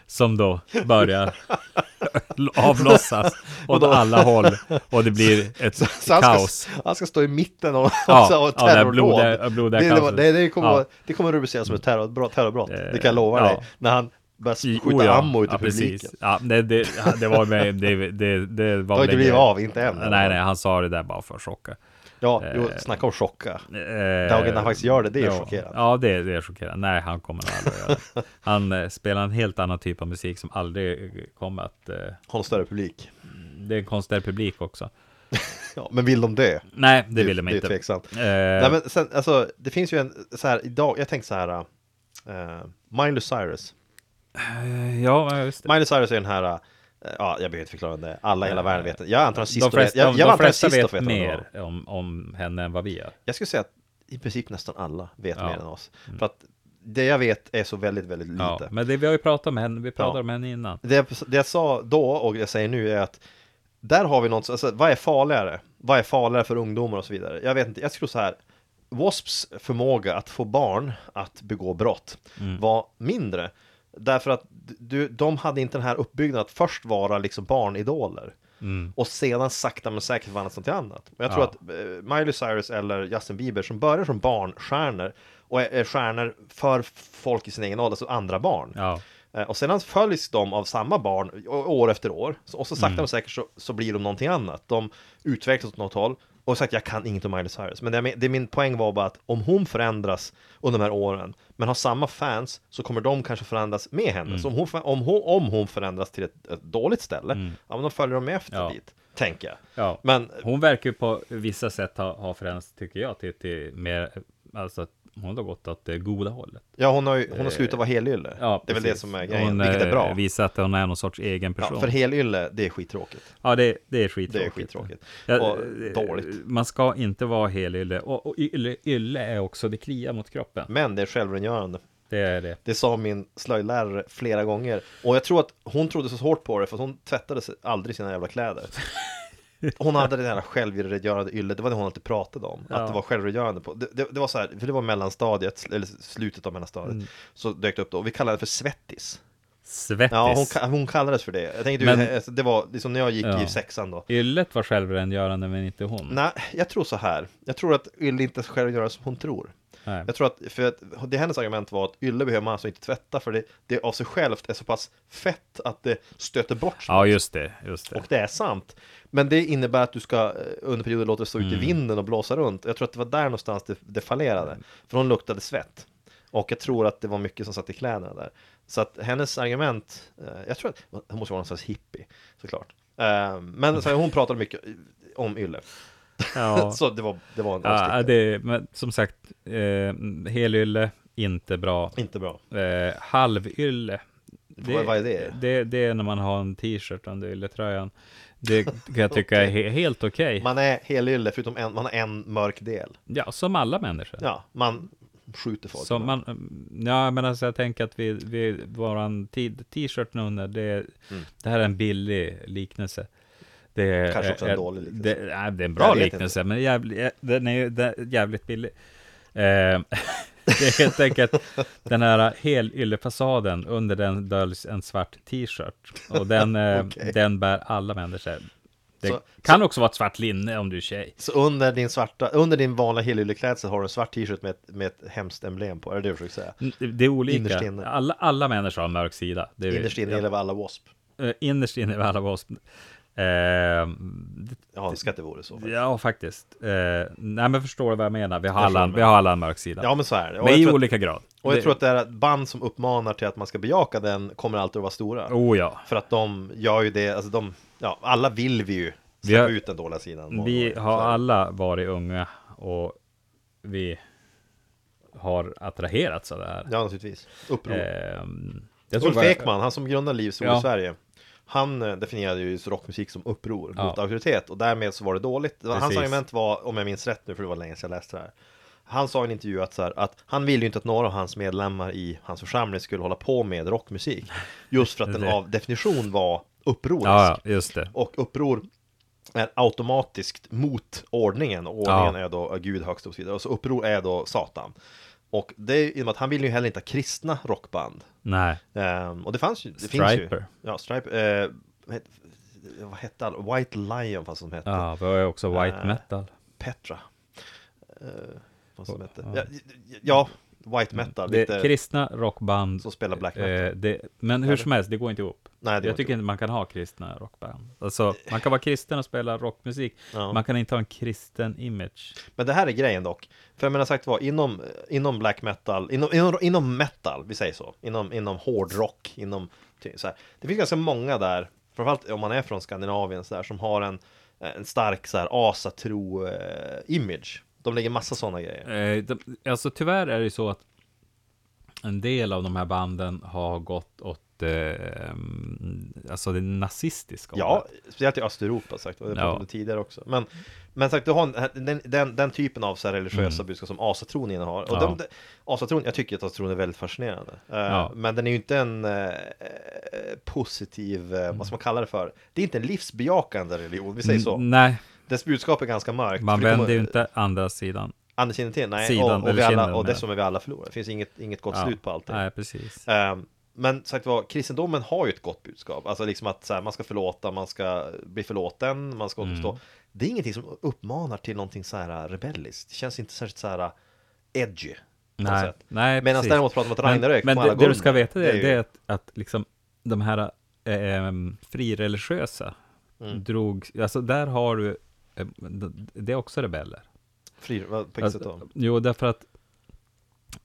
[SPEAKER 6] Som då börjar avlossas åt alla håll och det blir ett
[SPEAKER 5] så han,
[SPEAKER 6] kaos.
[SPEAKER 5] Ska, han ska stå i mitten av,
[SPEAKER 6] Ja,
[SPEAKER 5] ja, av
[SPEAKER 6] ja, det här
[SPEAKER 5] terrordåd.
[SPEAKER 6] blodiga- blodiga
[SPEAKER 5] det, det, var-
[SPEAKER 6] kaoset.
[SPEAKER 5] det, det, kommer,
[SPEAKER 6] Ja.
[SPEAKER 5] att- det kommer att rubriceras som ett terror, bra, terrorbrott,
[SPEAKER 6] Eh,
[SPEAKER 5] det kan jag lova
[SPEAKER 6] ja.
[SPEAKER 5] dig. När han börjar skjuta
[SPEAKER 6] Oh ja,
[SPEAKER 5] ammo ut i
[SPEAKER 6] ja, precis.
[SPEAKER 5] publiken.
[SPEAKER 6] Ja, det, det, det var med, det, det, det var
[SPEAKER 5] har inte
[SPEAKER 6] väl
[SPEAKER 5] blivit
[SPEAKER 6] en-
[SPEAKER 5] av, inte än.
[SPEAKER 6] Nej, nej, han sa det där bara för att chocka.
[SPEAKER 5] Ja, jo, snacka om chocka.
[SPEAKER 6] Eh,
[SPEAKER 5] Dagen han faktiskt gör det, det är chockerande.
[SPEAKER 6] Ja, det, det är chockerande. Nej, han kommer nog aldrig göra det. Han eh, spelar en helt annan typ av musik som aldrig kommer att... Eh,
[SPEAKER 5] Har en större publik.
[SPEAKER 6] det är en konstnärlig publik också.
[SPEAKER 5] Ja, men vill de dö?
[SPEAKER 6] Nej, det,
[SPEAKER 5] Det-
[SPEAKER 6] vill de
[SPEAKER 5] det är
[SPEAKER 6] inte.
[SPEAKER 5] tveksamt.
[SPEAKER 6] Eh,
[SPEAKER 5] Nej, men sen, alltså, det finns ju en, så här, idag, jag tänkte så här, eh, Miley Cyrus.
[SPEAKER 6] Ja, just det.
[SPEAKER 5] Miley Cyrus är den här, eh, ja, jag behöver inte förklara det, alla i hela världen vet det. Jag antar att sist
[SPEAKER 6] Eh, De flesta,
[SPEAKER 5] jag, jag
[SPEAKER 6] de
[SPEAKER 5] antar att
[SPEAKER 6] flesta
[SPEAKER 5] sist
[SPEAKER 6] vet
[SPEAKER 5] vet vem det var.
[SPEAKER 6] mer om, om henne än vad vi gör.
[SPEAKER 5] Jag skulle säga att i princip nästan alla vet
[SPEAKER 6] Ja. Mm.
[SPEAKER 5] mer än oss. För att det jag vet är så väldigt, väldigt lite.
[SPEAKER 6] Ja, men det, vi har ju pratat om henne, vi pratade
[SPEAKER 5] Ja.
[SPEAKER 6] om henne innan.
[SPEAKER 5] det, jag, det jag sa då och jag säger nu är att där har vi något, alltså, vad är farligare? Vad är farligare för ungdomar och så vidare? Jag vet inte, jag tror så här. W.A.S.P.s förmåga att få barn att begå brott
[SPEAKER 6] Mm.
[SPEAKER 5] var mindre. Därför att du, de hade inte den här uppbyggnaden att först vara liksom barnidoler. Och sedan sakta men säkert vandras till annat. Och jag tror
[SPEAKER 6] Mm. Ja.
[SPEAKER 5] att eh, Miley Cyrus eller Justin Bieber som börjar som barnstjärnor och är, är stjärnor för folk i sin egen ålder, alltså andra barn.
[SPEAKER 6] Ja.
[SPEAKER 5] Eh, Och sedan följs de av samma barn å- år efter år. Så- Och så
[SPEAKER 6] Mm.
[SPEAKER 5] sakta men säkert så, så blir de någonting annat. De utvecklas åt något håll. Och sagt, jag kan inget om Miley Cyrus. Men det, jag men- det min poäng var bara att om hon förändras under de här åren, men har samma fans, så kommer de kanske förändras med henne.
[SPEAKER 6] Mm.
[SPEAKER 5] Så om hon, för- om, hon, om hon förändras till ett, ett dåligt ställe, ja men då följer de med efter
[SPEAKER 6] Mm. Ja.
[SPEAKER 5] dit, tänker jag.
[SPEAKER 6] Ja.
[SPEAKER 5] Men
[SPEAKER 6] Hon verkar ju på vissa sätt ha, ha förändrats, tycker jag, till, till mer, alltså att hon har gått åt det goda hållet.
[SPEAKER 5] ja, hon har, ju, hon har slutat vara helylle.
[SPEAKER 6] Eh, Ja,
[SPEAKER 5] det är väl det
[SPEAKER 6] precis.
[SPEAKER 5] som är grejen,
[SPEAKER 6] hon,
[SPEAKER 5] vilket är
[SPEAKER 6] eh,
[SPEAKER 5] bra.
[SPEAKER 6] visar att hon är någon sorts egen person.
[SPEAKER 5] Ja,
[SPEAKER 6] Ja,
[SPEAKER 5] för helylle, det är skittråkigt.
[SPEAKER 6] det, det är skittråkigt.
[SPEAKER 5] Det är skittråkigt. och
[SPEAKER 6] eh,
[SPEAKER 5] dåligt.
[SPEAKER 6] Man ska inte vara helylle. Och, och ylle, ylle är också, det kliar mot kroppen.
[SPEAKER 5] Men det är självrengörande.
[SPEAKER 6] Det är det.
[SPEAKER 5] Det sa min slöjdlärare flera gånger. Och jag tror att hon trodde så hårt på det för att hon tvättade sig aldrig sina jävla kläder. Hon hade det där självrengörande yllet, det var det hon alltid pratade om.
[SPEAKER 6] Ja.
[SPEAKER 5] Att det var självrengörande. På. Det, det, det var så här, för det var mellanstadiet, eller slutet av mellanstadiet.
[SPEAKER 6] Mm.
[SPEAKER 5] Så dök det upp då, och vi kallade det för svettis.
[SPEAKER 6] Svettis.
[SPEAKER 5] Ja, hon, ka- hon kallades för det. Jag tänkte,
[SPEAKER 6] Men-
[SPEAKER 5] du, alltså, det var liksom när jag gick
[SPEAKER 6] Ja.
[SPEAKER 5] i sexan då.
[SPEAKER 6] Yllet var självrengörande, men inte hon.
[SPEAKER 5] Nej, jag tror så här. Jag tror att Ylle inte själv gör som hon tror.
[SPEAKER 6] Nej.
[SPEAKER 5] Jag tror att, för att det hennes argument var att Ylle behöver man alltså inte tvätta för det, det av sig självt är så pass fett att det stöter bort sig.
[SPEAKER 6] Ja, just det. Just det.
[SPEAKER 5] Och det är sant. Men det innebär att du ska eh, under perioder låta det stå
[SPEAKER 6] Mm.
[SPEAKER 5] ute i vinden och blåsa runt. Jag tror att det var där någonstans det, det fallerade. För hon luktade svett. Och jag tror att det var mycket som satt i kläderna där. Så att hennes argument, eh, jag tror att hon måste vara någon slags hippie såklart. Eh, men så här, hon pratade mycket om Ylle.
[SPEAKER 6] Ja.
[SPEAKER 5] Så det var, det var en
[SPEAKER 6] Ja,
[SPEAKER 5] avstickare.
[SPEAKER 6] det, men som sagt, eh, helylle, inte bra.
[SPEAKER 5] Inte bra.
[SPEAKER 6] Eh, halvylle.
[SPEAKER 5] Vad- vad är det?
[SPEAKER 6] det? Det är när man har en t-shirt under ylletröjan. Det kan jag tycka är he- helt okej.
[SPEAKER 5] Man är helylle förutom en, man har en mörk del.
[SPEAKER 6] Ja, som alla människor.
[SPEAKER 5] Ja, man skjuter folk.
[SPEAKER 6] Som man, mm, ja, men alltså jag tänker att vi, vi
[SPEAKER 5] Mm.
[SPEAKER 6] våran t- t-shirt nu under, det, det här är en billig liknelse. Det är,
[SPEAKER 5] Kanske också en
[SPEAKER 6] ett-
[SPEAKER 5] dålig liknelse.
[SPEAKER 6] Det, nej, det är
[SPEAKER 5] Jag
[SPEAKER 6] en bra
[SPEAKER 5] vet
[SPEAKER 6] liknelse, men jävligt, den är ju den är jävligt billig. Eh, det är helt enkelt den här helyllefassaden, under den döljs en svart t-shirt. Och den, eh,
[SPEAKER 5] Okej.
[SPEAKER 6] den bär alla människor. Det
[SPEAKER 5] Så-
[SPEAKER 6] kan också vara ett svart linne om du är tjej.
[SPEAKER 5] Så under din svarta, under din vanliga helylleklädsel har du en svart t-shirt med ett, med ett hemskt emblem på, är det det du försöker säga?
[SPEAKER 6] N- Det är
[SPEAKER 5] Innerst
[SPEAKER 6] olika.
[SPEAKER 5] inne.
[SPEAKER 6] Alla, alla människor har en mörk sida. Det vet
[SPEAKER 5] Innerst inne
[SPEAKER 6] jag.
[SPEAKER 5] gäller väl alla W.A.S.P.
[SPEAKER 6] Eh, Innerst inne i alla av oss. Eh,
[SPEAKER 5] Jag önskar att det vore så. faktiskt.
[SPEAKER 6] Ja, faktiskt. Eh, nej, men förstår du vad jag menar? Vi har, alla,
[SPEAKER 5] förstår
[SPEAKER 6] vi har alla en mörk sida.
[SPEAKER 5] Ja men så är det. Och
[SPEAKER 6] men
[SPEAKER 5] jag,
[SPEAKER 6] i
[SPEAKER 5] tror att,
[SPEAKER 6] olika grad.
[SPEAKER 5] och jag
[SPEAKER 6] Det-
[SPEAKER 5] tror att det är att band som uppmanar till att man ska bejaka den kommer alltid att vara stora.
[SPEAKER 6] Oh ja.
[SPEAKER 5] För att de gör ju det, alltså de, ja alla vill vi ju
[SPEAKER 6] Vi
[SPEAKER 5] släppa
[SPEAKER 6] har-
[SPEAKER 5] ut den dåliga sidan. många
[SPEAKER 6] Vi
[SPEAKER 5] gånger.
[SPEAKER 6] har
[SPEAKER 5] Så är det.
[SPEAKER 6] alla varit unga och vi har attraherats av det här.
[SPEAKER 5] Ja naturligtvis. Uppror.
[SPEAKER 6] Ehm, jag tror
[SPEAKER 5] Ulf
[SPEAKER 6] bara-
[SPEAKER 5] Ekman, han som grundade Livs Ord
[SPEAKER 6] Ja.
[SPEAKER 5] i Sverige Han eh, definierade ju rockmusik som uppror
[SPEAKER 6] Ja.
[SPEAKER 5] mot auktoritet och därmed så var det dåligt Det var- Hans
[SPEAKER 6] Precis.
[SPEAKER 5] argument var, om jag minns rätt nu för det var länge sedan jag läste det här Han sa i en intervju att, så här, att han ville ju inte att några av hans medlemmar i hans församling skulle hålla på med rockmusik Just för att den
[SPEAKER 6] Det-
[SPEAKER 5] av definition var upprorisk
[SPEAKER 6] Ja, ja, just det.
[SPEAKER 5] Och uppror är automatiskt mot ordningen och ordningen
[SPEAKER 6] Ja.
[SPEAKER 5] är då Gud högst och så vidare och så uppror är då Satan Och det är ju i och med att han vill ju heller inte ha kristna rockband
[SPEAKER 6] Nej,
[SPEAKER 5] Ehm, och det fanns ju. Det Finns ju,
[SPEAKER 6] Striper.
[SPEAKER 5] ja, Striper. eh, vad het- vad hette all? White Lion fanns som hette.
[SPEAKER 6] ja, vi har ju också white
[SPEAKER 5] Eh,
[SPEAKER 6] metal.
[SPEAKER 5] Petra. Eh, vad som hette. Ja, ja, White Metal.
[SPEAKER 6] Mm. Det
[SPEAKER 5] lite
[SPEAKER 6] är kristna rockband.
[SPEAKER 5] som spelar black metal.
[SPEAKER 6] Eh, det, men hur som helst, det går inte ihop.
[SPEAKER 5] Nej, det går
[SPEAKER 6] jag
[SPEAKER 5] inte
[SPEAKER 6] tycker inte man kan ha kristna rockband. Alltså, man kan vara kristen och spela rockmusik.
[SPEAKER 5] Ja.
[SPEAKER 6] Man kan inte ha en kristen image.
[SPEAKER 5] Men det här är grejen dock. För jag menar sagt vad, inom, inom black metal, inom, inom, inom metal, vi säger så, inom, inom hårdrock, inom ty- så här. Det finns ganska många där, framförallt om man är från Skandinavien så där, som har en, en stark så här asatro-image. De lägger massa sådana grejer.
[SPEAKER 6] Eh, de, alltså tyvärr är det ju så att en del av de här banden har gått åt eh, mm, alltså det nazistiska
[SPEAKER 5] Ja,
[SPEAKER 6] hållet.
[SPEAKER 5] speciellt i Östeuropa sagt, och det
[SPEAKER 6] Ja.
[SPEAKER 5] pratade vi tidigare också. Men, men sagt, du har en- den, den, den typen av så här religiösa budskap som asatron innehar. Och
[SPEAKER 6] Mm. Ja.
[SPEAKER 5] de, de- asatron, jag tycker att asatron är väldigt fascinerande. Eh,
[SPEAKER 6] Ja.
[SPEAKER 5] Men den är ju inte en eh, positiv, eh, vad ska man kalla det för? Det är inte en livsbejakande religion, vi säger så.
[SPEAKER 6] N- nej,
[SPEAKER 5] Dess budskap är ganska mörkt.
[SPEAKER 6] Mm. man
[SPEAKER 5] för det kommer-
[SPEAKER 6] vänder ju inte andra sidan.
[SPEAKER 5] Andra sidan till, nej.
[SPEAKER 6] sidan
[SPEAKER 5] och, och,
[SPEAKER 6] eller
[SPEAKER 5] vi alla,
[SPEAKER 6] kinden,
[SPEAKER 5] och
[SPEAKER 6] menar
[SPEAKER 5] dessutom är vi alla förlorare. Det finns inget, inget gott
[SPEAKER 6] Ja.
[SPEAKER 5] slut på allting.
[SPEAKER 6] Nej, precis.
[SPEAKER 5] Eh, Men sagt var, kristendomen har ju ett gott budskap, alltså liksom att så här, man ska förlåta, man ska bli förlåten, man ska återstå.
[SPEAKER 6] Mm.
[SPEAKER 5] Det är ingenting som uppmanar till någonting så här äh, rebelliskt, det känns inte särskilt så här äh, edgy. på något
[SPEAKER 6] Nej,
[SPEAKER 5] sätt.
[SPEAKER 6] nej,
[SPEAKER 5] Medan
[SPEAKER 6] precis.
[SPEAKER 5] däremot pratar man om att Ragnarök kommer
[SPEAKER 6] Men, men det,
[SPEAKER 5] alla
[SPEAKER 6] det
[SPEAKER 5] gå
[SPEAKER 6] du ska
[SPEAKER 5] under.
[SPEAKER 6] veta det,
[SPEAKER 5] Det är ju-
[SPEAKER 6] det är att, att liksom de här eh, em, frireligiösa
[SPEAKER 5] Mm.
[SPEAKER 6] drog, alltså där har du, eh, d- det är också rebeller.
[SPEAKER 5] Fri, vad, på
[SPEAKER 6] Alltså,
[SPEAKER 5] alltså, då?
[SPEAKER 6] jo, därför att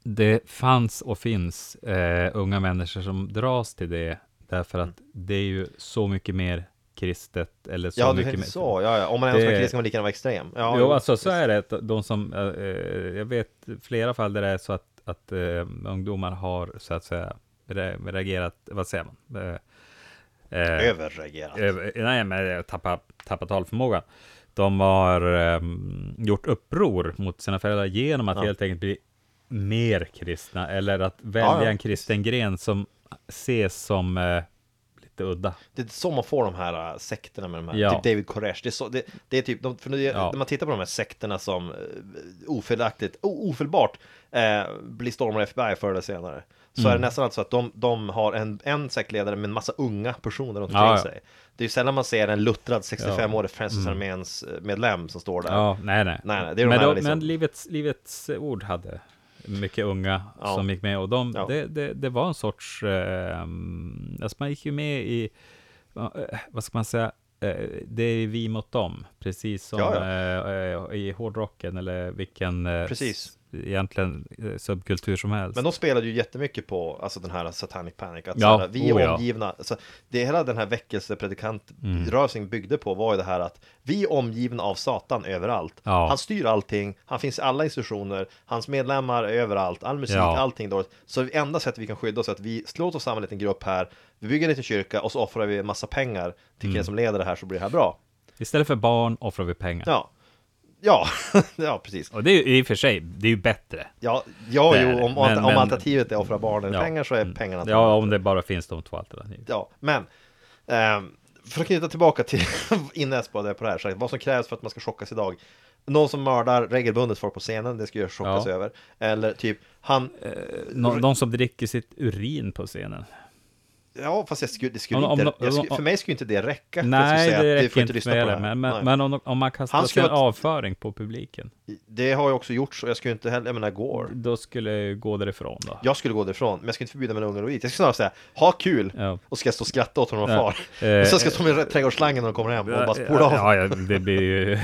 [SPEAKER 6] det fanns och finns eh, unga människor som dras till det, därför att
[SPEAKER 5] Mm.
[SPEAKER 6] det är ju så mycket mer kristet, eller så
[SPEAKER 5] Ja, du
[SPEAKER 6] mycket
[SPEAKER 5] tänkte
[SPEAKER 6] mer...
[SPEAKER 5] så, ja, ja. om man är en som är
[SPEAKER 6] Det-
[SPEAKER 5] kristen kan man lika gärna vara extrem. Ja,
[SPEAKER 6] jo, alltså så
[SPEAKER 5] visst.
[SPEAKER 6] är det, de som, eh, eh, jag vet flera fall där det är så att, att eh, ungdomar har, så att säga, re- reagerat, vad säger man? Eh, eh,
[SPEAKER 5] Överreagerat.
[SPEAKER 6] Eh, Nej, men jag tappar, tappar talförmågan. De har ehm, gjort uppror mot sina föräldrar genom att
[SPEAKER 5] Ja.
[SPEAKER 6] helt enkelt bli mer kristna eller att välja
[SPEAKER 5] Ja, ja.
[SPEAKER 6] en kristen gren som ses som eh, lite udda.
[SPEAKER 5] Det är så man får de här äh, sekterna med de här,
[SPEAKER 6] Ja.
[SPEAKER 5] typ David Koresh, det är, så, det, det är typ, de, för nu,
[SPEAKER 6] Ja.
[SPEAKER 5] när man tittar på de här sekterna som eh, ofelaktigt, o- ofelbart eh, blir stormade FBI förr eller senare Så
[SPEAKER 6] Mm.
[SPEAKER 5] är det nästan alltså att de, de har en, en sektledare med en massa unga personer runt omkring
[SPEAKER 6] Ja, ja. Mm.
[SPEAKER 5] sig Det är ju sällan man ser en luttrad 65-årig Frälsningsarméns eh, medlem som står där
[SPEAKER 6] Ja, nej, nej.
[SPEAKER 5] Nej, nej, det är de
[SPEAKER 6] men
[SPEAKER 5] här
[SPEAKER 6] då-
[SPEAKER 5] liksom-
[SPEAKER 6] men livets, livets ord hade mycket unga
[SPEAKER 5] Ja.
[SPEAKER 6] som gick med och de,
[SPEAKER 5] Ja.
[SPEAKER 6] det, det, det var en sorts, eh, alltså man gick ju med i, ja, eh, vad ska man säga, eh, det är vi mot dem, precis som
[SPEAKER 5] Ja,
[SPEAKER 6] Eh, i hårdrocken eller vilken eh,
[SPEAKER 5] Precis.
[SPEAKER 6] s- egentligen eh, subkultur som helst.
[SPEAKER 5] Men de spelade ju jättemycket på alltså den här Satanic Panic, att
[SPEAKER 6] Ja,
[SPEAKER 5] så här, vi är
[SPEAKER 6] oh ja.
[SPEAKER 5] omgivna, alltså, det hela den här
[SPEAKER 6] Mm.
[SPEAKER 5] väckelsepredikantrörelsen byggde på var ju det här att vi är omgivna av Satan överallt.
[SPEAKER 6] Ja.
[SPEAKER 5] Han styr allting, han finns i alla institutioner, hans medlemmar är överallt, all musik,
[SPEAKER 6] Ja.
[SPEAKER 5] allting dåligt. Så det enda sättet vi kan skydda oss är att vi slår oss samman en liten grupp här, vi bygger en liten kyrka och så offrar vi en massa pengar till
[SPEAKER 6] Mm.
[SPEAKER 5] killen som leder det här så blir det här bra.
[SPEAKER 6] Istället för barn offrar vi pengar.
[SPEAKER 5] Ja, ja, ja precis.
[SPEAKER 6] Och det är ju i och för sig, det är ju bättre.
[SPEAKER 5] Ja, ja
[SPEAKER 6] Det är
[SPEAKER 5] jo,
[SPEAKER 6] det.
[SPEAKER 5] om,
[SPEAKER 6] Men-
[SPEAKER 5] om
[SPEAKER 6] men-
[SPEAKER 5] alternativet är att offra barn eller
[SPEAKER 6] Ja.
[SPEAKER 5] pengar så är
[SPEAKER 6] Mm.
[SPEAKER 5] pengarna
[SPEAKER 6] Ja, om det bara finns de två alternativen.
[SPEAKER 5] ja, men ehm, för att knyta tillbaka till innan jag spådde på det här, så här, vad som krävs för att man ska chockas idag. Någon som mördar regelbundet folk på scenen, det ska jag chockas
[SPEAKER 6] Ja.
[SPEAKER 5] över. Eller typ, han... Eh,
[SPEAKER 6] Nå, de som dricker sitt urin på scenen.
[SPEAKER 5] Ja, fast jag skulle, det skulle
[SPEAKER 6] Om- om-
[SPEAKER 5] inte... jag skulle,
[SPEAKER 6] om-
[SPEAKER 5] för mig skulle inte det räcka. för att
[SPEAKER 6] Nej,
[SPEAKER 5] säga att
[SPEAKER 6] det
[SPEAKER 5] du
[SPEAKER 6] räcker
[SPEAKER 5] får
[SPEAKER 6] inte
[SPEAKER 5] lyssna
[SPEAKER 6] med
[SPEAKER 5] på
[SPEAKER 6] det.
[SPEAKER 5] här.
[SPEAKER 6] Men,
[SPEAKER 5] Nej.
[SPEAKER 6] men, men om, om man kastar
[SPEAKER 5] Han
[SPEAKER 6] sin
[SPEAKER 5] skulle ha-
[SPEAKER 6] avföring på publiken,
[SPEAKER 5] Det har ju också gjorts och jag skulle inte heller, jag menar Gore.
[SPEAKER 6] då skulle jag ju gå därifrån då.
[SPEAKER 5] Jag skulle gå därifrån, men jag skulle inte förbjuda mina ungar att gå dit. Jag skulle snarare säga, ha kul!
[SPEAKER 6] Ja.
[SPEAKER 5] Och ska jag stå och skratta åt honom och
[SPEAKER 6] Ja.
[SPEAKER 5] far.
[SPEAKER 6] Eh,
[SPEAKER 5] och sen ska jag stå med trädgårdsslangen när de kommer hem och bara spola av
[SPEAKER 6] ja, ja, det blir ju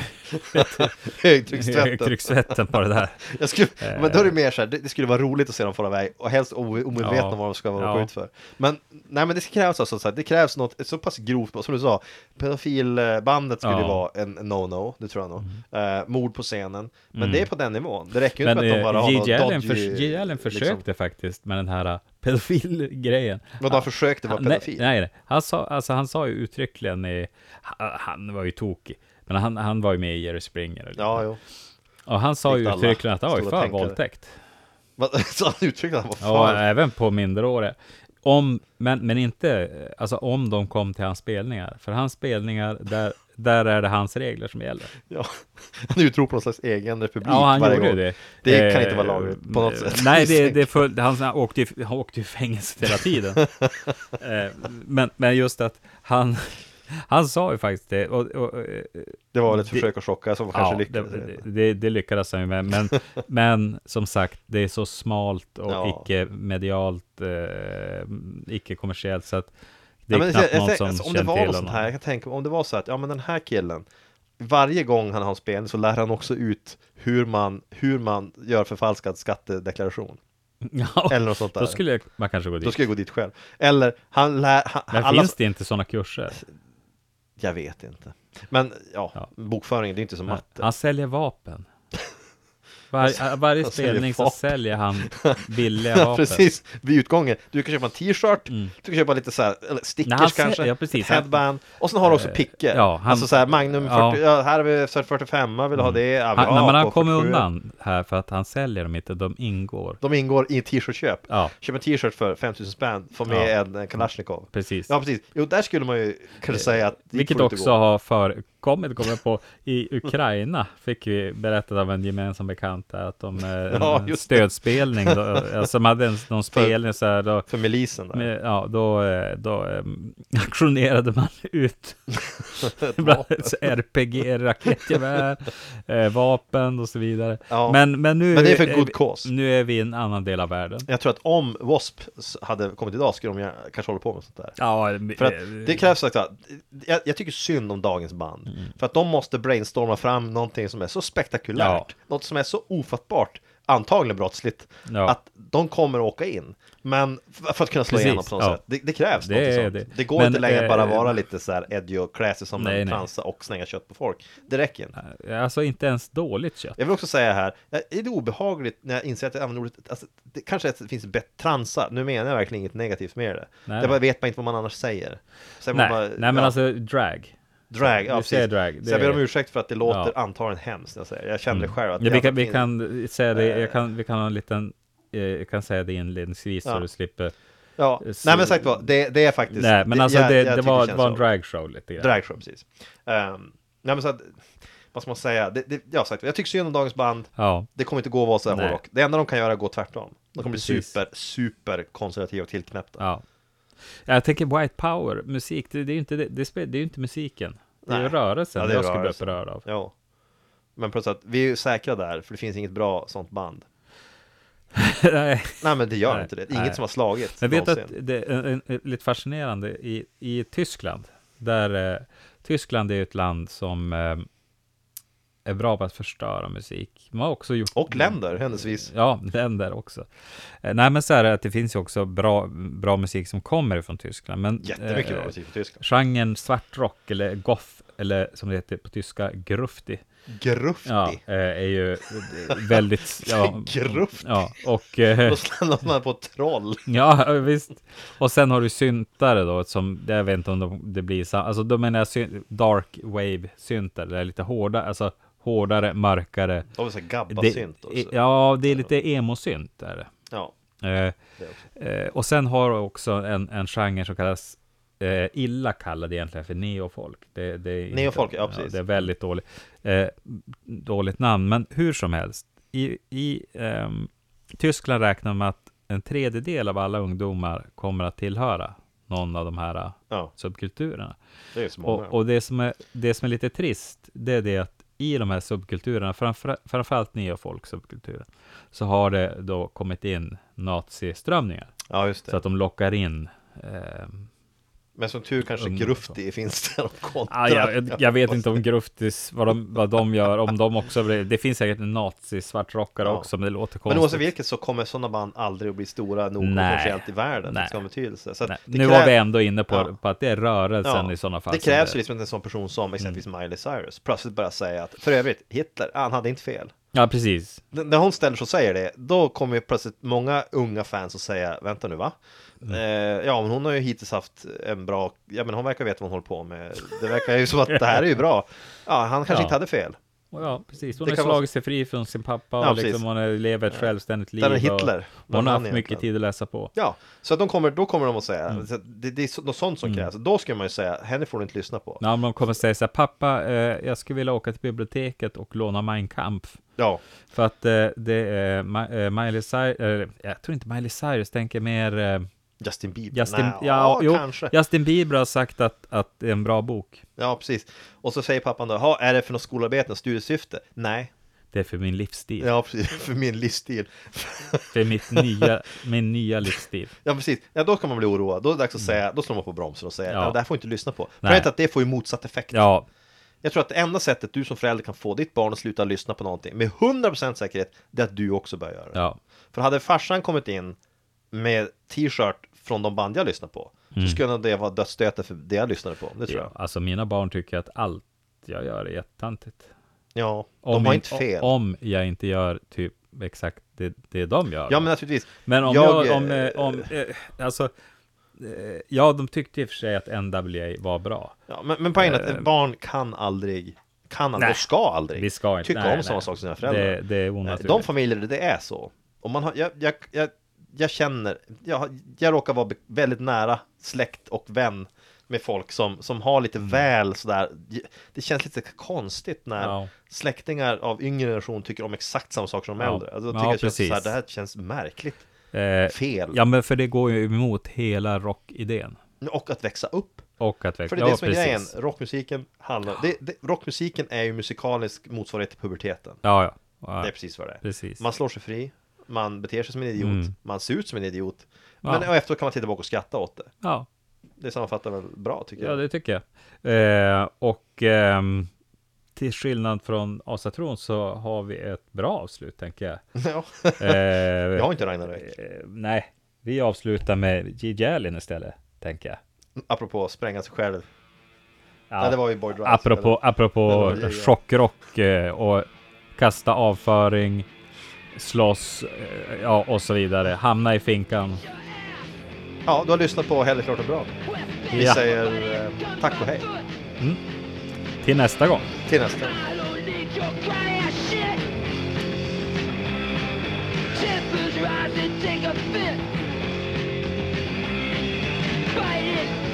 [SPEAKER 5] högtryckstvätten.
[SPEAKER 6] högtryckstvätten på det där.
[SPEAKER 5] Jag skulle,
[SPEAKER 6] Eh.
[SPEAKER 5] men då är det mer så här, det, det skulle vara roligt att se dem fara iväg och helst o- omedvetna
[SPEAKER 6] Ja.
[SPEAKER 5] om vad de ska vara
[SPEAKER 6] Ja.
[SPEAKER 5] ut för. Men, nej men det krävs alltså, så här, det krävs något ett så pass grovt, brott, som du sa, pedofilbandet skulle
[SPEAKER 6] Ja. Mm.
[SPEAKER 5] vara en en no-no, det tror jag nog. Eh, mord på scenen, men det är på den nivån. Det räcker ju inte
[SPEAKER 6] Men
[SPEAKER 5] med att de bara
[SPEAKER 6] eh,
[SPEAKER 5] har
[SPEAKER 6] J.J. Allen
[SPEAKER 5] något
[SPEAKER 6] förs- J.J. Allen
[SPEAKER 5] liksom.
[SPEAKER 6] försökte faktiskt med den här eh, pedofilgrejen.
[SPEAKER 5] Vadå, han försökte vara
[SPEAKER 6] Han- nej,
[SPEAKER 5] pedofil?
[SPEAKER 6] Nej, nej. Han, sa, alltså, han sa ju uttryckligen i, han, han var ju tokig. Men han, han var ju med i Jerry Springer. Och,
[SPEAKER 5] Ja, jo.
[SPEAKER 6] och han sa ju
[SPEAKER 5] likt alla
[SPEAKER 6] uttryckligen att han var ju
[SPEAKER 5] stora
[SPEAKER 6] för
[SPEAKER 5] tänkare.
[SPEAKER 6] våldtäkt.
[SPEAKER 5] Vad- Så han uttryckte att han var
[SPEAKER 6] Ja,
[SPEAKER 5] för...
[SPEAKER 6] även på minderåriga. Om, men, men inte, eh, alltså om de kom till hans spelningar. För hans spelningar, där, där är det hans regler som gäller.
[SPEAKER 5] Ja. Han utropar någon slags egen republik
[SPEAKER 6] Ja, han
[SPEAKER 5] varje
[SPEAKER 6] gjorde ju
[SPEAKER 5] gång.
[SPEAKER 6] det.
[SPEAKER 5] Det kan
[SPEAKER 6] Eh,
[SPEAKER 5] inte vara lagligt på något sätt.
[SPEAKER 6] Nej, det, det är full, han, han, åkte ju, han åkte ju i fängelse hela tiden. Eh, men, men just att han, han sa ju faktiskt det. Och, och, eh,
[SPEAKER 5] Det var väl ett
[SPEAKER 6] det-
[SPEAKER 5] försök att chocka som kanske
[SPEAKER 6] ja,
[SPEAKER 5] lyckades.
[SPEAKER 6] det, det, det lyckades han ju med. Men, men som sagt, det är så smalt och
[SPEAKER 5] Ja.
[SPEAKER 6] icke-medialt, eh, icke-kommersiellt. Så att det
[SPEAKER 5] Ja,
[SPEAKER 6] är
[SPEAKER 5] men
[SPEAKER 6] knappt
[SPEAKER 5] jag-
[SPEAKER 6] någon
[SPEAKER 5] jag-
[SPEAKER 6] som
[SPEAKER 5] alltså, om det
[SPEAKER 6] känner
[SPEAKER 5] var
[SPEAKER 6] till
[SPEAKER 5] något sånt här,
[SPEAKER 6] honom.
[SPEAKER 5] jag kan tänka mig, om det var så att, ja men den här killen, varje gång han har en spelning så lär han också ut hur man, hur man gör förfalskad skattedeklaration.
[SPEAKER 6] Ja,
[SPEAKER 5] Eller något sånt där.
[SPEAKER 6] Då skulle jag, man kanske gå
[SPEAKER 5] Då
[SPEAKER 6] dit.
[SPEAKER 5] ska jag gå dit själv. Eller, han lär, han,
[SPEAKER 6] Men
[SPEAKER 5] alla,
[SPEAKER 6] finns det inte sådana kurser?
[SPEAKER 5] jag vet inte. Men ja,
[SPEAKER 6] Ja.
[SPEAKER 5] bokföringen, det är inte som matte.
[SPEAKER 6] Han säljer vapen. Var, varje
[SPEAKER 5] han säljer
[SPEAKER 6] spelning så
[SPEAKER 5] vapen.
[SPEAKER 6] säljer han billiga
[SPEAKER 5] Ja,
[SPEAKER 6] vapen.
[SPEAKER 5] precis, vid utgången. Du kan köpa en t-shirt, du kan köpa lite så här, eller stickers
[SPEAKER 6] Mm. Nej, han ser-
[SPEAKER 5] kanske,
[SPEAKER 6] ja, precis. Han-
[SPEAKER 5] headband, och sen har du också
[SPEAKER 6] Eh,
[SPEAKER 5] picke.
[SPEAKER 6] ja, han-
[SPEAKER 5] alltså så här, Magnum 40,
[SPEAKER 6] ja. Mm.
[SPEAKER 5] ja. här har vi 45, vill du ha det? Ja, vi
[SPEAKER 6] Han,
[SPEAKER 5] har
[SPEAKER 6] nej, men han
[SPEAKER 5] AK
[SPEAKER 6] kommer
[SPEAKER 5] 47.
[SPEAKER 6] undan här för att han säljer dem inte, de ingår.
[SPEAKER 5] De ingår i t-shirtköp.
[SPEAKER 6] Ja.
[SPEAKER 5] Köp en t-shirt för 5000 spänn, få med
[SPEAKER 6] Ja.
[SPEAKER 5] en eh, Kalashnikov.
[SPEAKER 6] Precis. Eh,
[SPEAKER 5] Ja, precis. Jo, där skulle man ju kunna säga att det
[SPEAKER 6] Vilket
[SPEAKER 5] får inte
[SPEAKER 6] också
[SPEAKER 5] gå.
[SPEAKER 6] har förekommit, kommer jag på, i Ukraina fick vi berättat av en gemensam bekant där att de, eh, en
[SPEAKER 5] Ja, just det.
[SPEAKER 6] stödspelning, då, alltså de hade en, någon spelning så här, då,
[SPEAKER 5] för milisen där.
[SPEAKER 6] med, ja, då, eh, då eh, aktionerade man ut bland annat RPG, raketgevär, eh, vapen och så vidare.
[SPEAKER 5] Ja.
[SPEAKER 6] Men, men, nu,
[SPEAKER 5] Men det är för
[SPEAKER 6] eh,
[SPEAKER 5] good
[SPEAKER 6] vi-
[SPEAKER 5] cause.
[SPEAKER 6] Nu är vi i en annan del av världen.
[SPEAKER 5] Jag tror att om W.A.S.P. hade kommit idag skulle de gärna- kanske hålla på med sånt där.
[SPEAKER 6] Ja,
[SPEAKER 5] För att det krävs sagt att jag, jag tycker synd om dagens band.
[SPEAKER 6] Mm.
[SPEAKER 5] För att de måste brainstorma fram någonting som är så spektakulärt, något som är så ofattbart, antagligen brottsligt,
[SPEAKER 6] Ja.
[SPEAKER 5] att de kommer att åka in. Men f- för att kunna slå
[SPEAKER 6] Precis,
[SPEAKER 5] igenom på något
[SPEAKER 6] ja.
[SPEAKER 5] sätt, det, det krävs
[SPEAKER 6] Det
[SPEAKER 5] det något
[SPEAKER 6] är
[SPEAKER 5] sånt.
[SPEAKER 6] det.
[SPEAKER 5] Det går
[SPEAKER 6] Men,
[SPEAKER 5] inte längre att bara
[SPEAKER 6] eh,
[SPEAKER 5] vara lite så här edgy och klä sig som
[SPEAKER 6] Nej,
[SPEAKER 5] en
[SPEAKER 6] nej.
[SPEAKER 5] transa och slänga kött på folk. Det räcker inte.
[SPEAKER 6] Alltså inte ens dåligt kött.
[SPEAKER 5] Jag vill också säga här, jag- det är obehagligt när jag inser att jag använder ordet, alltså, det kanske att det finns bättre transa, nu menar jag verkligen inget negativt med det.
[SPEAKER 6] Nej,
[SPEAKER 5] Det
[SPEAKER 6] nej.
[SPEAKER 5] bara vet man inte vad man annars säger. Säger man
[SPEAKER 6] Nej,
[SPEAKER 5] bara,
[SPEAKER 6] nej men
[SPEAKER 5] ja.
[SPEAKER 6] alltså drag.
[SPEAKER 5] Drag, ja
[SPEAKER 6] Vi
[SPEAKER 5] precis.
[SPEAKER 6] säger drag,
[SPEAKER 5] Så jag
[SPEAKER 6] det-
[SPEAKER 5] ber om ursäkt för att det låter
[SPEAKER 6] Ja. Mm.
[SPEAKER 5] antagligen hemskt när jag säger det. Jag känner det själv att
[SPEAKER 6] Ja, vi,
[SPEAKER 5] jävla Eh.
[SPEAKER 6] kan, vi
[SPEAKER 5] fin-
[SPEAKER 6] kan säga det, jag kan, vi kan ha en liten, eh, jag kan säga det inledningsvis så
[SPEAKER 5] Ja.
[SPEAKER 6] du slipper.
[SPEAKER 5] Ja,
[SPEAKER 6] så-
[SPEAKER 5] nej men sagt vad, det, det är faktiskt...
[SPEAKER 6] Nej, men alltså
[SPEAKER 5] jag-
[SPEAKER 6] det,
[SPEAKER 5] jag
[SPEAKER 6] det,
[SPEAKER 5] tycker
[SPEAKER 6] var, det
[SPEAKER 5] känns
[SPEAKER 6] var en
[SPEAKER 5] så.
[SPEAKER 6] dragshow lite grann.
[SPEAKER 5] Dragshow, precis. Ehm, nej men så att, vad ska man säga? Det, det, jag har sagt, jag tycker synd om dagens band.
[SPEAKER 6] Ja,
[SPEAKER 5] Det kommer inte gå att vara så här
[SPEAKER 6] Nej.
[SPEAKER 5] hårdrock. Det enda de kan göra är att gå tvärtom. De kommer bli
[SPEAKER 6] Precis.
[SPEAKER 5] super, super konservativa och tillknäppta.
[SPEAKER 6] ja. Jag tänker White Power, musik, det, det är ju inte, det, det, spel, det är ju inte musiken. Det är ju
[SPEAKER 5] Nej.
[SPEAKER 6] rörelsen
[SPEAKER 5] Ja, det är
[SPEAKER 6] jag skulle bli
[SPEAKER 5] rörelsen.
[SPEAKER 6] upprörd av.
[SPEAKER 5] Ja. Men plus att vi är ju säkra där, för det finns inget bra sånt band.
[SPEAKER 6] Nej.
[SPEAKER 5] Nej men det gör
[SPEAKER 6] Nej.
[SPEAKER 5] inte det.
[SPEAKER 6] Nej.
[SPEAKER 5] Inget som har slagit
[SPEAKER 6] Jag vet att
[SPEAKER 5] någonsin.
[SPEAKER 6] det är en, en, lite fascinerande i, i Tyskland, där eh, Tyskland är ett land som eh, är bra på att förstöra musik. Man har också gjort...
[SPEAKER 5] Och länder, händelsevis.
[SPEAKER 6] Ja, länder också. Eh, nej, men så är det att det finns ju också bra, bra musik som kommer från Tyskland. Men,
[SPEAKER 5] Jättemycket bra
[SPEAKER 6] eh,
[SPEAKER 5] musik på Tyskland.
[SPEAKER 6] Genren svartrock eller goth, eller som det heter på tyska, grufti,
[SPEAKER 5] Grufti.
[SPEAKER 6] ja, eh, är ju eh, väldigt... Ja,
[SPEAKER 5] Grufti.
[SPEAKER 6] ja, och... eh,
[SPEAKER 5] Då slannar man på troll.
[SPEAKER 6] Ja, visst. Och sen har du syntare då, som jag vet inte om de, det blir samma. Alltså, då menar jag syn- dark wave syntare, det är lite hårda, alltså hårdare, mörkare.
[SPEAKER 5] De har så här
[SPEAKER 6] Det-
[SPEAKER 5] gabbasynt också. Ja.
[SPEAKER 6] Ja, det är lite emo-synt är det.
[SPEAKER 5] ja.
[SPEAKER 6] Eh,
[SPEAKER 5] det också.
[SPEAKER 6] eh, och sen har du också en, en genre som kallas eh, illa kallad egentligen för neofolk. Det, det är inte-
[SPEAKER 5] Neofolk, ja, precis.
[SPEAKER 6] det är väldigt dålig, eh, dåligt namn, men hur som helst. I, i ehm, Tyskland räknar man att en tredjedel av alla ungdomar kommer att tillhöra någon av de här eh,
[SPEAKER 5] Ja,
[SPEAKER 6] subkulturerna.
[SPEAKER 5] det är ju så många.
[SPEAKER 6] Och, och det, som är, det som är lite trist, det är det att i de här subkulturerna, framför, framförallt nya folksubkulturen, så har det då kommit in naziströmningar.
[SPEAKER 5] ja, just det.
[SPEAKER 6] Så att de lockar in eh,
[SPEAKER 5] Men som tur kanske
[SPEAKER 6] Ung-
[SPEAKER 5] Grufti finns där och kontrar.
[SPEAKER 6] Ah, Mm, jag, jag- jag vet inte om Gruftis, vad de, vad de gör, om de också blir, Det finns säkert nazi-svartrockare
[SPEAKER 5] Ja.
[SPEAKER 6] också, men det låter konstigt.
[SPEAKER 5] Men oavsett vilket så kommer sådana band aldrig att bli stora nog och
[SPEAKER 6] Nej.
[SPEAKER 5] kommersiellt i världen.
[SPEAKER 6] Nej.
[SPEAKER 5] Det ska ha betydelse. Så att
[SPEAKER 6] Nej,
[SPEAKER 5] det
[SPEAKER 6] nu
[SPEAKER 5] krä-
[SPEAKER 6] var vi ändå inne på,
[SPEAKER 5] Ja.
[SPEAKER 6] på att det är rörelsen
[SPEAKER 5] Ja,
[SPEAKER 6] i sådana fall. Mm.
[SPEAKER 5] Det
[SPEAKER 6] som
[SPEAKER 5] krävs ju liksom inte en sån person som exempelvis Miley Cyrus plötsligt börjar säga att för övrigt, Hitler, han hade inte fel.
[SPEAKER 6] Ja, precis.
[SPEAKER 5] N- När hon ställer sig och säger det, då kommer ju plötsligt många unga fans att säga Vänta nu va?
[SPEAKER 6] Mm.
[SPEAKER 5] Eh, ja men hon har ju hittills haft en bra, ja men hon verkar veta vad hon håller på med Det verkar ju som att det här är ju bra Ja, han kanske
[SPEAKER 6] Ja.
[SPEAKER 5] inte hade fel
[SPEAKER 6] Och Ja, precis. Hon
[SPEAKER 5] Det
[SPEAKER 6] har
[SPEAKER 5] kan vara-
[SPEAKER 6] slagit sig fri från sin pappa
[SPEAKER 5] Ja,
[SPEAKER 6] och liksom
[SPEAKER 5] precis.
[SPEAKER 6] hon har lever ett självständigt liv.
[SPEAKER 5] Där är
[SPEAKER 6] och-
[SPEAKER 5] Hitler.
[SPEAKER 6] Och hon
[SPEAKER 5] Vad
[SPEAKER 6] har
[SPEAKER 5] han
[SPEAKER 6] haft mycket
[SPEAKER 5] egentligen.
[SPEAKER 6] tid att läsa på.
[SPEAKER 5] Ja, så att de kommer, då kommer de att säga
[SPEAKER 6] Mm.
[SPEAKER 5] så att det, det är så- något sånt som krävs Då ska man ju säga, henne får du inte lyssna på
[SPEAKER 6] Ja, men de kommer säga så här, pappa, eh, jag skulle vilja åka till biblioteket och låna Mein Kampf.
[SPEAKER 5] Ja,
[SPEAKER 6] För att eh, det är Ma- eh, Miley Cyrus, eh, jag tror inte Miley Cyrus, tänker mer eh,
[SPEAKER 5] Justin Bieber?
[SPEAKER 6] Justin,
[SPEAKER 5] Nej,
[SPEAKER 6] ja,
[SPEAKER 5] ja,
[SPEAKER 6] jo,
[SPEAKER 5] kanske
[SPEAKER 6] Justin Bieber har sagt att, att det är en bra bok.
[SPEAKER 5] Ja, precis Och så säger pappan då, "Jaha, är det för något skolarbete, något studiesyfte? Nej
[SPEAKER 6] Det är för min livsstil.
[SPEAKER 5] Ja, precis, för min livsstil
[SPEAKER 6] För mitt nya, min nya livsstil.
[SPEAKER 5] Ja precis, ja, då kan man bli oroad, då är det dags att säga, då slår man på bromsen och säger
[SPEAKER 6] Mm. Ja.
[SPEAKER 5] ja. det här får du inte lyssna på.
[SPEAKER 6] Nej.
[SPEAKER 5] Problemet är att det får ju motsatt effekt.
[SPEAKER 6] Ja,
[SPEAKER 5] Jag tror att det enda sättet du som förälder kan få ditt barn att sluta lyssna på någonting med 100% säkerhet, det är att du också börjar göra det.
[SPEAKER 6] ja,
[SPEAKER 5] För hade farsan kommit in med t-shirt från de band jag lyssnar på, så skulle nog det vara dödsstöten för det jag lyssnade på, det tror
[SPEAKER 6] Mm. ja.
[SPEAKER 5] jag.
[SPEAKER 6] Alltså mina barn tycker att allt jag gör är jättetantigt.
[SPEAKER 5] Ja,
[SPEAKER 6] Om
[SPEAKER 5] de har
[SPEAKER 6] jag-
[SPEAKER 5] inte fel.
[SPEAKER 6] Om jag inte gör typ exakt det, det de gör.
[SPEAKER 5] ja men naturligtvis.
[SPEAKER 6] Men om jag,
[SPEAKER 5] eh,
[SPEAKER 6] om, eh, om, eh, alltså, eh, ja, de tyckte i och för sig att NWA var bra.
[SPEAKER 5] Ja, men, men poängen är att ett barn kan aldrig, kan aldrig,
[SPEAKER 6] eh, Nej.
[SPEAKER 5] och ska aldrig,
[SPEAKER 6] Vi ska inte,
[SPEAKER 5] tycka
[SPEAKER 6] nej,
[SPEAKER 5] om samma
[SPEAKER 6] nej.
[SPEAKER 5] sak som sina föräldrar.
[SPEAKER 6] Det, det är onaturligt.
[SPEAKER 5] De familjer där det är så. Om man har, jag, jag, jag, jag känner, jag, har- jag råkar vara be- väldigt nära släkt och vän med folk som, som har lite
[SPEAKER 6] Mm.
[SPEAKER 5] väl sådär, det känns lite konstigt när
[SPEAKER 6] Ja.
[SPEAKER 5] släktingar av yngre generation tycker om exakt samma saker som de
[SPEAKER 6] Ja.
[SPEAKER 5] äldre. Alltså, då
[SPEAKER 6] Ja,
[SPEAKER 5] tycker jag känns
[SPEAKER 6] precis.
[SPEAKER 5] såhär, det här känns märkligt,
[SPEAKER 6] Eh,
[SPEAKER 5] fel.
[SPEAKER 6] Ja, men för det går ju emot hela rockidén.
[SPEAKER 5] Och att växa upp.
[SPEAKER 6] Och att växa.
[SPEAKER 5] För det är det
[SPEAKER 6] ja,
[SPEAKER 5] som är grejen, rockmusiken handlar, det, det, rockmusiken är ju musikalisk motsvarighet till puberteten.
[SPEAKER 6] Ja, ja. ja
[SPEAKER 5] Det är precis vad det är.
[SPEAKER 6] precis.
[SPEAKER 5] Man slår sig fri, man beter sig som en idiot,
[SPEAKER 6] Mm.
[SPEAKER 5] man ser ut som en idiot.
[SPEAKER 6] Ja.
[SPEAKER 5] Men och efteråt kan man titta tillbaka och skratta åt det.
[SPEAKER 6] ja,
[SPEAKER 5] Det sammanfattar väl bra tycker
[SPEAKER 6] ja,
[SPEAKER 5] jag.
[SPEAKER 6] det tycker jag. Eh, och ehm, till skillnad från Asatron så har vi ett bra avslut, tänker jag.
[SPEAKER 5] Ja.
[SPEAKER 6] Eh,
[SPEAKER 5] jag har inte Ragnarök.
[SPEAKER 6] eh, nej, vi avslutar med Gigi Allen istället, tänker jag.
[SPEAKER 5] Apropå att spränga sig själv.
[SPEAKER 6] Ja.
[SPEAKER 5] Nej, det var ju Boyd Rice.
[SPEAKER 6] Apropå,
[SPEAKER 5] Men det
[SPEAKER 6] apropå
[SPEAKER 5] var ju- ja.
[SPEAKER 6] chockrock eh, och kasta avföring, slåss, eh, ja och så vidare. Hamna i finkan.
[SPEAKER 5] Ja, du har lyssnat på Hellre klart och bra. Vi
[SPEAKER 6] Ja,
[SPEAKER 5] säger eh, tack och hej.
[SPEAKER 6] till nästa gång.
[SPEAKER 5] Till nästa gång.
[SPEAKER 8] I don't need your crying shit. Tempers rise and take a fit. Fight it.